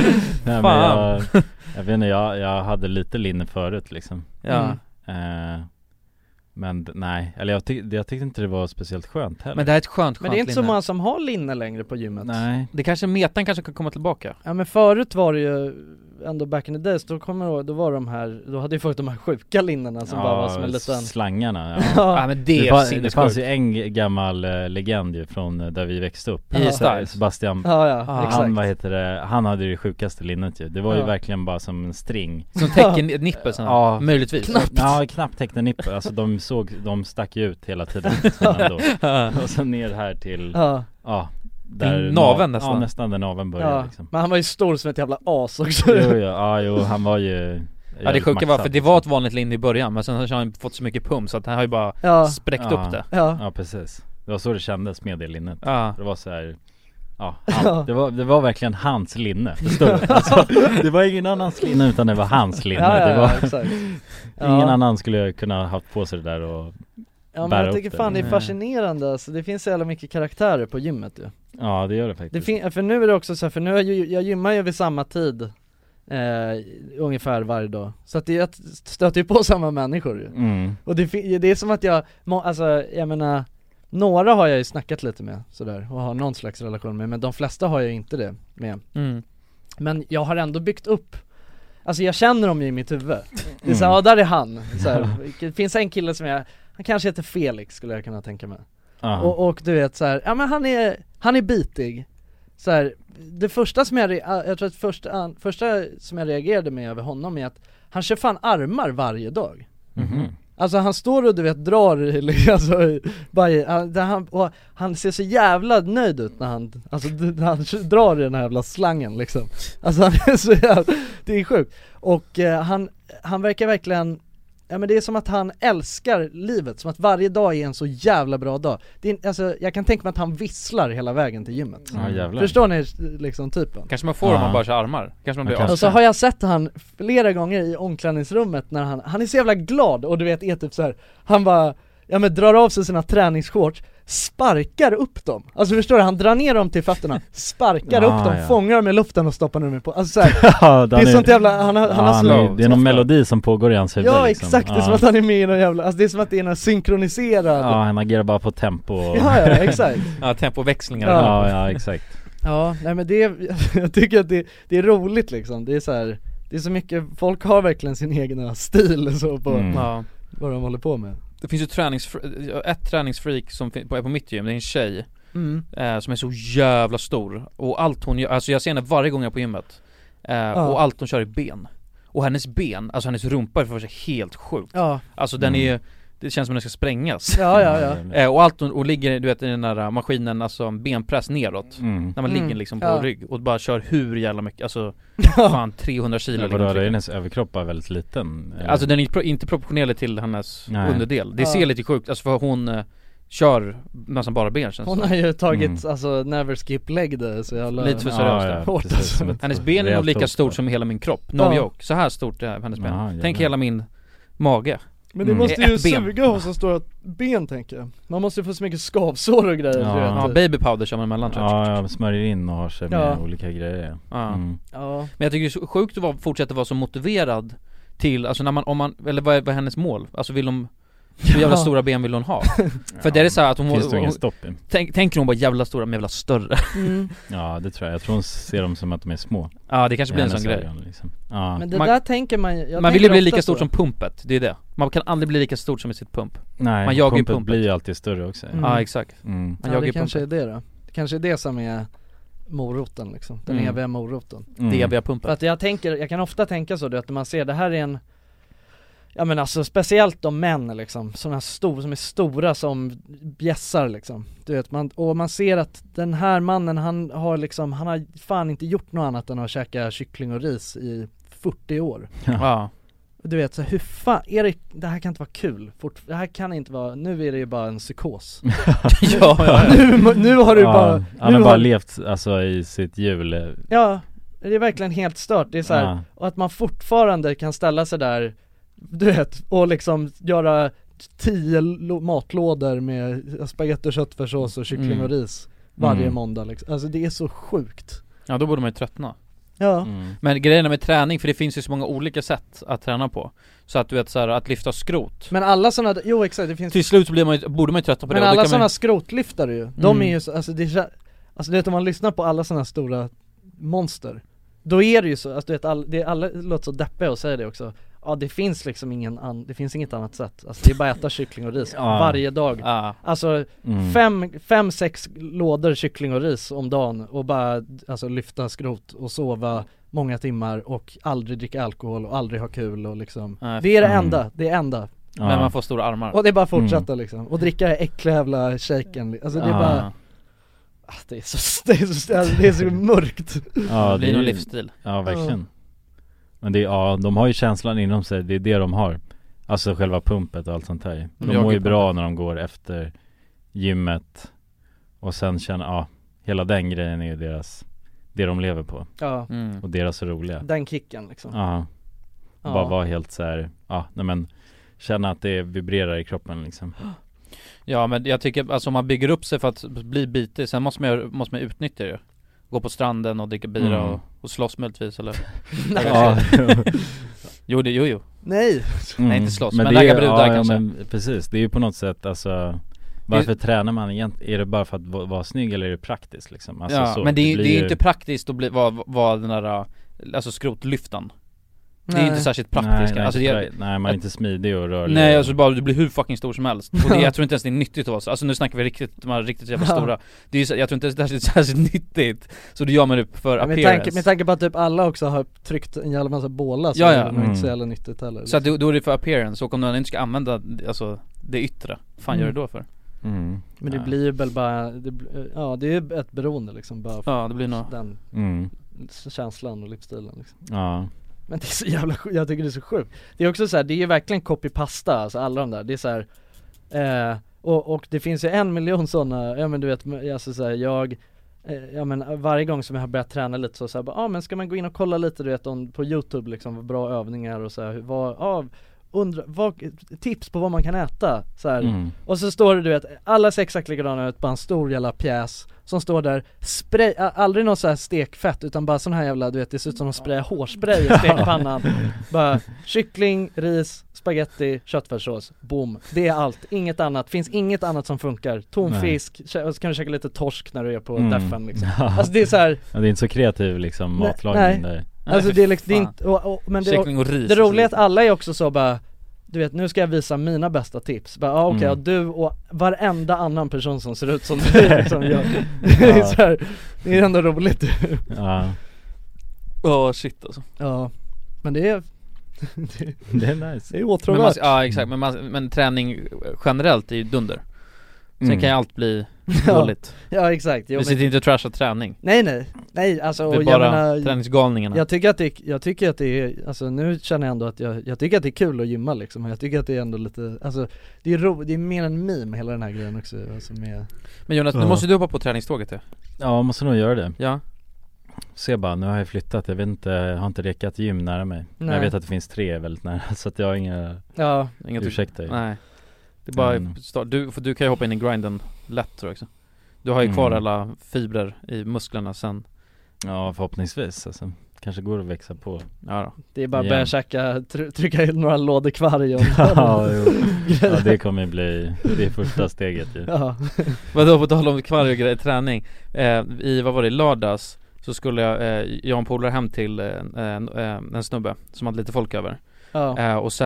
[SPEAKER 3] men
[SPEAKER 1] Fan.
[SPEAKER 3] jag, jag vet inte, jag, jag hade lite linne förut liksom
[SPEAKER 1] Ja.
[SPEAKER 2] Mm.
[SPEAKER 3] eh, Men d- nej, eller jag, tyck, jag tyckte inte det var speciellt skönt heller
[SPEAKER 1] Men det här är ett skönt, skönt
[SPEAKER 2] Men det är inte så
[SPEAKER 1] linne.
[SPEAKER 2] många som har linne längre på gymmet
[SPEAKER 3] Nej
[SPEAKER 1] Det kanske metan kanske kan komma tillbaka
[SPEAKER 2] Ja men förut var det ju ändå back in the days, då kommer jag ihåg, då var de här, då hade ju förut de här sjuka linnena som Alltså, bara var som en liten
[SPEAKER 3] Slangarna ja.
[SPEAKER 1] Ja
[SPEAKER 2] Ja,
[SPEAKER 1] men det,
[SPEAKER 3] det,
[SPEAKER 1] är
[SPEAKER 3] fanns, det fanns
[SPEAKER 1] sinnessjukt
[SPEAKER 3] ju en g- gammal eh, legend ju från eh, där vi växte upp
[SPEAKER 1] I
[SPEAKER 3] Se-
[SPEAKER 1] Styles.
[SPEAKER 3] Sebastian
[SPEAKER 2] ja, ja
[SPEAKER 1] Ah,
[SPEAKER 2] exakt
[SPEAKER 3] Han, vad heter det, han hade ju det sjukaste linnet ju Det var
[SPEAKER 2] Ja.
[SPEAKER 3] ju verkligen bara som en string
[SPEAKER 1] Som täcker nippeln sådär,
[SPEAKER 3] Ja.
[SPEAKER 1] möjligtvis
[SPEAKER 3] Ja, knappt täckte nippel, alltså de såg, de stack ju ut hela tiden men ändå. Och sen ner här till,
[SPEAKER 2] Ja,
[SPEAKER 3] ja
[SPEAKER 1] Till
[SPEAKER 3] där
[SPEAKER 1] naveln
[SPEAKER 3] na-
[SPEAKER 1] nästan.
[SPEAKER 3] Ja nästan där naveln börjar
[SPEAKER 2] ja.
[SPEAKER 3] liksom
[SPEAKER 2] men han var ju stor som ett jävla as också
[SPEAKER 3] Jo, jo, ja, jo han var ju
[SPEAKER 1] Ja det sjuka var för det
[SPEAKER 3] liksom.
[SPEAKER 1] var ett vanligt linne i början men sen har han fått så mycket pum så att han har ju bara
[SPEAKER 2] Ja,
[SPEAKER 1] spräckt
[SPEAKER 3] Ja.
[SPEAKER 1] upp det
[SPEAKER 2] ja,
[SPEAKER 3] liksom. Ja precis, det var så det kändes med det linnet
[SPEAKER 1] Ja,
[SPEAKER 3] Det var så här. Ja,
[SPEAKER 2] Ja.
[SPEAKER 3] han, det, var, det var verkligen hans linne, förstår du? Alltså, det var ingen annans linne utan det var hans linne
[SPEAKER 2] ja, ja,
[SPEAKER 3] det var,
[SPEAKER 2] ja exakt
[SPEAKER 3] Ingen
[SPEAKER 2] Ja.
[SPEAKER 3] annan skulle kunna ha haft på sig det där och
[SPEAKER 2] Ja men
[SPEAKER 3] bära
[SPEAKER 2] jag
[SPEAKER 3] upp
[SPEAKER 2] tycker
[SPEAKER 3] det.
[SPEAKER 2] fan det är
[SPEAKER 1] Nej.
[SPEAKER 2] fascinerande alltså, det finns så jävla mycket karaktärer på gymmet ju
[SPEAKER 3] Ja det gör det
[SPEAKER 2] det
[SPEAKER 3] faktiskt
[SPEAKER 2] fin- För nu är det också så här, för nu är ju, jag gymmar ju vid samma tid eh, Ungefär varje dag, så att det, jag stöter ju på samma människor ju
[SPEAKER 3] mm.
[SPEAKER 2] Och det, fin- det är som att jag, må- alltså jag menar Några har jag ju snackat lite med sådär och har någon slags relation med men de flesta har jag ju inte det med
[SPEAKER 1] mm.
[SPEAKER 2] Men jag har ändå byggt upp Alltså jag känner dem ju i mitt huvud Det är såhär, ja där är han, så här, det finns en kille som jag han kanske heter Felix skulle jag kunna tänka mig.
[SPEAKER 3] Ja.
[SPEAKER 2] Och, och du vet så här, ja men han är, han är bitig så här, Det första som jag, re- jag tror att första, första som jag reagerade med över honom är att Han kör fan armar varje dag
[SPEAKER 3] Mhm.
[SPEAKER 2] Alltså han står och du vet drar i, liksom, alltså, i- bara i, han, där han, och han ser så jävla nöjd ut när han, alltså d- när han kö- drar i den här jävla slangen liksom Alltså han är så jävla, det är sjukt Och eh, han, han verkar verkligen Ja men det är som att han älskar livet, som att varje dag är en så jävla bra dag det är, en- Alltså jag kan tänka mig att han visslar hela vägen till gymmet
[SPEAKER 3] Ja jävlar
[SPEAKER 2] Förstår ni liksom typen?
[SPEAKER 1] Kanske man får om
[SPEAKER 3] Ja.
[SPEAKER 1] man bara kör armar, kanske man blir
[SPEAKER 3] Man
[SPEAKER 2] Och så har jag sett han flera gånger i omklädningsrummet när han, han är så jävla glad och du vet är typ så här. han bara, ja men drar av sig sina träningsshorts, sparkar upp dem, alltså förstår du? Han drar ner dem till fötterna, sparkar
[SPEAKER 3] Ah,
[SPEAKER 2] upp dem,
[SPEAKER 3] ja.
[SPEAKER 2] fångar dem i luften och stoppar ner dem i på, alltså så här,
[SPEAKER 3] Ja,
[SPEAKER 2] det är sånt jävla, han har, han har
[SPEAKER 3] han är,
[SPEAKER 2] slow
[SPEAKER 3] Det är någon melodi som pågår i hans huvud
[SPEAKER 2] Ja
[SPEAKER 3] liksom.
[SPEAKER 2] exakt, det är som
[SPEAKER 3] Ja.
[SPEAKER 2] att han är med i någon jävla, alltså det är som att det är någon synkroniserad
[SPEAKER 3] Ja han agerar bara på tempo och...
[SPEAKER 2] Ja, ja, exakt.
[SPEAKER 1] Ja, tempoväxlingar
[SPEAKER 2] Ja.
[SPEAKER 3] ja, ja exakt
[SPEAKER 2] Ja, nej men det, är- jag tycker att det, det är roligt liksom. Det är så här, det är så mycket, folk har verkligen sin egna stil så på
[SPEAKER 3] Mm.
[SPEAKER 1] ja.
[SPEAKER 2] vad de håller på med.
[SPEAKER 1] Det finns ju träningsfre- ett träningsfreak som fin- på, på mitt gym, det är en tjej
[SPEAKER 2] Mm.
[SPEAKER 1] eh, Som är så jävla stor och allt hon gör, alltså jag ser henne varje gång jag är på gymmet eh, Och allt hon kör är ben Och hennes ben, alltså hennes rumpa är för sig helt sjuk
[SPEAKER 2] Ja,
[SPEAKER 1] Alltså
[SPEAKER 3] Mm.
[SPEAKER 1] den är ju, det känns som att den ska sprängas
[SPEAKER 2] ja, ja, ja.
[SPEAKER 1] eh, Och allt hon, och ligger du vet i den där maskinen, alltså en benpress neråt
[SPEAKER 3] Mm.
[SPEAKER 1] När man
[SPEAKER 2] Mm,
[SPEAKER 1] ligger liksom på
[SPEAKER 2] ja.
[SPEAKER 1] rygg och bara kör hur jävla mycket, alltså fan 300 kilo
[SPEAKER 3] Men
[SPEAKER 1] ligger hon
[SPEAKER 3] Vadå,
[SPEAKER 1] och trycker.
[SPEAKER 3] Reines överkropp är väldigt liten? eller?
[SPEAKER 1] Alltså den är inte pro- inte proportionell till hennes
[SPEAKER 3] Nej.
[SPEAKER 1] underdel, det
[SPEAKER 2] Ja.
[SPEAKER 1] ser lite sjukt, alltså för hon eh, kör nästan bara ben känns det
[SPEAKER 2] Hon
[SPEAKER 1] som.
[SPEAKER 2] har ju tagit
[SPEAKER 3] Mm.
[SPEAKER 2] alltså never skip leg day så jävla
[SPEAKER 1] Lite för
[SPEAKER 3] Ja,
[SPEAKER 1] seriöst
[SPEAKER 3] ja,
[SPEAKER 1] där.
[SPEAKER 2] Hårt
[SPEAKER 3] precis,
[SPEAKER 2] alltså.
[SPEAKER 3] som ett
[SPEAKER 1] Hennes ben är nog
[SPEAKER 3] rejält
[SPEAKER 1] lika
[SPEAKER 3] hot,
[SPEAKER 1] stort
[SPEAKER 3] va?
[SPEAKER 1] som hela min kropp, no
[SPEAKER 2] Ja.
[SPEAKER 1] joke, så här stort är hennes ben
[SPEAKER 3] Jaha,
[SPEAKER 1] Tänk hela
[SPEAKER 3] jävlar.
[SPEAKER 1] min mage
[SPEAKER 2] Men det
[SPEAKER 3] Mm.
[SPEAKER 2] måste
[SPEAKER 1] Det är
[SPEAKER 2] ju
[SPEAKER 1] ett ben.
[SPEAKER 2] suga hos så stora ben tänker jag. Man måste ju få så mycket skavsår och grejer
[SPEAKER 3] Ja.
[SPEAKER 2] du
[SPEAKER 1] Ja,
[SPEAKER 2] vet.
[SPEAKER 1] baby powder kör man emellan tror jag
[SPEAKER 3] Ja, jag smörjer in och har sig med
[SPEAKER 2] Ja.
[SPEAKER 3] olika grejer
[SPEAKER 1] Ja.
[SPEAKER 3] mm.
[SPEAKER 2] ja.
[SPEAKER 1] Men jag tycker det är så sjukt att vara, fortsätta vara så motiverad till, alltså när man, om man, eller vad är, vad är hennes mål? Alltså vill hon, hur jävla
[SPEAKER 2] Ja.
[SPEAKER 1] stora ben vill hon ha? För det är så här att hon, hon,
[SPEAKER 3] Finns det
[SPEAKER 1] hon,
[SPEAKER 3] ingen stopp i?
[SPEAKER 1] tänk, tänker hon bara jävla stora, men jävla större
[SPEAKER 2] Mm.
[SPEAKER 3] Ja det tror jag, jag tror hon ser dem som att de är små
[SPEAKER 1] Ja det kanske
[SPEAKER 3] i
[SPEAKER 1] blir en
[SPEAKER 3] hennes
[SPEAKER 1] sån grej
[SPEAKER 3] ögon, liksom. ja.
[SPEAKER 2] Men det
[SPEAKER 1] Man-
[SPEAKER 2] där tänker man ju, jag
[SPEAKER 1] Man vill ju bli
[SPEAKER 2] tänker ofta
[SPEAKER 1] lika stort
[SPEAKER 2] så.
[SPEAKER 1] som pumpet, det är det Man kan aldrig bli lika stort som i sitt pump
[SPEAKER 3] Nej,
[SPEAKER 1] man jagar ju
[SPEAKER 3] pumpet
[SPEAKER 1] pumpet.
[SPEAKER 3] blir ju alltid större också
[SPEAKER 2] Mm.
[SPEAKER 1] Ja exakt,
[SPEAKER 3] mm.
[SPEAKER 1] man
[SPEAKER 2] Ja
[SPEAKER 1] jagar
[SPEAKER 2] det
[SPEAKER 1] ju
[SPEAKER 2] kanske
[SPEAKER 1] pumpet
[SPEAKER 2] är det då. Det kanske är det som är moroten liksom, den
[SPEAKER 1] Mm.
[SPEAKER 2] eviga moroten.
[SPEAKER 3] Mm.
[SPEAKER 1] Det eviga
[SPEAKER 2] För
[SPEAKER 1] pumpet
[SPEAKER 2] att jag tänker, jag kan ofta tänka så du vet när man ser det här är en Ja men alltså speciellt de män liksom, sådana här stor, som är stora som bjässar liksom Du vet, man, och man ser att den här mannen han har liksom, han har fan inte gjort något annat än att käka kyckling och ris i 40 år
[SPEAKER 1] Ja,
[SPEAKER 2] Du vet så hur fan, är det, det här kan inte vara kul, Fort, det här kan inte vara, nu är det ju bara en psykos
[SPEAKER 1] ja, ja, ja.
[SPEAKER 2] nu, nu har du
[SPEAKER 3] ja,
[SPEAKER 2] bara,
[SPEAKER 3] Han
[SPEAKER 2] nu
[SPEAKER 3] har bara
[SPEAKER 2] har-
[SPEAKER 3] levt alltså i sitt hjul eh,
[SPEAKER 2] ja det är verkligen helt stört, det är så här,
[SPEAKER 3] ja.
[SPEAKER 2] Och att man fortfarande kan ställa sig där du vet, och liksom göra tio lo- matlådor med spagetti och köttfärssås och kyckling
[SPEAKER 1] Mm.
[SPEAKER 2] och ris varje
[SPEAKER 1] Mm.
[SPEAKER 2] måndag liksom. Alltså det är så sjukt
[SPEAKER 1] Ja då borde man ju tröttna
[SPEAKER 2] Ja,
[SPEAKER 1] Men grejen är med träning, för det finns ju så många olika sätt att träna på Så att du vet såhär, att lyfta skrot
[SPEAKER 2] men alla sådana, jo exakt det finns
[SPEAKER 1] Till slut så blir man ju, borde man ju trötta på
[SPEAKER 2] Men
[SPEAKER 1] det och det
[SPEAKER 2] alla
[SPEAKER 1] kan
[SPEAKER 2] sådana
[SPEAKER 1] man...
[SPEAKER 2] skrotlyftare ju, de
[SPEAKER 1] Mm.
[SPEAKER 2] är ju så, alltså det är så- Alltså du vet om man lyssnar på alla sådana stora monster Då är det ju så, alltså du vet all, det är alla låter så deppiga och säger det också Ja det finns liksom ingen an, det finns inget annat sätt, alltså det är bara att äta kyckling och ris
[SPEAKER 3] Ja.
[SPEAKER 2] varje dag
[SPEAKER 1] Ja.
[SPEAKER 2] Alltså
[SPEAKER 3] Mm.
[SPEAKER 2] fem, fem, sex lådor kyckling och ris om dagen och bara alltså lyfta skrot och sova många timmar och aldrig dricka alkohol och aldrig ha kul och liksom
[SPEAKER 1] Nej,
[SPEAKER 2] Det är det
[SPEAKER 3] Mm.
[SPEAKER 2] enda, det är enda
[SPEAKER 3] Ja.
[SPEAKER 1] Men man får stora armar
[SPEAKER 2] och det är bara att
[SPEAKER 1] Mm.
[SPEAKER 2] fortsätta liksom, och dricka den här äckliga jävla shaken, alltså det är
[SPEAKER 3] Ja.
[SPEAKER 2] bara, ah, det är så, det är så, alltså, det är så mörkt
[SPEAKER 3] Ja,
[SPEAKER 1] det blir
[SPEAKER 3] är
[SPEAKER 1] någon
[SPEAKER 3] ju-
[SPEAKER 1] livsstil
[SPEAKER 3] Ja verkligen Men det, är- ja de har ju känslan inom sig, det är det de har Alltså själva pumpet och allt sånt här De
[SPEAKER 1] jagar
[SPEAKER 3] mår ju
[SPEAKER 1] pumpet.
[SPEAKER 3] bra när de går efter gymmet Och sen känner, ja Hela den grejen är ju deras Det de lever på
[SPEAKER 2] Ja,
[SPEAKER 1] mm.
[SPEAKER 3] och deras är roliga
[SPEAKER 2] den kicken liksom
[SPEAKER 3] Ja,
[SPEAKER 2] Ja.
[SPEAKER 3] bara vara helt så här, ja nej men Känna att det vibrerar i kroppen liksom
[SPEAKER 1] Ja men jag tycker, alltså om man bygger upp sig för att bli bitig, sen måste man, ju- måste man utnyttja det Gå på stranden och dricka bira
[SPEAKER 3] Mm.
[SPEAKER 1] och, och slåss möjligtvis eller
[SPEAKER 2] Nej.
[SPEAKER 3] Ja,
[SPEAKER 1] Jo det, jo jo
[SPEAKER 2] Nej!
[SPEAKER 3] Mm.
[SPEAKER 1] Nej, inte slåss, men
[SPEAKER 3] det är-
[SPEAKER 1] ragga brudar
[SPEAKER 3] ja,
[SPEAKER 1] kanske.
[SPEAKER 3] ja, men precis, det är ju på något sätt alltså Varför tränar man egentligen? Är det bara för att va- vara snygg eller är det praktiskt liksom? Alltså,
[SPEAKER 1] ja,
[SPEAKER 3] så,
[SPEAKER 1] men det, är-
[SPEAKER 3] blir
[SPEAKER 1] det är ju
[SPEAKER 3] ju-
[SPEAKER 1] inte praktiskt att bli, vara, vara den där, äh, alltså skrotlyftan Det är inte särskilt praktiskt
[SPEAKER 3] nej,
[SPEAKER 1] alltså,
[SPEAKER 3] nej,
[SPEAKER 1] det,
[SPEAKER 3] nej, nej, man är inte smidig och rörlig
[SPEAKER 1] Nej alltså bara, du blir hur fucking stor som helst Och det, jag tror inte ens det är nyttigt att vara så, alltså nu snackar vi riktigt, de här riktigt jävla
[SPEAKER 2] Ja.
[SPEAKER 1] stora det är, ju så- Jag tror inte ens det är särskilt, särskilt nyttigt Så det gör man det för
[SPEAKER 2] med
[SPEAKER 1] appearance
[SPEAKER 2] tanke, med tanke på att typ alla också har tryckt en jävla massa bålar så
[SPEAKER 1] Ja, ja.
[SPEAKER 2] är det nog inte så
[SPEAKER 3] Mm.
[SPEAKER 2] jävla nyttigt heller
[SPEAKER 1] Så att då, då är det för appearance, och om du inte ska använda alltså, det yttre, fan gör du då för?
[SPEAKER 3] mm.
[SPEAKER 2] Men det
[SPEAKER 3] ja.
[SPEAKER 2] blir ju väl bara, det, blir- ja det är ju ett beroende liksom bara för
[SPEAKER 1] Ja det blir nog
[SPEAKER 2] den
[SPEAKER 3] mm.
[SPEAKER 2] känslan och livsstilen liksom.
[SPEAKER 3] Ja,
[SPEAKER 2] Men det är så jävla sjukt, jag tycker det är så sjukt Det är också så här, det är ju verkligen copy-pasta, alltså alla de där, det är så här, eh, och, och det finns ju en miljon sådana, ja men du vet, alltså så här, jag eh, Ja men varje gång som jag har börjat träna lite så, så här, bara, ah, men ska man gå in och kolla lite du vet om, på youtube liksom, vad bra övningar och så här, vad, ah, undra, vad, tips på vad man kan äta så här.
[SPEAKER 3] mm.
[SPEAKER 2] Och så står det du vet, alla ser exakt likadana ut, bara en stor jävla pjäs Som står där, spray, a- aldrig någon så här stekfett utan bara sån här jävla du vet, det ser ut som de sprayar hårspray i stekpannan Bara kyckling, ris, spaghetti, köttfärssås, boom Det är allt, inget annat, finns inget annat som funkar Tonfisk, kä- och så kan du käka lite torsk när du är på
[SPEAKER 3] Mm.
[SPEAKER 2] deffen liksom
[SPEAKER 3] Ja.
[SPEAKER 2] Alltså det är så här,
[SPEAKER 3] Ja, det är inte så kreativ liksom
[SPEAKER 2] Nej,
[SPEAKER 3] matlagning
[SPEAKER 2] nej.
[SPEAKER 3] där
[SPEAKER 2] alltså det är liksom, det är
[SPEAKER 1] fan.
[SPEAKER 2] inte, och, och, men det,
[SPEAKER 1] Kyckling och ris
[SPEAKER 2] det roliga är att alla är också så bara du vet, nu ska jag visa mina bästa tips. Bara, ah, okej,
[SPEAKER 3] Mm.
[SPEAKER 2] ja, du och varenda annan person som ser ut som du liksom gör. Det är så här, det är ändå roligt
[SPEAKER 3] Ja,
[SPEAKER 1] Ja shit alltså
[SPEAKER 2] Ja, men det är, det är,
[SPEAKER 3] det är nice
[SPEAKER 2] det är
[SPEAKER 1] men man,
[SPEAKER 2] åtråvärt.
[SPEAKER 1] Ja exakt,
[SPEAKER 2] Mm.
[SPEAKER 1] men, man, men träning generellt är ju dunder Sen
[SPEAKER 3] Mm.
[SPEAKER 1] kan ju allt bli
[SPEAKER 2] Ja,
[SPEAKER 1] dåligt
[SPEAKER 2] ja exakt. Jo,
[SPEAKER 1] Vi
[SPEAKER 2] men,
[SPEAKER 1] sitter inte och trashar träning,
[SPEAKER 2] nej nej, nej alltså
[SPEAKER 1] vi är
[SPEAKER 2] och jag
[SPEAKER 1] bara
[SPEAKER 2] menar,
[SPEAKER 1] träningsgalningarna
[SPEAKER 2] jag tycker att det, jag tycker att det är, alltså nu känner jag ändå att jag, jag tycker att det är kul att gymma liksom. Jag tycker att det är ändå lite, alltså det är ro, det är mer en meme hela den här grejen också. Alltså med,
[SPEAKER 1] Men Jonas, nu
[SPEAKER 3] Ja.
[SPEAKER 1] måste du hoppa på träningståget ju
[SPEAKER 3] Ja, måste nog göra det
[SPEAKER 1] Ja,
[SPEAKER 3] Se bara, nu har jag flyttat, jag vet inte, jag har inte rekat gym nära mig Men jag
[SPEAKER 2] Nej.
[SPEAKER 3] vet att det finns tre väldigt nära så att jag har inga
[SPEAKER 2] ja,
[SPEAKER 1] inget
[SPEAKER 3] ursäkter
[SPEAKER 1] Nej Det är bara
[SPEAKER 3] Mm.
[SPEAKER 1] start, du, för du kan ju hoppa in i grinden lätt tror jag också Du har ju kvar
[SPEAKER 3] Mm.
[SPEAKER 1] alla fibrer i musklerna sen,
[SPEAKER 3] Ja förhoppningsvis alltså. Kanske går att växa på
[SPEAKER 1] ja då.
[SPEAKER 2] det är bara att
[SPEAKER 3] Ja.
[SPEAKER 2] börja käka, try- trycka in några lådor kvarg och
[SPEAKER 3] ja, jo. ja det kommer ju bli, det är första steget ju
[SPEAKER 2] Ja,
[SPEAKER 1] Vadå på tal om kvarg och grejer, träning eh, I, vad var det, i lördags Så skulle jag, eh, jag och en polare hem till eh, en, eh, en snubbe som hade lite folk över
[SPEAKER 2] ja.
[SPEAKER 1] eh, Och sen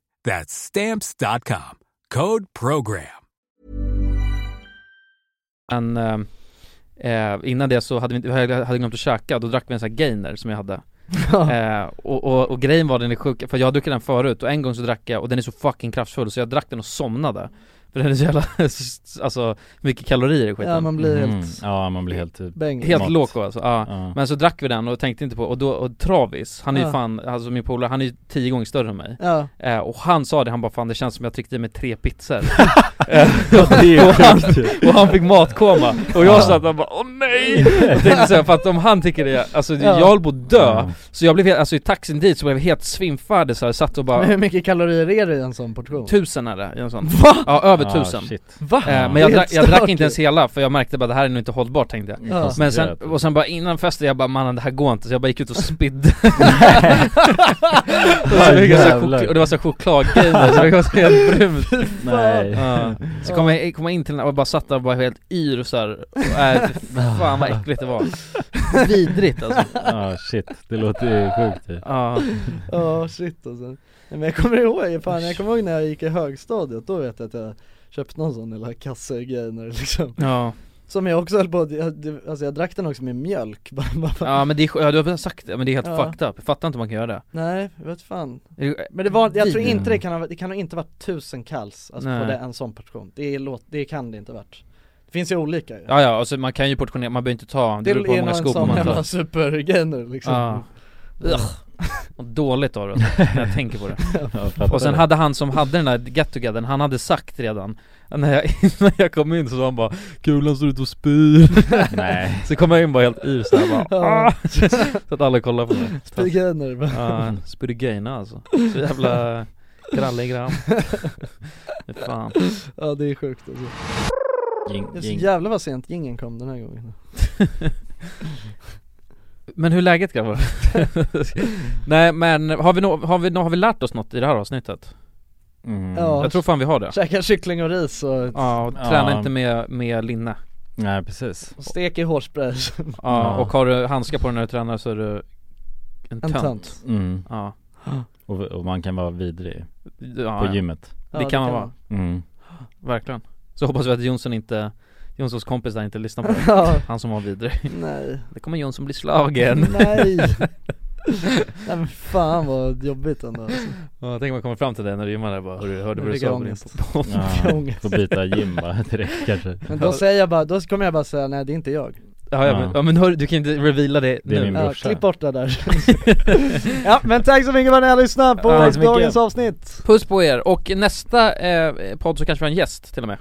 [SPEAKER 12] That's stamps.com. Code program.
[SPEAKER 1] Men ehm, eh, innan det så hade vi inte, jag hade glömt att käka, då drack vi en sån här gainer som jag hade eh, och, och, och grejen var den är sjuk, för jag har druckit den förut och en gång så drack jag, och den är så fucking kraftfull så jag drack den och somnade För den är så jävla, alltså mycket kalorier i skiten
[SPEAKER 2] Ja man blir helt
[SPEAKER 3] Mm. Ja man blir helt typ
[SPEAKER 2] bäng
[SPEAKER 1] Helt
[SPEAKER 3] Mat.
[SPEAKER 1] låko alltså, ja.
[SPEAKER 3] ja.
[SPEAKER 1] Men så drack vi den och tänkte inte på, och då, och Travis, han är ju
[SPEAKER 2] Ja.
[SPEAKER 1] fan, alltså min polare, han är ju tio gånger större än mig
[SPEAKER 2] Ja,
[SPEAKER 1] eh, Och han sa det, han bara fan det känns som jag tryckte i mig tre pizzor Eh,
[SPEAKER 3] Ja, det är ju
[SPEAKER 1] Och han-
[SPEAKER 3] sjukt ju.
[SPEAKER 1] Och han fick matkoma, och
[SPEAKER 3] Ja.
[SPEAKER 1] jag satt där och bara åh nej! Och tänkte såhär, för att om han tycker det, alltså
[SPEAKER 2] Ja.
[SPEAKER 1] jag höll på att dö
[SPEAKER 3] Ja.
[SPEAKER 1] Så jag blev helt, alltså i taxin dit så blev jag helt svimfärdig såhär, satt och
[SPEAKER 2] men
[SPEAKER 1] bara
[SPEAKER 2] hur mycket kalorier är det i en sån portion?
[SPEAKER 1] Tusen är det, i en sån
[SPEAKER 2] Va?
[SPEAKER 1] Ja, över
[SPEAKER 3] Ah,
[SPEAKER 1] tusen
[SPEAKER 3] shit.
[SPEAKER 2] Va?
[SPEAKER 1] eh, Men
[SPEAKER 2] Det är
[SPEAKER 1] jag,
[SPEAKER 2] helt
[SPEAKER 1] drack- jag
[SPEAKER 2] stört
[SPEAKER 1] drack inte
[SPEAKER 2] ju.
[SPEAKER 1] ens hela, för jag märkte bara det här är nog inte hållbart tänkte jag
[SPEAKER 2] Ja.
[SPEAKER 1] men sen,
[SPEAKER 3] Koncentrerat.
[SPEAKER 1] och sen bara innan festen, jag bara mannen det här går inte, så jag bara gick ut och spydde och, så fick jag så här
[SPEAKER 3] jävlar.
[SPEAKER 1] chok- och det var så här chokladgrejer, så det var så helt brunt
[SPEAKER 3] Nej
[SPEAKER 1] Ja. Så kom jag, kom jag in till den och bara satt där och bara helt yr och såhär, äh, fan vad äckligt det var Vidrigt alltså
[SPEAKER 3] Ja shit, det låter ju sjukt ju.
[SPEAKER 1] Ja,
[SPEAKER 2] Ja shit alltså Nej, Men jag kommer ihåg, fan jag kommer ihåg när jag gick i högstadiet, då vet jag att jag köpte någon sån lilla kassegrej när det liksom
[SPEAKER 1] ja,
[SPEAKER 2] Som jag också höll på, att- jag, det- alltså jag drack den också med mjölk bara, bara, bara.
[SPEAKER 1] ja men det är, sj- ja, du har sagt det, men det är helt
[SPEAKER 2] Ja.
[SPEAKER 1] fucked up, jag fattar inte hur man kan göra det
[SPEAKER 2] Nej, jag vet fan
[SPEAKER 1] Är det-
[SPEAKER 2] Men det var, jag tror
[SPEAKER 1] Vidrigt.
[SPEAKER 2] inte det kan ha, det kan ha inte varit tusen kalls, alltså på
[SPEAKER 1] Nej.
[SPEAKER 2] det, en sån portion det, är, låt- det kan det inte ha varit Det finns ju olika ju
[SPEAKER 1] Ja ja, alltså man kan ju portionera, man behöver inte ta, det beror på hur många
[SPEAKER 2] en
[SPEAKER 1] skopor
[SPEAKER 2] sån
[SPEAKER 1] man
[SPEAKER 2] jävla
[SPEAKER 1] tar
[SPEAKER 2] supergener liksom
[SPEAKER 1] Ja. Vad Dåligt av det alltså, när jag tänker på det
[SPEAKER 3] Ja, fattar
[SPEAKER 1] Och sen
[SPEAKER 3] det.
[SPEAKER 1] hade han som hade den där get together, han hade sagt redan När jag, när jag kom in så sa han bara 'Kulan står ute och spyr'
[SPEAKER 3] Nej
[SPEAKER 1] Så kom jag in bara helt yr såhär bara "Ah!" Så att alla kollade på mig
[SPEAKER 2] Spygener bara
[SPEAKER 1] Ja, Spurgeina alltså. Så jävla krallig grabb. Fy Fan.
[SPEAKER 2] Ja det är sjukt alltså Det är
[SPEAKER 3] Ging,
[SPEAKER 2] så
[SPEAKER 3] ging.
[SPEAKER 2] jävla vad sent gingen kom den här gången
[SPEAKER 1] Men hur är läget grabbar? Nej men har vi, nå har, vi nå har vi lärt oss något i det här avsnittet?
[SPEAKER 3] Mm.
[SPEAKER 2] Ja.
[SPEAKER 1] Jag tror fan vi har det.
[SPEAKER 2] Käka kyckling och ris och,
[SPEAKER 1] Ja, och träna
[SPEAKER 3] Ja.
[SPEAKER 1] inte med, med linne.
[SPEAKER 3] Nej precis
[SPEAKER 2] och stek i hårspray
[SPEAKER 1] Ja,
[SPEAKER 3] Ja.
[SPEAKER 1] och har du handskar på dig när du tränar så är du en
[SPEAKER 2] En
[SPEAKER 1] tönt.
[SPEAKER 2] tönt
[SPEAKER 3] mm.
[SPEAKER 1] Ja.
[SPEAKER 3] och, och man kan vara vidrig
[SPEAKER 1] ja
[SPEAKER 3] på
[SPEAKER 1] ja.
[SPEAKER 3] gymmet
[SPEAKER 2] Ja,
[SPEAKER 1] det kan man vara.
[SPEAKER 3] mm.
[SPEAKER 1] Verkligen. Så hoppas vi att Jonsson inte, Jonssons kompis där inte lyssnar på det.
[SPEAKER 2] Ja,
[SPEAKER 1] Han som var vidrig.
[SPEAKER 2] nej
[SPEAKER 1] Det kommer Jonsson bli slagen.
[SPEAKER 2] Nej! Nej men fan vad jobbigt ändå alltså.
[SPEAKER 1] Ja, tänk om man kommer fram till dig när du gymmar där bara Hörru, hörde vad
[SPEAKER 2] Nu
[SPEAKER 1] du
[SPEAKER 2] fick jag
[SPEAKER 1] sa på din
[SPEAKER 2] ångest.
[SPEAKER 1] podd?
[SPEAKER 3] ja.
[SPEAKER 2] Ångest.
[SPEAKER 3] Får byta gym bara direkt kanske
[SPEAKER 2] Men då säger jag bara, då kommer jag bara säga nej det är inte jag
[SPEAKER 1] Ja, ja,
[SPEAKER 3] Ja.
[SPEAKER 1] men, ja, men hör, du kan inte reveala det,
[SPEAKER 3] Det är
[SPEAKER 1] nu
[SPEAKER 3] min
[SPEAKER 2] ja,
[SPEAKER 3] brorsa
[SPEAKER 2] Klipp bort det där Ja men tack så mycket för att ni har lyssnat på
[SPEAKER 1] Ja, tack så mycket.
[SPEAKER 2] dagens avsnitt
[SPEAKER 1] Puss på er, och nästa eh, podd så kanske vi har en gäst till och med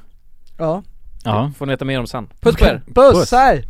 [SPEAKER 2] Ja,
[SPEAKER 3] Ja
[SPEAKER 1] Får ni veta mer om sen Puss på er!
[SPEAKER 2] puss,
[SPEAKER 3] Puss.
[SPEAKER 2] hej!